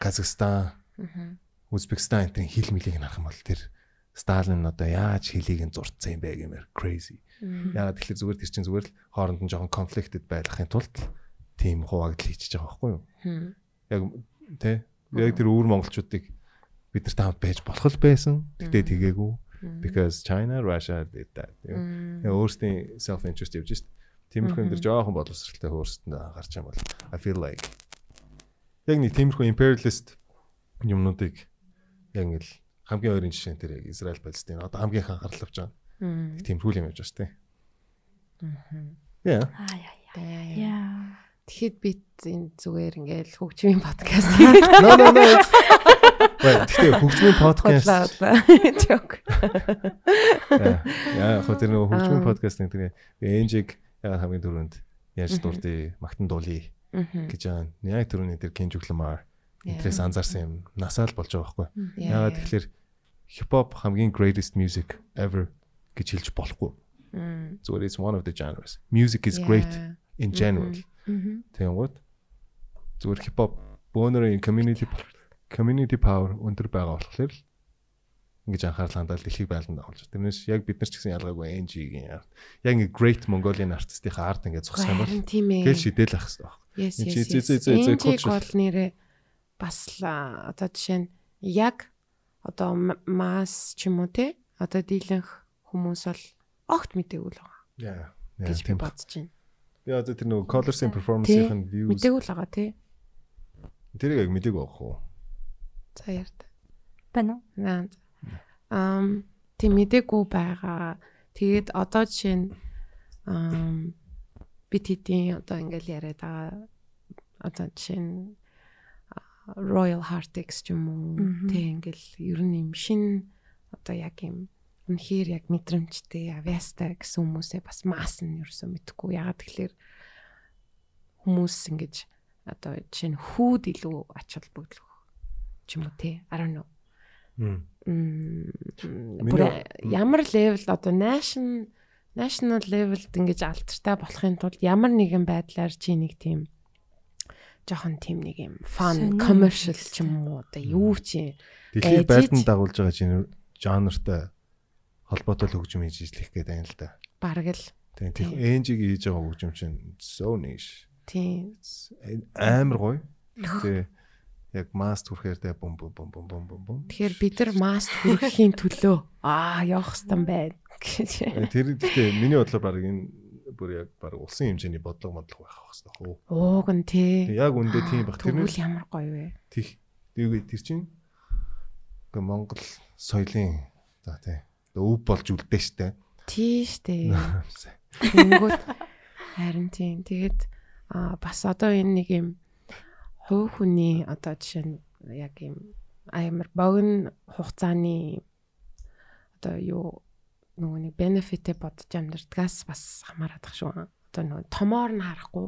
[SPEAKER 3] Казахстан
[SPEAKER 2] Мгм.
[SPEAKER 3] Узбекистан энэ хил мэлийг нарах юм бол тэр Сталин одоо яаж хилийг нь зурцсан юм бэ гэмээр crazy.
[SPEAKER 2] Мгм.
[SPEAKER 3] Яагаад тэгэхээр зүгээр тэр чинь зүгээр л хооронд нь жоохон conflicted байхын тулд тийм хуваагдал хийчихэж байгаа байхгүй юу?
[SPEAKER 2] Мгм.
[SPEAKER 3] Яг тий яг тэр өвөр монголчуудыг бид нарт хамт байж болох л байсан. Тэгтээ тэгээгүй because China Russia did that. Яг
[SPEAKER 2] Мгм.
[SPEAKER 3] Яа, өөрсдийн self interest явж шít. Тиймэрхүү юм дээр жоохон боловсралтай өөрсдөндөө анхаарч юм бол I feel like яг нэг тиймэрхүү imperialist юмнуудыг яг ингээл хамгийн ойрын жишээ нь тэр яг Израиль Палестин одоо хамгийн их анхаарал авч байгаа.
[SPEAKER 2] Мгм.
[SPEAKER 3] Тиймэрхүү л юм явж байна шít. Яа.
[SPEAKER 4] Аа яа яа.
[SPEAKER 2] Тэ, яа, яа.
[SPEAKER 4] Яа.
[SPEAKER 2] Тэгэхэд бид энэ зүгээр ингээл хөгжмийн подкаст хийх
[SPEAKER 3] No no no. Бай, тэгтээ хөгжмийн подкаст.
[SPEAKER 2] бодлоо. Жок.
[SPEAKER 3] Яа, яа, хөө тэр нөгөө хөгжмийн
[SPEAKER 2] Аа.
[SPEAKER 3] подкаст нэг тэр энжиг яг хамгийн түрүүнд яаж дурдъя, магтан дуулъя
[SPEAKER 2] Мгм.
[SPEAKER 3] гэж байгаа. нь. Яг түрүүний тэр King Juklmar
[SPEAKER 2] Яа.
[SPEAKER 3] интерес анзаарсан юм. Насаал болж байгаа байхгүй.
[SPEAKER 2] Яа,
[SPEAKER 3] Яагаад
[SPEAKER 2] яа.
[SPEAKER 3] тэгэхээр хипхоп хамгийн greatest music ever гэж хэлж болохгүй.
[SPEAKER 2] Мм.
[SPEAKER 3] Зүгээр it's one of the genres. Music is great
[SPEAKER 2] Яа.
[SPEAKER 3] in general.
[SPEAKER 2] Мгм.
[SPEAKER 3] Тэнгууд зүгээр хипхоп бөөнөрийн community community power өндөр байгаа болохоор л ингэж анхаарал хандаад дэлхийг байлдан дагуулж байна. Тэрнээс яг бид нар ч гэсэн ялгаагүй NG-ийн арт. Яг ингээ great Mongolian artist-ийн арт ингээ зогсох юм бол
[SPEAKER 2] Харин тийм ээ.
[SPEAKER 3] гэл шидэл ах хэрэгтэй байна.
[SPEAKER 2] Yes,
[SPEAKER 3] Энд
[SPEAKER 2] yes,
[SPEAKER 3] чи зэ-
[SPEAKER 2] yes.
[SPEAKER 3] зэ- зэ- зэ-
[SPEAKER 2] Энд чиг
[SPEAKER 3] culture.
[SPEAKER 2] бол нэрээ бас л аа, одоо жишээ нь яг одоо м- масс ч юм уу те одоо дийлэнх хүмүүс бол огт мэдээгүй л байгаа
[SPEAKER 3] Яа.
[SPEAKER 2] гэж би
[SPEAKER 3] Тийм. ба.
[SPEAKER 2] бодож байна.
[SPEAKER 3] Яа одоо тэр нөгөө Colors-ийн performance-ийн views
[SPEAKER 2] Мэдээгүй л байгаа те.
[SPEAKER 3] тэрийг яг мдэг авах уу?
[SPEAKER 2] За ярд.
[SPEAKER 4] Байна уу?
[SPEAKER 2] Наад. Ам тийм мэдээгүй байгаа. Тэгээд одоо жишээ нь ам бид хэдийн одоо ингээл яриад байгаа одоо жишээ нь а, Royal Heartix ч юм уу
[SPEAKER 4] Мгм.
[SPEAKER 2] тэг ингээл ер нь юм шин одоо яг юм үнхээр яг мэдрэмжтэй авястай гэсэн хүмүүсээ бас маас нь ерөөсөө мэдхгүй ягаад тэгэхээр хүмүүс ингэж одоо жишээ нь хүүд илүү ач холбогдол өгөх ч юм уу те I don't know
[SPEAKER 3] Мм.
[SPEAKER 2] Мм,
[SPEAKER 3] Миний-
[SPEAKER 2] бүр ямар левелд одоо national national levelд ингэж алтартай болохын тулд ямар нэгэн байдлаар чи нэг тийм жоохон тийм нэг юм fun
[SPEAKER 4] Сонир.
[SPEAKER 2] commercial ч юм уу одоо юу чи
[SPEAKER 3] Дэлхийг
[SPEAKER 2] Эжиж.
[SPEAKER 3] байлдан дагуулж байгаа жин- жанртай холбоотой л хөгжим хийж ижлэх гэдэг юм л да.
[SPEAKER 2] бараг л
[SPEAKER 3] Тийм тийм
[SPEAKER 2] Тийм.
[SPEAKER 3] энжиг хийж байгаа хөгжим чинь so niche.
[SPEAKER 2] тийм
[SPEAKER 3] It's Амар гоё. Тэгээ яг масс түрхээр тэ бум бум бум бум бум бум бум.
[SPEAKER 2] тэгэхээр бид нар маст хүрэхийн төлөө аа явах хэстэн байна гэж
[SPEAKER 3] Э, Тэр гэхдээ миний бодлоор баг энэ бүр яг баг улсын хэмжээний бодлого модлого байх хас тах.
[SPEAKER 2] ууг нь тий
[SPEAKER 3] Яг үндэ тийм баг. Тэрнээс
[SPEAKER 2] тэгвэл ямар гоё вэ
[SPEAKER 3] Тих. Тэргээ тэр чинь ингээ Монгол соёлын за тий. Өв болж үлдээ штэ.
[SPEAKER 2] тийш тий
[SPEAKER 3] Мм.
[SPEAKER 2] Тэнгүүт харин тийм. Тэгээд аа бас одоо энэ нэг юм хувь хүний одоо жишээ нь яг юм амар богино хугацааны одоо юу нөгөө нэг бенефитэ бодож амьдрдгаас бас хамаарат ах шүү. Одоо нөгөө томоор нь харахгүй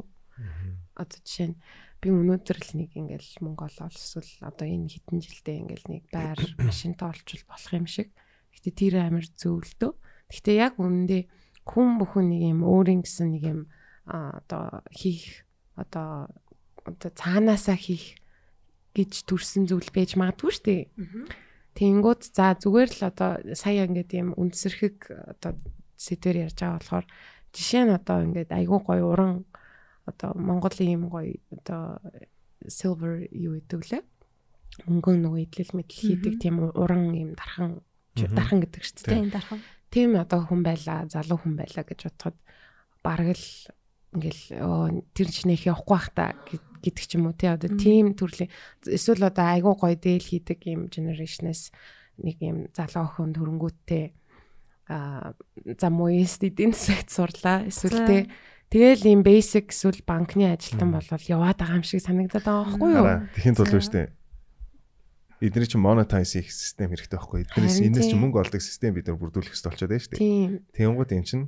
[SPEAKER 2] одоо жишээ нь би өнөөдөр л нэг ингээл Монгол улс л одоо энэ хэдэн жилдээ ингээл нэг байр машинтай олчвол болох юм шиг Гэтэ тэр амар зөвлөдөө. Гэтэ яг үнэндээ хүн бүхэн нэг юм өөрийн гэсэн нэг юм а, одоо хийх одоо одоо цаанаасаа хийх гэж төрсэн зүйл байж магадгүй шүү дээ. Тэнгүүд за зүгээр л одоо сая ингээд юм үндсэрхэг одоо сэдвэр ярьж байгаа болохоор жишээ нь одоо ингээд айгүй гоё уран одоо Монголын юм гоё одоо silver юу гэдэгвлээ. Мөнгөн нөгөө идэл мэдл хийдэг тийм уран юм дархан
[SPEAKER 3] Мгм.
[SPEAKER 2] дархан гэдэг шүү дээ.
[SPEAKER 4] Тийм дархан.
[SPEAKER 2] Тийм одоо хүн байла, залуу хүн байла гэж бодоход бараг л ингээл оо тэр чинээх явахгүй бах та гэд- гэдэг ч юм уу тий одоо
[SPEAKER 4] Мм.
[SPEAKER 2] тийм төрлийн эсвэл одоо айгүй гоё дээл хийдэг юм генерашнээс нэг юм залуу охин төрөнгүүтээ а за моест эдийн засагт сурлаа эсвэл
[SPEAKER 4] За.
[SPEAKER 2] тий тэгэл юм basic эсвэл банкны ажилтан
[SPEAKER 3] Мм.
[SPEAKER 2] болвол яваад байгаа юм шиг санагдаад байгаа байхгүй юу
[SPEAKER 3] Хараа. Тэхийн
[SPEAKER 4] За.
[SPEAKER 3] тул биш үү? Эдний чинь monetize хийх систем хэрэгтэй байхгүй. Эднээс
[SPEAKER 2] Харин
[SPEAKER 3] энэс чинь
[SPEAKER 2] тийм.
[SPEAKER 3] мөнгө олдог систем бид нар бүрдүүлэх хэрэгтэй болчиход байна шүү дээ.
[SPEAKER 2] тийм
[SPEAKER 3] Тэнгууд эн чинь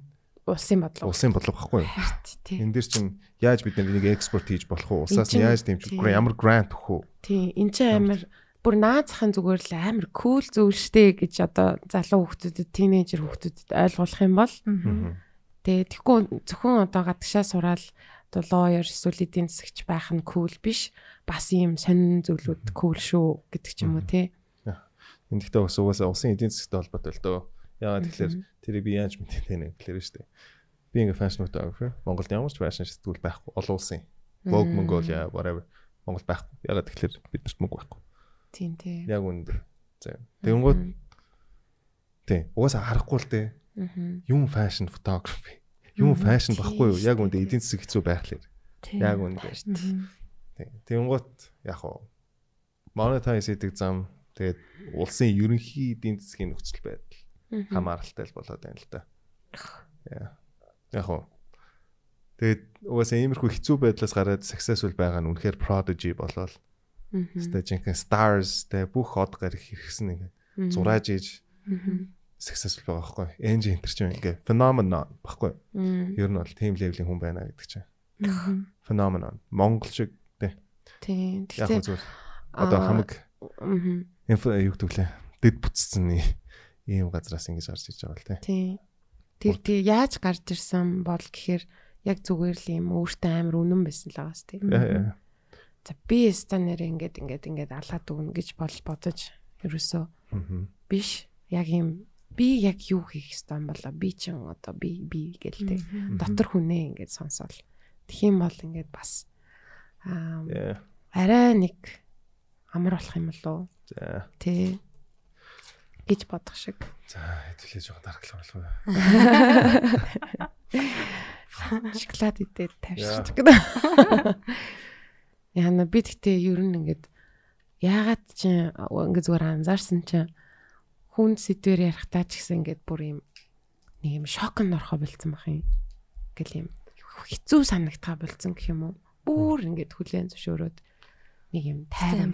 [SPEAKER 2] улсын бодлого
[SPEAKER 3] улсын бодлого байхгүй юу?
[SPEAKER 2] Харт, тий
[SPEAKER 3] Энд дээр чинь яаж бид нар энийг экспорт хийж болох вэ? Улсаас нь
[SPEAKER 2] Энд чинь-
[SPEAKER 3] яаж дэмжих
[SPEAKER 2] тийм.
[SPEAKER 3] вэ? Ямар грант өгөх вэ?
[SPEAKER 2] тий эн чинь амар бүр наазахын зүгээр л амар кул зүйл штэ гэж одоо залуу хүмүүстэд тийнейжер хүмүүстэд ойлгуулах юм бол
[SPEAKER 4] Аа.
[SPEAKER 2] Тэгээ тэгэхгүй зөвхөн одоо гадагшаа сураал одоо lawyer эсвэл эдийн засагч байх нь cool биш. Бас ийм сонин зүйлүүд cool шүү гэдэг ч юм уу те.
[SPEAKER 3] Энд гэхдээ бас угаасаа улсын эдийн засгийн холбоотой л дөө. Яагаад тэгэхээр тэрийг би яаж мэдэх вэ гэхээр шүү дээ. Би ингээ fashion photographer. Монголд ямар ч fashion сэтгүүл байхгүй. Олон улсын. Vogue
[SPEAKER 2] Мм.
[SPEAKER 3] Mongolia whatever. Монгол байхгүй. Яагаад тэгэхээр биднэрт мөнгө байхгүй.
[SPEAKER 2] Тийм те.
[SPEAKER 3] Яг үүнд. За. Тэнгууд тий. Угаасаа харахгүй л дээ.
[SPEAKER 2] Мгм.
[SPEAKER 3] Юм fashion photography. Юм
[SPEAKER 2] Мгм.
[SPEAKER 3] fashion
[SPEAKER 2] Тий,
[SPEAKER 3] байхгүй юу? Яг
[SPEAKER 2] шүү
[SPEAKER 3] үүнд
[SPEAKER 2] дээ.
[SPEAKER 3] эдийн засаг хэцүү байх лээ.
[SPEAKER 4] Тийм.
[SPEAKER 3] Яг үүнд. Тий. Тэнгуут яг уу monetize хийдэг зам тэгээд улсын ерөнхий эдийн засгийн нөхцөл байдал
[SPEAKER 2] Мгм.
[SPEAKER 3] хамааралтай л болоод байна л да. Яа. Яг уу Тэгээд угаасаа иймэрхүү хэцүү байдлаас гараад successful байгаа нь үнэхээр prodigy болоод
[SPEAKER 2] Мгм.
[SPEAKER 3] тэгээд жинхэнэ stars тэ бүх од гарах хэрэгсэн ингээд
[SPEAKER 2] Мгм.
[SPEAKER 3] зурааж иж
[SPEAKER 2] Мгм.
[SPEAKER 3] successful байгаа байхгүй. Энж энтер ч юм ингээд phenomenon байхгүй.
[SPEAKER 2] Мм.
[SPEAKER 3] Ер нь бол team level-ийн хүн байна гэдэг чинь.
[SPEAKER 4] Мгм.
[SPEAKER 3] Phenomenon. Монгол шиг тэ
[SPEAKER 2] Тийм.
[SPEAKER 3] яг уу
[SPEAKER 2] Тэгтээ
[SPEAKER 3] зүгээр одоо
[SPEAKER 2] аа,
[SPEAKER 3] хамаг
[SPEAKER 2] мгм.
[SPEAKER 3] инфо юу гэдэг лээ. Дэд бүтцсэн ий- ийм газраас ингэж гарч иж байгаа л те.
[SPEAKER 2] Тийм. Тэр тий яаж гарч ирсэн бол гэхээр яг зүгээр л юм өөртөө амар үнэн байсан л байгаас тийм.
[SPEAKER 3] Яа, яа.
[SPEAKER 2] За би станер ингээд ингээд ингээд алаад өгнө гэж бол бодож ерөөсөө
[SPEAKER 3] Мгм.
[SPEAKER 2] биш. Яг юм би яг юу хийх ёстой юм болоо би чин одоо би би гэлтэй.
[SPEAKER 4] Мгм.
[SPEAKER 2] Дотор хүнээ ингээд сонсоол. Тэх юм бол ингээд бас аа
[SPEAKER 3] Яа.
[SPEAKER 2] арай нэг амар болох юм болоо
[SPEAKER 3] За.
[SPEAKER 2] тий гэж бодох шиг.
[SPEAKER 3] За, хэдүүлээ жоохон дараглах болох уу?
[SPEAKER 2] Шоколад идээд
[SPEAKER 3] Яа.
[SPEAKER 2] тавьчих гэдэг. Яна би тэгтээ ер нь ингээд яагаад чи ингээд зүгээр анзаарсан чи хүн сэдвэр ярихтаа ч гэсэн ингээд бүр юм нэг юм шокнд орхо болцсон бах юм. Гэл юм хэцүү санагтаа болцсон гэх юм уу? Бүр ингээд хүлэн зөвшөөрөөд нэг юм тайван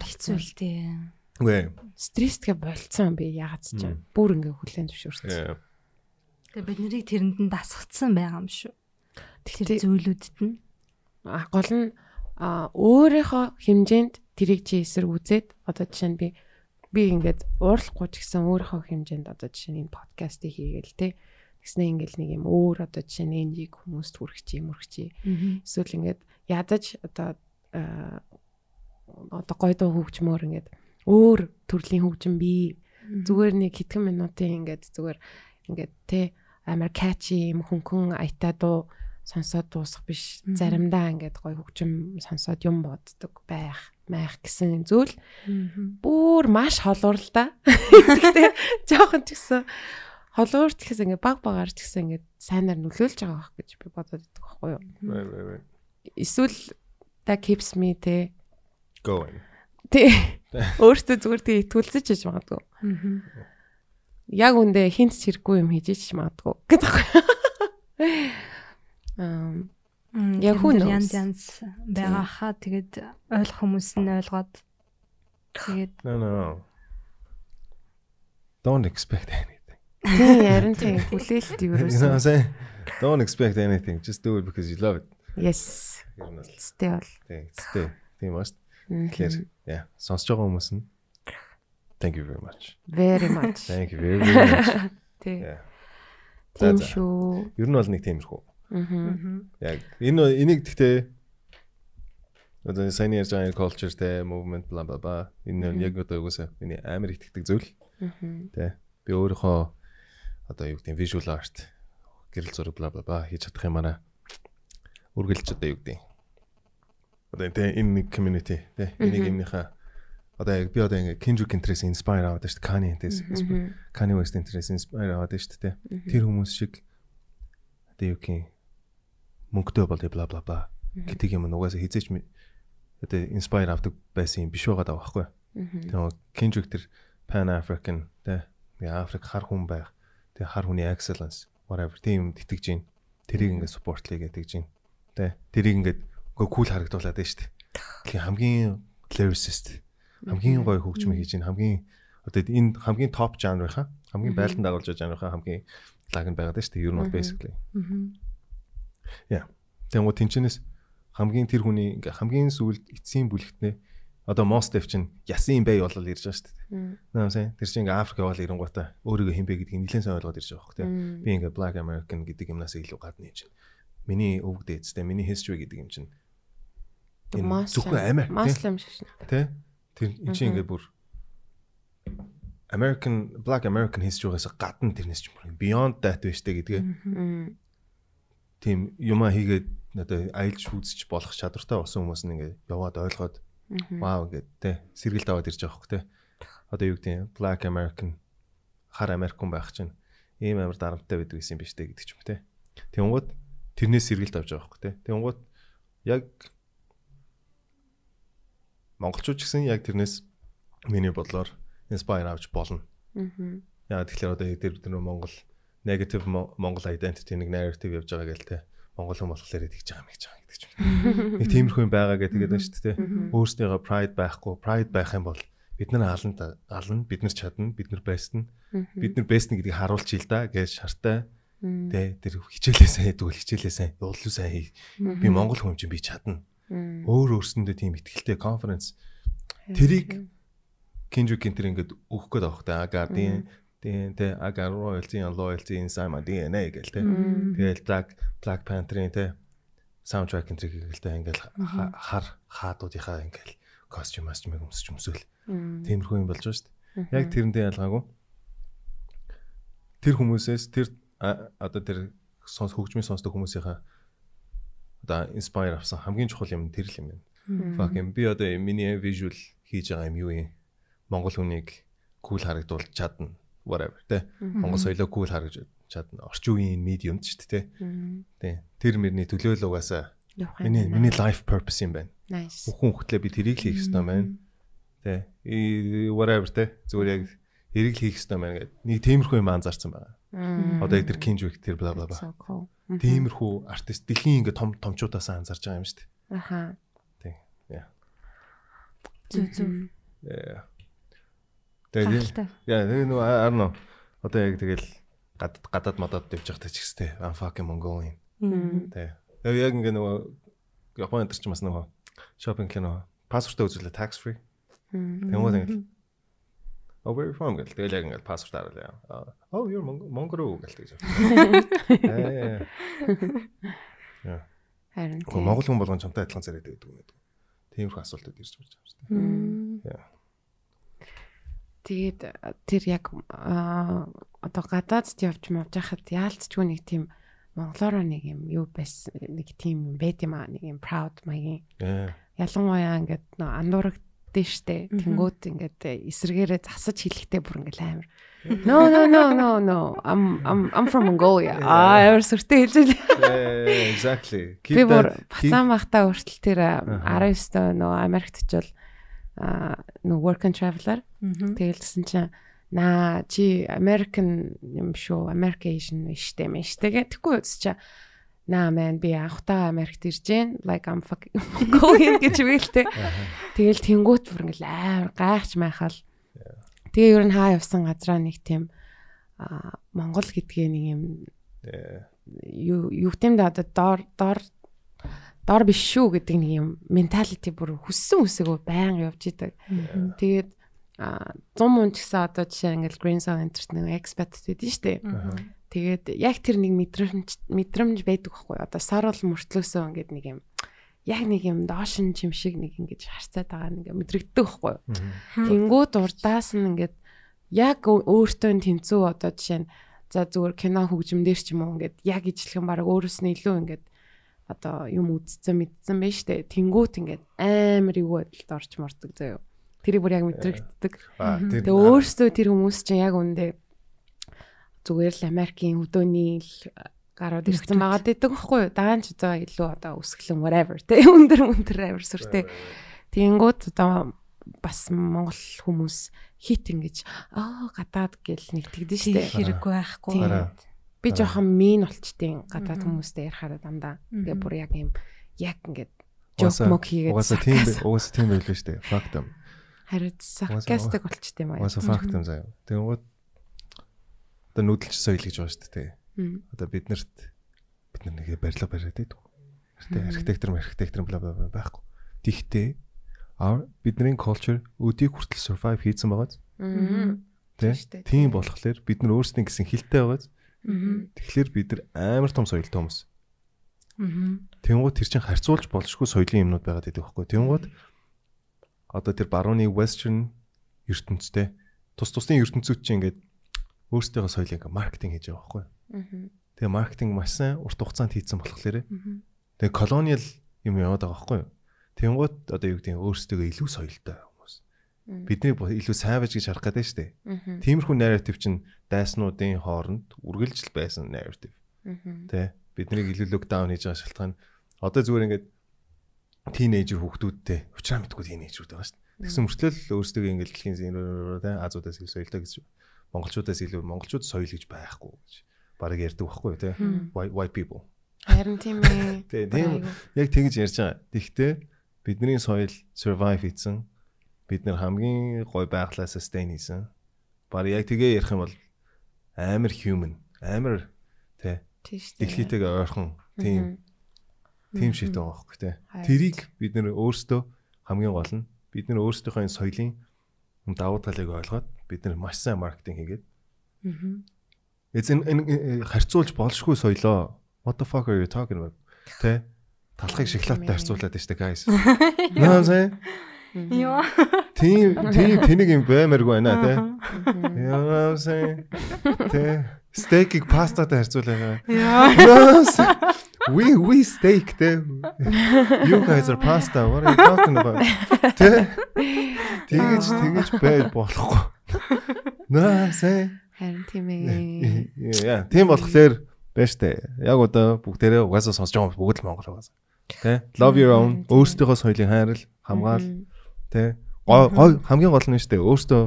[SPEAKER 4] Тайван хэцүү
[SPEAKER 2] болцсон.
[SPEAKER 4] л дээ.
[SPEAKER 3] Үгүй.
[SPEAKER 2] Стресстгэ болцсон би яагаад ч чи
[SPEAKER 3] Мм.
[SPEAKER 2] бүр ингээд хүлэн зөвшөөрсөн.
[SPEAKER 3] Яа.
[SPEAKER 4] Тэгээ бид нарыг тэрэнд нь дасгцсан байгаа юм шүү. Тэр
[SPEAKER 2] Тэгтээ
[SPEAKER 4] зүйлүүдэд нь.
[SPEAKER 2] А, гол нь а, өөрийнхөө хэмжээнд тэрийг чи эсрэг үзээд одоо жишээ нь би би ингээд уурлахгүй ч гэсэн өөрийнхөө хэмжээнд одоо жишээ нь энэ подкастыг хийгээл те тэгснэ ингээд нэг юм өөр одоо жишээ нь энэнийг хүмүүст хүргэж юм хүргэж эсвэл ингээд ядаж одоо а, одоо гой дуу хөгжмөр ингээд өөр төрлийн хөгжим бий зүгээр нэг хэдхэн минутын ингээд зүгээр ингээд те амар catchy юм хөнгөн аятаа дуу сонсоод дуусах биш
[SPEAKER 4] Мгм.
[SPEAKER 2] заримдаа ингээд гоё хөгжим сонсоод юм боддог байх майх гэсэн зүйл бүр маш холуур л да. Гэхдээ жоохон ч гэсэн холуур ч гэсэн ингээд баг багаар ч гэсэн ингээд сайнаар нөлөөлж байгаа байх гэж би бодоод байдаг байхгүй юу.
[SPEAKER 3] Бай, бай, бай.
[SPEAKER 2] Эсвэл that keeps me те
[SPEAKER 3] Go in.
[SPEAKER 2] те өөртөө зүгээр тэг итгүүлцэж яж магадгүй. яг үндэ хинт чирэггүй юм хийж ич магадгүй гэдэг байхгүй. Аа
[SPEAKER 4] Яг
[SPEAKER 2] Яг хүн
[SPEAKER 4] хүн янз
[SPEAKER 2] ус.
[SPEAKER 4] янз байгаа хаа тэгээд ойлгох хүмүүс нь ойлгоод тэгээд
[SPEAKER 3] No, no. Don't expect anything.
[SPEAKER 2] тийм ярин тийм хүлээлт юу
[SPEAKER 3] You know what I'm
[SPEAKER 2] вэ?
[SPEAKER 3] saying? Don't expect anything. Just do it because you love it.
[SPEAKER 2] Yes.
[SPEAKER 3] Ер нь бол
[SPEAKER 2] Стэл.
[SPEAKER 3] тий. Тэ. Тийм ба шүү. дээ. Тэгэхээр яа, сонсож байгаа хүмүүс нь Thank you very much.
[SPEAKER 2] Very much.
[SPEAKER 3] Thank you very much.
[SPEAKER 2] Тий.
[SPEAKER 3] Yeah. За,
[SPEAKER 2] Тийм
[SPEAKER 3] за.
[SPEAKER 2] шүү.
[SPEAKER 3] Ер нь бол нэг тиймэрхүү.
[SPEAKER 2] Аа.
[SPEAKER 3] Яг энэ энийг гэхдээ одоо сайн ярьж байгаа culture те movement bla bla bla энэ нь яг одоо үгүйсэ миний амар итгэдэг зүйл те би өөрийнхөө одоо юу гэдэг нь visual art гэрэл зураг bla bla bla хийж чадах юм аа үргэлж одоо юу гэдэг нь одоо энэ те энэ нэг community те энийг юмныхаа одоо яг би одоо ингэ Kendrick Lamar-ээс inspire аваад шүү дээ Kanye-ээс Kanye West-ээс inspire аваад шүү дээ те тэр хүмүүс шиг одоо юу гэх юм мөнгөтэй бол бла бла бла гэдэг юм угаасаа хизээч ми- одоо inspire авдаг байсан юм биш байгаа даа байхгүй. Тэгээ Kendrick тэр Pan African тэ нэг Африк хар хүн байх. Тэгээ хар хүний excellence whatever тийм юм тэтгэж гин. Тэрийг ингээд supportlыг тэгж гин. Тэ тэрийг ингээд гоо кул харагдуулаад байна шүү дээ. Тэгээ хамгийн lyricist хамгийн гоё хөгжмөө хийж гин хамгийн одоо энэ хамгийн топ жанрынхаа хамгийн байлдан дагуулж байгаа жанрынхаа хамгийн лаг нь байгаад байна шүү дээ. Ер нь бол basically. Тэгмүү тэнчнээс хамгийн тэр хүний ингээ хамгийн сүүлд эцсийн бүлэгтнээ одоо Мостев чинь ясын бай болол ирж байгаа шүү дээ. Наа сайн. Тэр чинь ингээ Африк яваал ирэнгуутаа өөрийгөө хинбэ гэдгийг нэлээд сайн ойлгоод ирж байгаа хөөх тээ. Би ингээ Black American гэдэг юмнаас илүү гадна юм чинь. Миний өвөг дээдс тээ миний history гэдэг юм чинь. энэ Зөвхөн амар
[SPEAKER 2] Маслим
[SPEAKER 3] тээ.
[SPEAKER 2] шиг шнэ.
[SPEAKER 3] Тэ? Тэр энэ чинь ингээ бүр American Black American history-гаас гадна тэрнээс чинь бүр beyond that байж тээ гэдгээ
[SPEAKER 2] Мм.
[SPEAKER 3] тийм юмаа хийгээд одоо аялж үзэж болох чадвартай болсон хүмүүс нь ингээд яваад ойлгоод вау ингээд те сэргэлт аваад ирж байгаа хөөх те одоо юу гэдэг нь black american хар american байх чинь ийм амар дарамттай байдаг гэсэн юм биш те гэдэг ч юм те тэнгууд тэрнээс сэргэлт авч байгаа хөөх те тэнгууд яг монголчууд ч гэсэн яг тэрнээс миний бодлоор inspire авч болно
[SPEAKER 2] Мгм.
[SPEAKER 3] Яа тэгэхээр одоо яг тэр бид нөө Монгол negative Mo- Монгол identity нэг narrative явж байгаа гэл те. Монгол хүн болохоор тэгж байгаа юм гэж байгаа гэдэг ч юм. Нэг тиймэрхүү юм байгаа гэдэг гэдэг нь шүү дээ те. Өөрсдийнхөө pride байхгүй, pride байх юм бол бид нар ална ална, бид нар чадна, бид нар байсна, бид нар байсна гэдгийг харуулчих ил да гэж шартай
[SPEAKER 2] Мм.
[SPEAKER 3] те. Тэр хичээлээсээ тэгвэл хичээлээсээ уулын сайн хий. Би Монгол хүн юм чинь би чадна.
[SPEAKER 2] Мм.
[SPEAKER 3] Өөр өөрсөндөө тийм ихтэй конференс тэрийг- Kendrick Lamar ингээд өгөх гээд авах та Guardian тийм те I got royalty and loyalty inside my DNA гэл те.
[SPEAKER 2] Мм.
[SPEAKER 3] Тэгэл Black Black Panther-ийн те саундтрек энэ хэрэгэлтэй ингээл ха- хар хаадуудынхаа ингээл костюм костюм өмсөж өмсөөл.
[SPEAKER 2] Мм.
[SPEAKER 3] Тиймэрхүү юм болж байгаа шүү дээ. Яг тэрэндээ ялгаагүй. Тэр хүмүүсээс тэр а- одоо тэр сонс хөгжмийн сонсдог хүмүүсийнхаа одоо inspire авсан хамгийн чухал юм нь тэр л юм байна. Fucking би одоо миний visual хийж байгаа юм юу юм? Монгол хүнийг cool харагдуулж чадна. Whatever тэ. Монгол соёлоо cool харагдуулж чадна. Орчин үеийн medium ч гэдэг тэ.
[SPEAKER 2] Мм.
[SPEAKER 3] Тий. Тэр мөрний төлөөлөл угаасаа
[SPEAKER 2] Явах юм
[SPEAKER 3] миний
[SPEAKER 2] байна.
[SPEAKER 3] миний life purpose юм байна.
[SPEAKER 2] Nice.
[SPEAKER 3] Бүхэн хөтлөө би тэрийг л хийх ёстой байна. Тий. И- Whatever тий. Зүгээр яг эрийг л хийх ёстой байна гэдэг. Нэг тиймэрхүү юм анзаарсан байна.
[SPEAKER 2] Мм.
[SPEAKER 3] Одоо яг тэр Kendrick тэр bla bla bla.
[SPEAKER 2] So cool. Мгм.
[SPEAKER 3] Тиймэрхүү артист дэлхийн ингээ том томчуудаас анзаарж байгаа юм шүү
[SPEAKER 2] Аха.
[SPEAKER 3] дээ. Тий. Яа.
[SPEAKER 4] Зүг зүг.
[SPEAKER 3] Яа. Тэгээд
[SPEAKER 4] Хангалттай.
[SPEAKER 3] Яа, нэг нөө арно. Одоо яг тэгэл гадад гадаад мадад явж байхдаа ч гэстэй. I'm fucking Mongolian.
[SPEAKER 2] Мм.
[SPEAKER 3] Тий. Яг яг ингээ нөгөө Японд төрч бас нөгөө шопинг кино пассвортаа үзүүлээ tax free.
[SPEAKER 2] Мм.
[SPEAKER 3] Тэнгууд ингээл Oh where are you from гэл. Тэгэл яг ингээл пассворт аруулаа. Oh you're Mong- Mongol гэл тэгж. Э, Яа.
[SPEAKER 2] Харин.
[SPEAKER 3] Гоо Монгол хүн болгон чамтай адилхан зэрэг гэдэг юм гэдэг. Тиймэрхүү асуултууд ирж болж байгаа юм шүү дээ.
[SPEAKER 2] Тэгээд э, тэр яг аа, одоо гадаадд явж мовж хахад яалтчгүй нэг тийм монголоор нэг юм юу байсан нэг тийм юм байт юм аа нэг юм proud маягийн
[SPEAKER 3] Яа.
[SPEAKER 2] ялангуяа ингээд нөө андуурагддээ штэ тэнгуут ингээд э, эсэргээрээ засаж хэлэхдээ бүр ингээд амар no no no no no i'm i'm i'm from mongolia аа амар сүртэй хэлж байлаа
[SPEAKER 3] Yeah, Э, Exactly. Keep
[SPEAKER 2] Би бүр
[SPEAKER 3] that- keep-
[SPEAKER 2] бацаан бахта өөртөл тэр э,
[SPEAKER 3] Аха.
[SPEAKER 2] 19 доо нөгөө Америкт ч бол аа нөгөө work and traveler тэгэлсэн чинь наа чи American юм шүү, American штэ мэн штэ гэх тэггүй үз чи наа мэн би анхудаа Америкт ирж гин like I'm fucking going гэж үгэлтэй. Тэгэл тэнгуут бүр ингээл амар гайхаж майхал. Тэгээ ер нь хаа явсан газраа нэг тийм аа Монгол гэдгээ нэг юм
[SPEAKER 3] Yeah.
[SPEAKER 2] юу юу гэмдэ одоо доор доор доор биш шүү гэдэг нэг юм менталити бүр хүссэн үсээгөө байнга явж идэг. Тэгээд а 100 мөн ч гэсэн одоо жишээ нь ингээл Green Zone Enterт нэг expat гэдэг шүү дээ.
[SPEAKER 3] Аха.
[SPEAKER 2] Тэгээд яг тэр нэг мэдрэмж мэдрэмж байдаг байхгүй юу? Одоо сар бол мөртлөөсөө ингээд нэг юм яг нэг юм доошин чим шиг нэг ингэж харцаад байгаа нэг мэдрэгддэг байхгүй юу? Тэнгүүд урдаас нь ингээд яг өө- өөртөө нь тэнцүү одоо жишээ нь за зүгээр кино хөгжимдэр ч юм уу ингээд яг ижлэхэн баг өөрөөс нь илүү ингээд одоо юм үздсэн мэдсэн байж тээ. Тэнгүүт ингээд амар юу байдалд орч мордог заяо. Тэрийг бүр яг мэдрэгддэг.
[SPEAKER 3] Аа, тэр-
[SPEAKER 2] Тэгээ өөрсдөө тэр хүмүүс чинь яг үндэ зүгээр л Америкийн хөдөөний л э, гарууд ирсэн
[SPEAKER 4] Нөхдүүд.
[SPEAKER 2] байгаа гэдэг байхгүй юу? Даан ч одоо илүү одоо үсгэлэн whatever тий өндөр өндөр авир сүртэй. Тэнгүүд одоо бас монгол хүмүүс хит ингэж аа гадаад гэл нэгтгэдэж штэ.
[SPEAKER 4] Хэрэггүй байхгүй.
[SPEAKER 2] Тийм.
[SPEAKER 3] Араа.
[SPEAKER 2] Би жоохон мин болчтیں۔ Гадаад
[SPEAKER 4] Мгм.
[SPEAKER 2] хүмүүстэй ярихаараа дандаа. Тэгээ
[SPEAKER 4] Мгм.
[SPEAKER 2] бүр яг юм яг ингээд жок
[SPEAKER 3] Угаасаа-
[SPEAKER 2] мок хийгээд
[SPEAKER 3] Угаасаа тийм бай-
[SPEAKER 2] сарказм.
[SPEAKER 3] угаасаа тийм байлгүй шүү дээ. Факт юм.
[SPEAKER 2] Харин саркастик болчт юм аа.
[SPEAKER 3] Угаасаа факт юм заяа. Тэнгууд одоо нүүдэлч соёл гэж байгаа шүү дээ.
[SPEAKER 2] Мм.
[SPEAKER 3] Одоо биднэрт бид нар нэгэ барилга бариад байдаг. Хэрэгтэй архитектор, архитектор бла бла бла байхгүй. Тэгтээ our- бидний culture өдийг хүртэл survive хийсэн байгаа зү,
[SPEAKER 2] Мм. Тийм шүү
[SPEAKER 3] тий.
[SPEAKER 2] дээ.
[SPEAKER 3] Тийм болохоор бид нар өөрсдийн гэсэн хилтэй байгаа. зү.
[SPEAKER 4] Мгм.
[SPEAKER 3] Тэгэхээр бид нар амар том соёлтой хүмүүс.
[SPEAKER 4] Мгм.
[SPEAKER 3] Тэнгууд тэр чинь харьцуулж болшгүй соёлын юмнууд байгаад байдаг байхгүй. Тэнгууд одоо тэр барууны western ертөнцтэй тус тусын ертөнцүүд чинь ингээд өөрсдийнхөө соёлыг ингээд маркетинг хийж байгаа байхгүй.
[SPEAKER 2] Мгм.
[SPEAKER 3] Тэгээ маркетинг маш сайн урт хугацаанд хийцэн болохоор
[SPEAKER 2] Мгм.
[SPEAKER 3] тэгээ колониал юм яваад байгаа байхгүй. Тэнгууд одоо юу гэдэг нь өөрсдөө илүү соёлтой хүмүүс.
[SPEAKER 2] Мм.
[SPEAKER 3] Бидний бо- илүү savage гэж харах гэдэг шүү дээ.
[SPEAKER 2] Мгм.
[SPEAKER 3] Тиймэрхүү narrative чинь дайснуудын хооронд үргэлжил байсан narrative.
[SPEAKER 2] Мгм.
[SPEAKER 3] Тэ биднийг илүү локдаун хийж байгаа шалтгаан нь одоо зүгээр ингээд тийнейжер хүүхдүүдтэй уучраа мэдгүй тийнейжрүүд байгаа шүү дээ. Тэгсэн мөртлөө л өөрсдөө ингээд дэлхийн зин- тэ азуудаас илүү соёлтой гэж монголчуудаас илүү монголчууд соёл гэж байхгүй гэж баг ярьдаг байхгүй юу, тэ
[SPEAKER 2] Мм.
[SPEAKER 3] White- white people.
[SPEAKER 2] Харин тийм ээ.
[SPEAKER 3] Тэ тийм
[SPEAKER 2] Айгу.
[SPEAKER 3] яг тэгж ярьж байгаа. Тэгтээ бидний соёл survive хийсэн. Бид нар хамгийн гой байглаа sustain хийсэн. Бараг яг тэгээ ярих юм бол амар human, амар тэ
[SPEAKER 2] Тийм шүү. дээ.
[SPEAKER 3] дэлхийтэйгээ ойрхон тийм
[SPEAKER 2] Мгм.
[SPEAKER 3] тийм шийдэж байгаа байхгүй тий.
[SPEAKER 2] Харин.
[SPEAKER 3] Тэрийг бид нэр өөрсдөө хамгийн гол нь бид нэр өөрсдийнхөө энэ соёлын юм давуу талыг ойлгоод бид нэр маш сайн маркетинг хийгээд
[SPEAKER 4] Мгм.
[SPEAKER 3] эц энэ- энэ э, харьцуулж болшгүй соёлоо what the fuck are you talking about тий талхыг шоколадтай харьцуулаад штэ guys. Наа зэ
[SPEAKER 2] Мгм.
[SPEAKER 4] Йоо.
[SPEAKER 3] тийм тийм тэнийг юм баймаргүй байна тий.
[SPEAKER 2] Мгм.
[SPEAKER 3] Яа зэ тий стейкийг пастатай харьцуулаад
[SPEAKER 4] Йоо.
[SPEAKER 3] Yes. We we steak те. You guys are pasta. What are you talking about? Тэ. Тэгэж тэгэж байж болохгүй. Наасай.
[SPEAKER 2] Харин тийм ээ.
[SPEAKER 3] Э, Яа, тийм болохоор байж тээ. Яг одоо бүгдээрээ угаасаа сонсож байгаа бүгд л монгол угаасаа. Тэ. Love your own. Өөрсдийнхөө соёлыг хайрал, хамгаал,
[SPEAKER 2] Мгм.
[SPEAKER 3] тэ. Гой гой- хамгийн гол нь шүү дээ. Өөртөө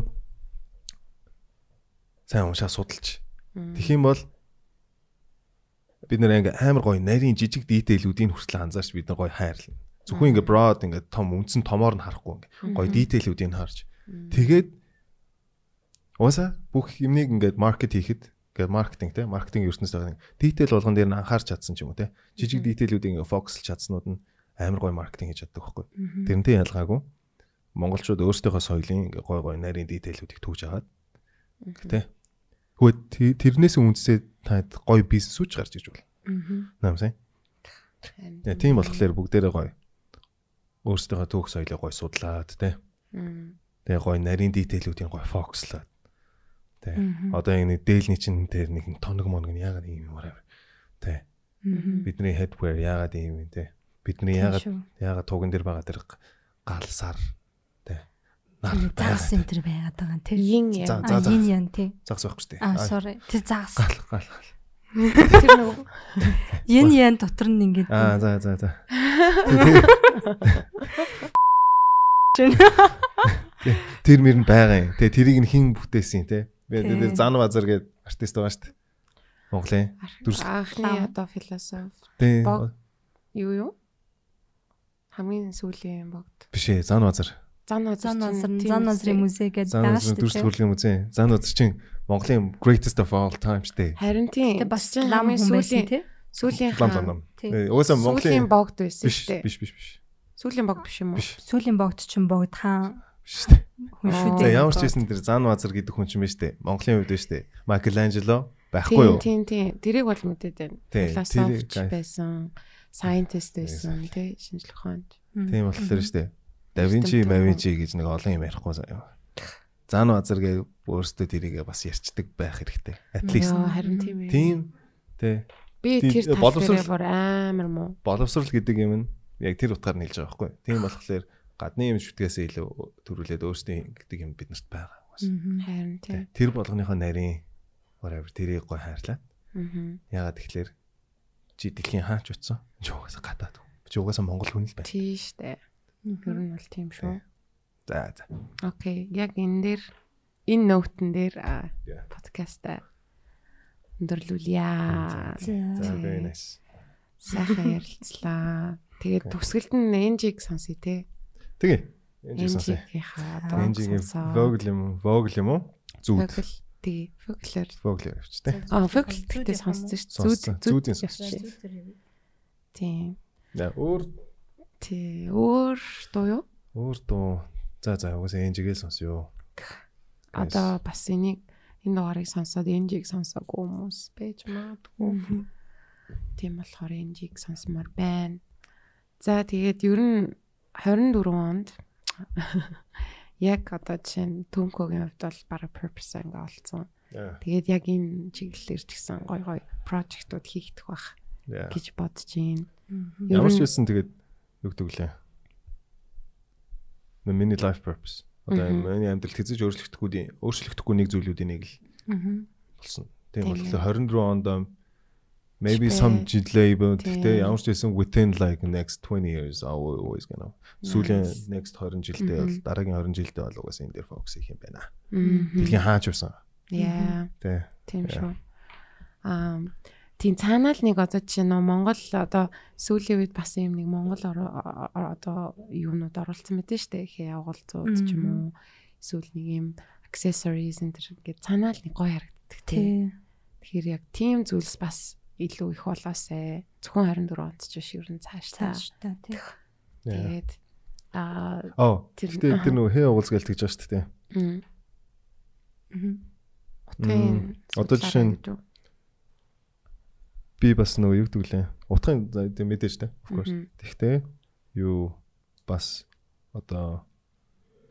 [SPEAKER 3] сайн уушаа судалж
[SPEAKER 2] Мгм.
[SPEAKER 3] Тэгэх юм бол бид нэр ингээ амар гоё нарийн жижиг дитэйлүүдийн хүртэл анзаарч бид нар гоё хайрлна. Зөвхөн ингээ broad ингээ том үндсэн томоор нь харахгүй ингээ гоё дитэйлүүдийг нь харж. Тэгээд ууса бүх юмныг ингээ маркет хийхэд ингээ маркетинг те маркетинг ертөнцид байгаа нэг дитэйл болгон дээр нь анхаарч чадсан ч юм уу те жижиг дитэйлүүдийн ингээ фокуслж чадснууд нь амар гоё маркетинг хийж чаддаг байхгүй.
[SPEAKER 4] Мгм.
[SPEAKER 3] Тэрнтэй ялгаагүй монголчууд өөрсдийнхөө соёлын ингээ гоё гоё нарийн дитэйлүүдийг төгж аваад Тэ. Хөөе тэ- тэрнээс үндэсээ танд гоё бизнес үуч гарч иж болно.
[SPEAKER 4] Мгм.
[SPEAKER 3] Наам сайн.
[SPEAKER 2] Харин
[SPEAKER 3] Яа, Тийм болохоор бүгдээрээ гоё. Өөрсдийнхөө төөх соёлыг гоё судлаад тэ.
[SPEAKER 2] Мгм.
[SPEAKER 3] Тэгээ гоё нарийн дитэйлүүдийн гоё фокуслаад. Тэ.
[SPEAKER 4] Мгм.
[SPEAKER 3] Одоо яг нэг дээлний чинь тэр нэг тоног моног нь яагаад ийм юм аа. Тэ.
[SPEAKER 4] Мгм.
[SPEAKER 3] Бидний headwear яагаад ийм юм тэ. Бидний
[SPEAKER 4] Тийм
[SPEAKER 3] яагаад
[SPEAKER 4] шүү.
[SPEAKER 3] яагаад туган дээр байгаа тэр г- гал сар тэ. Нар
[SPEAKER 4] Тэр загас
[SPEAKER 3] байгаад.
[SPEAKER 4] энтер байгаад байгаа нь тэр.
[SPEAKER 2] Ин
[SPEAKER 3] За,
[SPEAKER 2] яа.
[SPEAKER 4] А
[SPEAKER 3] загас.
[SPEAKER 4] ин ян тий.
[SPEAKER 3] загас байхгүй шүү
[SPEAKER 4] А
[SPEAKER 3] дээ. Аа,
[SPEAKER 4] sorry. Тэр загас.
[SPEAKER 3] гал гал. гал.
[SPEAKER 2] Тэр нөгөө
[SPEAKER 4] Ин ян дотор нь ингээд.
[SPEAKER 3] Аа за за за.
[SPEAKER 4] Чинь.
[SPEAKER 3] Тэр мөр нь байгаа юм. Тэгээ тэрийг нь хин бүтээсэн юм те. Би
[SPEAKER 4] Тий.
[SPEAKER 3] тэр зан базар гэдэг артист байгаа шүү дээ. Монголын. Дүрс-
[SPEAKER 2] анхны одоо философи
[SPEAKER 3] Тий.
[SPEAKER 2] Бог. юу юу? Хамгийн сүүлийн богд.
[SPEAKER 3] Биш ээ, зан базар.
[SPEAKER 2] Зан назар.
[SPEAKER 4] Зан назар, зан назрын музей гэдэг
[SPEAKER 3] Зан
[SPEAKER 4] байгаа
[SPEAKER 3] базар
[SPEAKER 4] шүү
[SPEAKER 3] дүрс
[SPEAKER 4] дээ.
[SPEAKER 3] төрлийн үзэн. Зан базар чинь Монголын greatest of all time шүү дээ.
[SPEAKER 2] Харин тийм.
[SPEAKER 4] Тэ бас
[SPEAKER 2] Чинь
[SPEAKER 4] лам
[SPEAKER 2] хамгийн
[SPEAKER 4] хүн байсан
[SPEAKER 2] сүүлийн
[SPEAKER 4] тий.
[SPEAKER 2] сүүлийн
[SPEAKER 3] Лам лам лам.
[SPEAKER 4] Тий.
[SPEAKER 3] Э, Угаасаа
[SPEAKER 2] Монголын
[SPEAKER 3] Монголын
[SPEAKER 2] богд байсан
[SPEAKER 3] биш
[SPEAKER 2] шүү дээ.
[SPEAKER 3] биш биш биш.
[SPEAKER 2] Сүүлийн богд биш юм уу?
[SPEAKER 3] Биш.
[SPEAKER 4] Сүлийн богд чин богд хаан
[SPEAKER 3] биш шүү дээ.
[SPEAKER 4] Хүн шүү
[SPEAKER 3] За
[SPEAKER 4] дээ.
[SPEAKER 3] ямар ч хэсэн тэр Зан Базар гэдэг хүн ч юм биш шүү дээ. Монголын хувьд биш шүү дээ. Микеланжело байхгүй юу?
[SPEAKER 2] Тийм тийм тийм. Тэрийг бол мэдээд байна.
[SPEAKER 3] Тийм, тэрийг
[SPEAKER 2] Философч
[SPEAKER 3] гай-
[SPEAKER 2] байсан, scientist байсан, тий, шинжлэх ухаанд.
[SPEAKER 3] Тийм болохоор шүү дээ. Да Винчи, Мавинчи гэж нэг олон юм ярихгүй заа юм. Зан Базар гээ өөрсдөө тэрийгээ бас ярьцдаг байх хэрэгтэй. At least
[SPEAKER 2] Яа, харин тийм ээ.
[SPEAKER 3] тийм тий
[SPEAKER 2] Би
[SPEAKER 3] тийм,
[SPEAKER 2] тэр тал
[SPEAKER 3] боловсрол-
[SPEAKER 2] дээр бүр амар муу.
[SPEAKER 3] боловсрал гэдэг юм нь яг тэр утгаар нь хэлж байгаа байхгүй. Тийм болохоор гадны юм шүтгээс илүү төрүүлээд өөрсдийн гэдэг юм биднэрт байгаа. бас.
[SPEAKER 2] Харин тийм.
[SPEAKER 3] Тэ. Тэр болгоныхоо нарийн whatever тэрийг гой хайрлаа.
[SPEAKER 2] Аа.
[SPEAKER 3] Ягаад тэгэхээр чи дэлхийн хаач утсан? Чи угаасаа гадаад. хүн. Чи угаасаа монгол хүн л байна.
[SPEAKER 2] Тийш дээ. Ер нь бол тийм шүү.
[SPEAKER 3] За за.
[SPEAKER 2] Окей. Яг энэ дээр энэ нөтөн дээр аа,
[SPEAKER 3] Yeah.
[SPEAKER 2] подкастаа өндөрлүүлье.
[SPEAKER 3] За
[SPEAKER 2] Тий.
[SPEAKER 3] very nice.
[SPEAKER 2] Сайхан ярилцлаа. Тэгээд төгсгөлд нь энжиг сонсъё те.
[SPEAKER 3] Тэгээ. Энд жиг сонсъё.
[SPEAKER 2] Энжигийнхаа доо.
[SPEAKER 3] Энд жиг vogel юм уу? Vogel юм уу? Зүуд.
[SPEAKER 2] Vogel. Тэгээ Vogel-ээр.
[SPEAKER 3] Vogel явчихтэй.
[SPEAKER 2] Аа Vogel гэдэг сонссон шүү.
[SPEAKER 3] Сонссон. Зүүдийн сонссон.
[SPEAKER 2] явчих. Тийм.
[SPEAKER 3] За өөр
[SPEAKER 2] Тий. Өөр дуу юу?
[SPEAKER 3] өөр дуу. За за угаасаа энд жигээл сонсё. Yes.
[SPEAKER 2] Одоо бас энийг энэ дугаарыг сонсоод энжиг сонсоогүй хүмүүс байж магадгүй. Тийм болохоор энжиг сонсомоор байна. За тэгээд ер нь 24 онд яг одоо жишээ нь Төмкөгийн хувьд бол бараг purpose ингээ олцсон.
[SPEAKER 3] Яа.
[SPEAKER 2] Тэгээд яг энэ чиглэлээр ч гэсэн гой гой прожектууд хийгдэх бах
[SPEAKER 3] Яа.
[SPEAKER 2] гэж бодож байна. Ер
[SPEAKER 3] Ямар
[SPEAKER 2] нь-
[SPEAKER 3] ч байсан тэгээд югдөг лээ. Миний life purpose. Одоо
[SPEAKER 2] Мгм.
[SPEAKER 3] миний амьдралд хэзээ ч өөрчлөгдөхгүй өөрчлөгдөхгүй нэг зүйлүүдийн нэг л
[SPEAKER 2] Мгм.
[SPEAKER 3] болсон. Тийм
[SPEAKER 2] Тийм
[SPEAKER 3] боллоо
[SPEAKER 2] ээ.
[SPEAKER 3] 24 онд um, maybe
[SPEAKER 2] Шпэ.
[SPEAKER 3] some delay but
[SPEAKER 2] Тийм.
[SPEAKER 3] гэхдээ ямар ч байсан within like next 20 years I will always gonna сүүлийн next 20 жилдээ бол дараагийн 20 жилдээ бол угаасаа энэ дээр focus хийх юм байна.
[SPEAKER 2] Мгм.
[SPEAKER 3] Дэлхийн хаач явсан.
[SPEAKER 2] Яа.
[SPEAKER 3] Тэ.
[SPEAKER 2] Тийм шүү. Аа тийм цаанаа л нэг одоо жишээ нөө Монгол одоо сүүлийн үед бас юм нэг Монгол оро- оро- одоо юмнууд оруулсан мэт нь штэ их явгалзууд ч юм уу эсвэл нэг юм accessories энэ төр ингээд цаанаа л нэг гоё харагддаг тий.
[SPEAKER 4] Тий.
[SPEAKER 2] Тэгэхээр яг тийм зүйлс бас илүү их болоосай. Зөвхөн 24 онц ч биш ер нь цааш та.
[SPEAKER 4] Цааш та тий.
[SPEAKER 3] Яа.
[SPEAKER 2] Тэгээд аа
[SPEAKER 3] Оо.
[SPEAKER 2] Тэр-
[SPEAKER 3] Гэтэ Oh, тэр нөгөө хээ уулзгаал тэгж байгаа шүү дээ. тэ.
[SPEAKER 2] м,
[SPEAKER 3] Мм.
[SPEAKER 2] утгын
[SPEAKER 3] Одоо
[SPEAKER 2] судлаараа
[SPEAKER 3] жишээ нь
[SPEAKER 2] гэж үү?
[SPEAKER 3] би бас нөгөө юу гэдэг лээ. Утгын за, тийм мэдээж тэ. Of course.
[SPEAKER 2] Мгм.
[SPEAKER 3] Тэгтээ юу бас одоо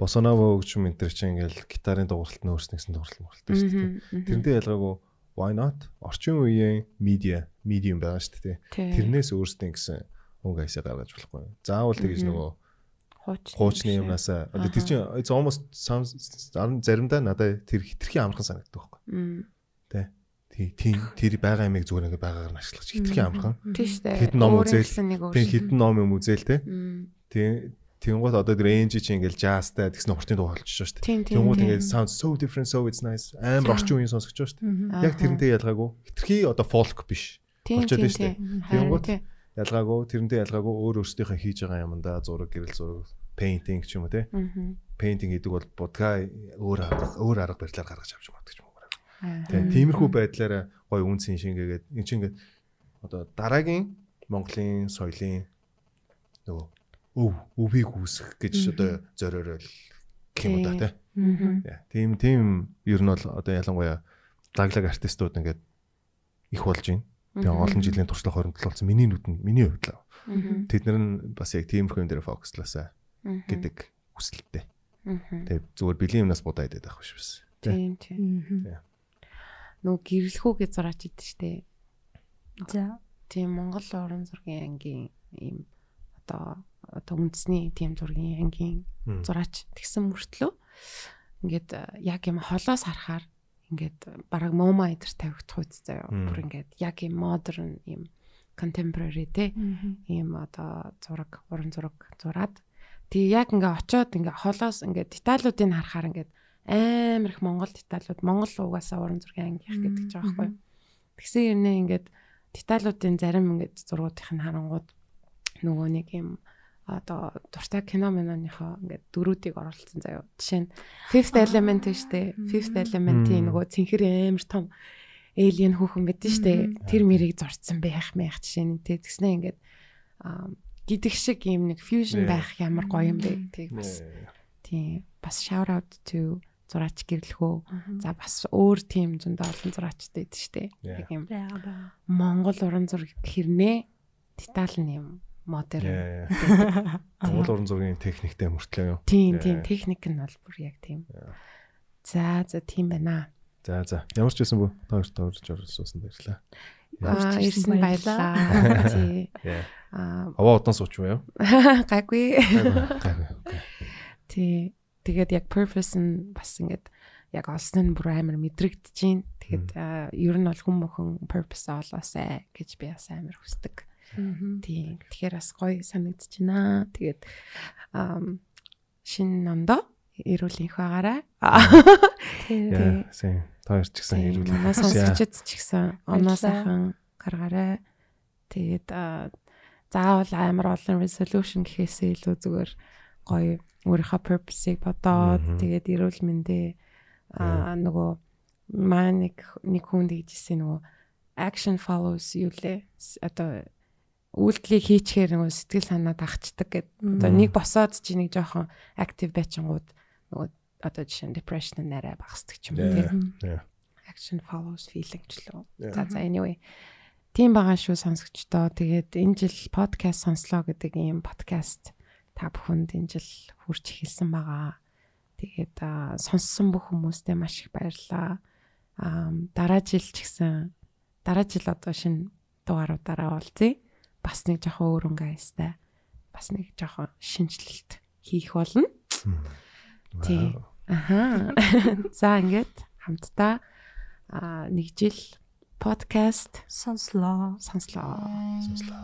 [SPEAKER 3] босонава өгч юм энэ төр чинь ингээл гитарын дууралт нь өөрснө гэсэн дууралт мөрөлтэй шүү дээ.
[SPEAKER 2] Мгм, мгм.
[SPEAKER 3] Тэрнтэй ялгаагүй why not орчин үеийн медиа медиум байгаа шүү дээ.
[SPEAKER 2] Тий.
[SPEAKER 3] Тэрнээс өөрснө гэсэн үг айсаа гаргаж болохгүй. Заавал тэгж
[SPEAKER 2] Мгм.
[SPEAKER 3] нөгөө
[SPEAKER 2] хуучны
[SPEAKER 3] хуучны
[SPEAKER 2] юм шиг.
[SPEAKER 3] юмнасаа одоо тэр
[SPEAKER 2] Аха.
[SPEAKER 3] чинь it's almost sounds- зарим заримдаа надад тэр хитрхийн амархан санагддаг байхгүй.
[SPEAKER 2] Мм.
[SPEAKER 3] Тий, тий, тэр байгаа ямиг зүгээр ингээд байгаагаар нь ашиглах чи хитрхийн амархан.
[SPEAKER 2] Тийм штэ.
[SPEAKER 3] Хэд ном
[SPEAKER 2] Өөр
[SPEAKER 3] үзэл,
[SPEAKER 2] хэлсэн нэг өөр.
[SPEAKER 3] Тэг хитэн ном юм үзэл те.
[SPEAKER 2] Мм.
[SPEAKER 3] Тий. Тэнгуут одоо тэр энжи чи ингээл jazzтай тэгсэн уртын дуу болчихж шүү дээ.
[SPEAKER 2] Тийм тийм.
[SPEAKER 3] Тэнгуут
[SPEAKER 2] тийм.
[SPEAKER 3] ингээд sounds so different so it's nice. Амар орчин үеийн сонсогч шүү дээ.
[SPEAKER 2] Аа,
[SPEAKER 3] Яг тэрнтэй ялгаагүй. Хитрхи одоо folk биш.
[SPEAKER 2] тийм,
[SPEAKER 3] болчиход
[SPEAKER 2] тийм,
[SPEAKER 3] байж тээ.
[SPEAKER 2] тийм.
[SPEAKER 3] Тэнгуут-
[SPEAKER 2] Харин тийм.
[SPEAKER 3] Ялгаагүй, тэрнтэй ялгаагүй өөр өөрсдийнхөө хийж байгаа юмдаа зураг, гэрэл зураг, painting ч юм уу те.
[SPEAKER 2] Мгм.
[SPEAKER 3] Painting гэдэг бол будгаа өөр арга, өөр арга барилаар гаргаж авч магадгүй юм байна.
[SPEAKER 2] Аа.
[SPEAKER 3] Тэ. Тиймэрхүү байдлаараа гой үнцэн шингээгээд эн чинь ингээд одоо дараагийн Монголын соёлын нөгөө өв өвийг үүсгэх гэж одоо зориорол гэх юм да те.
[SPEAKER 2] Мгм.
[SPEAKER 3] Яа, Тийм тийм ер нь бол одоо ялангуяа лаглаг артистууд ингээд их болж байна. Тэгээ
[SPEAKER 2] Мгм.
[SPEAKER 3] олон жилийн туршлага хоригдлол болсон миний нүдэнд миний хувьд л.
[SPEAKER 2] Мгм.
[SPEAKER 3] Тэд нар нь бас яг тиймэрхүү юм дээр фокуслаасаа
[SPEAKER 2] Мгм.
[SPEAKER 3] гэдэг хүсэлттэй.
[SPEAKER 2] Мгм.
[SPEAKER 3] Тэгээ зүгээр бэлгийн юмнаас будаа идэт байх биш бас. Тэ.
[SPEAKER 2] Тийм тийм. Нүү гэрэлхүүгээ зураач идэв штэ.
[SPEAKER 4] За.
[SPEAKER 2] Тийм Монгол уран зургийн ангийн ийм одоо одоо үндэсний тийм зургийн ангийн
[SPEAKER 3] Мм.
[SPEAKER 2] зураач тэгсэн мөртлөө ингээд э, яг юм холоос харахаар ингээд бараг мома идэр тавигдах үст заяа.
[SPEAKER 3] Мм.
[SPEAKER 2] Бүр ингээд яг юм модерн юм contemporary те ийм одоо зураг, уран зураг зураад тэгээ яг ингээ очоод ингээ холоос ингээ деталлуудыг нь харахаар ингээ амар их монгол деталлууд монгол угаасаа уран зургийн ангих гэдэг ч байгаа байхгүй. юу. Тэгсэн юмнээ ингээд деталлуудын зарим ингээд зургуудын харангууд нөгөө нэг юм одоо дуртай кино минооныхоо ингээд дөрүүдийг оруулсан заяо. Жишээ нь Fifth Element шүү дээ. Fifth Element-ийн
[SPEAKER 3] Мм.
[SPEAKER 2] нөгөө цэнхэр амар том alien хүүхэн мэдэн шүү дээ.
[SPEAKER 4] Мм.
[SPEAKER 2] Тэр мэрийг зурцсан байх мэх жишээ нь тэг тэгснэ ингээд аа, гидэх шиг юм нэг fusion
[SPEAKER 3] Yeah.
[SPEAKER 2] байх ямар гоё юм бэ. Тэг бас
[SPEAKER 3] Нэ.
[SPEAKER 2] тийм бас shout out to зураач гэрлэхөө. За бас өөр тийм зөндөө олон зураачтай байдаг шүү дээ.
[SPEAKER 3] Yeah.
[SPEAKER 2] Яг юм
[SPEAKER 5] байгаа байгаа.
[SPEAKER 2] Монгол уран зураг хэрнээ деталь нь юм модерн.
[SPEAKER 3] Яа. Монгол уран зургийн техниктэй мөртлөө юу?
[SPEAKER 2] Тийм
[SPEAKER 3] Yeah.
[SPEAKER 2] тийм техник нь бол бүр яг тийм. За за тийм байна.
[SPEAKER 3] За за. Ямар ч байсан бүү. Тоор тоорж оролцсон дэрлээ.
[SPEAKER 5] Ямарч
[SPEAKER 2] Аа
[SPEAKER 5] ирсэн
[SPEAKER 2] ирсэн баярлаа. Тий.
[SPEAKER 3] Яа.
[SPEAKER 2] Аа
[SPEAKER 3] Аваа удаан сууч юу?
[SPEAKER 2] гайгүй.
[SPEAKER 3] Гайгүй.
[SPEAKER 2] Тий. Тэгээд яг purpose нь бас ингээд яг олсон нь бүр амар мэдрэгдэж байна. Тэгээд аа, ер нь бол хүн бүхэн purpose олоосай гэж би бас амар хүсдэг. Тий. Тэгэхээр бас гоё санагдаж байна. Тэгээд ам, шинэ нондоо ирүүлэх байгаарай.
[SPEAKER 5] Тийм.
[SPEAKER 3] Яа. Сайн. Тоор ч гэсэн ирүүлээ.
[SPEAKER 2] Манай сонсогчд ч гэсэн оноо сайхан гаргаарай. Тэгээд аа, заавал амар олон resolution гэхээсээ илүү зүгээр гоё өөрийнхөө purpose-ыг бодоод
[SPEAKER 3] Мгм.
[SPEAKER 2] тэгээд эрүүл мэндэ аа нөгөө маань нэг нэг хүн дэгжсэн нөгөө action follows юу лээ. С- Одоо үйлдэлийг хийчихээр нөгөө сэтгэл санаа дагчдаг гэд. Одоо
[SPEAKER 3] Мгм.
[SPEAKER 2] нэг босоод чи нэг жоохон active байчингууд нөгөө одоо жишээ нь depression нэрэ багсдаг ч юм уу тийм action follows feeling ч лөө.
[SPEAKER 3] Yeah.
[SPEAKER 2] За за anyway. Тийм байгаа шүү сонсогчдоо. Тэгээд энэ жил подкаст сонслоо гэдэг ийм подкаст та бүхэнд энэ жил хүрч эхэлсэн байгаа. Тэгээд аа, сонссон бүх хүмүүстээ маш их баярлалаа. Аа, Дараа жил ч гэсэн дараа жил одоо шинэ дугааруудаараа олзъя. Бас нэг жоохон өөр өнгө аястай. Бас нэг жоохон шинжилэлт хийх болно. Тий. Аха. За ингээд хамтдаа аа, нэг жил подкаст
[SPEAKER 5] Сонслоо.
[SPEAKER 2] сонслоо.
[SPEAKER 3] Сонслоо.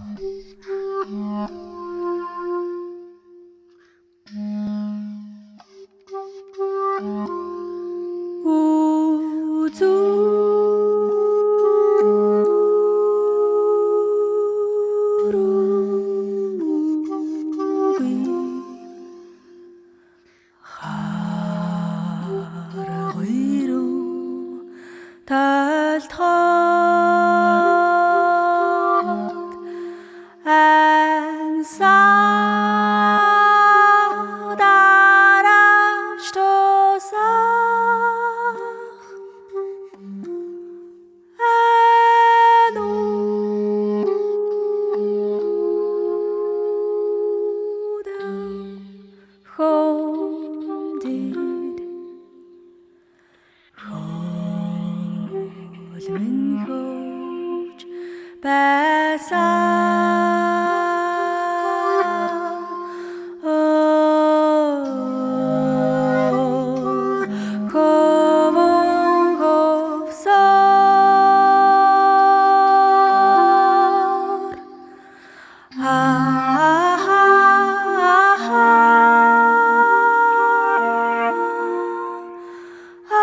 [SPEAKER 4] талхаад ансаа дараач тусах ану хондид Өлмөн хөвч байсаа Оо, хөвөн хөвсөөр Аа, ah, аа, аа. Ah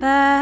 [SPEAKER 6] бай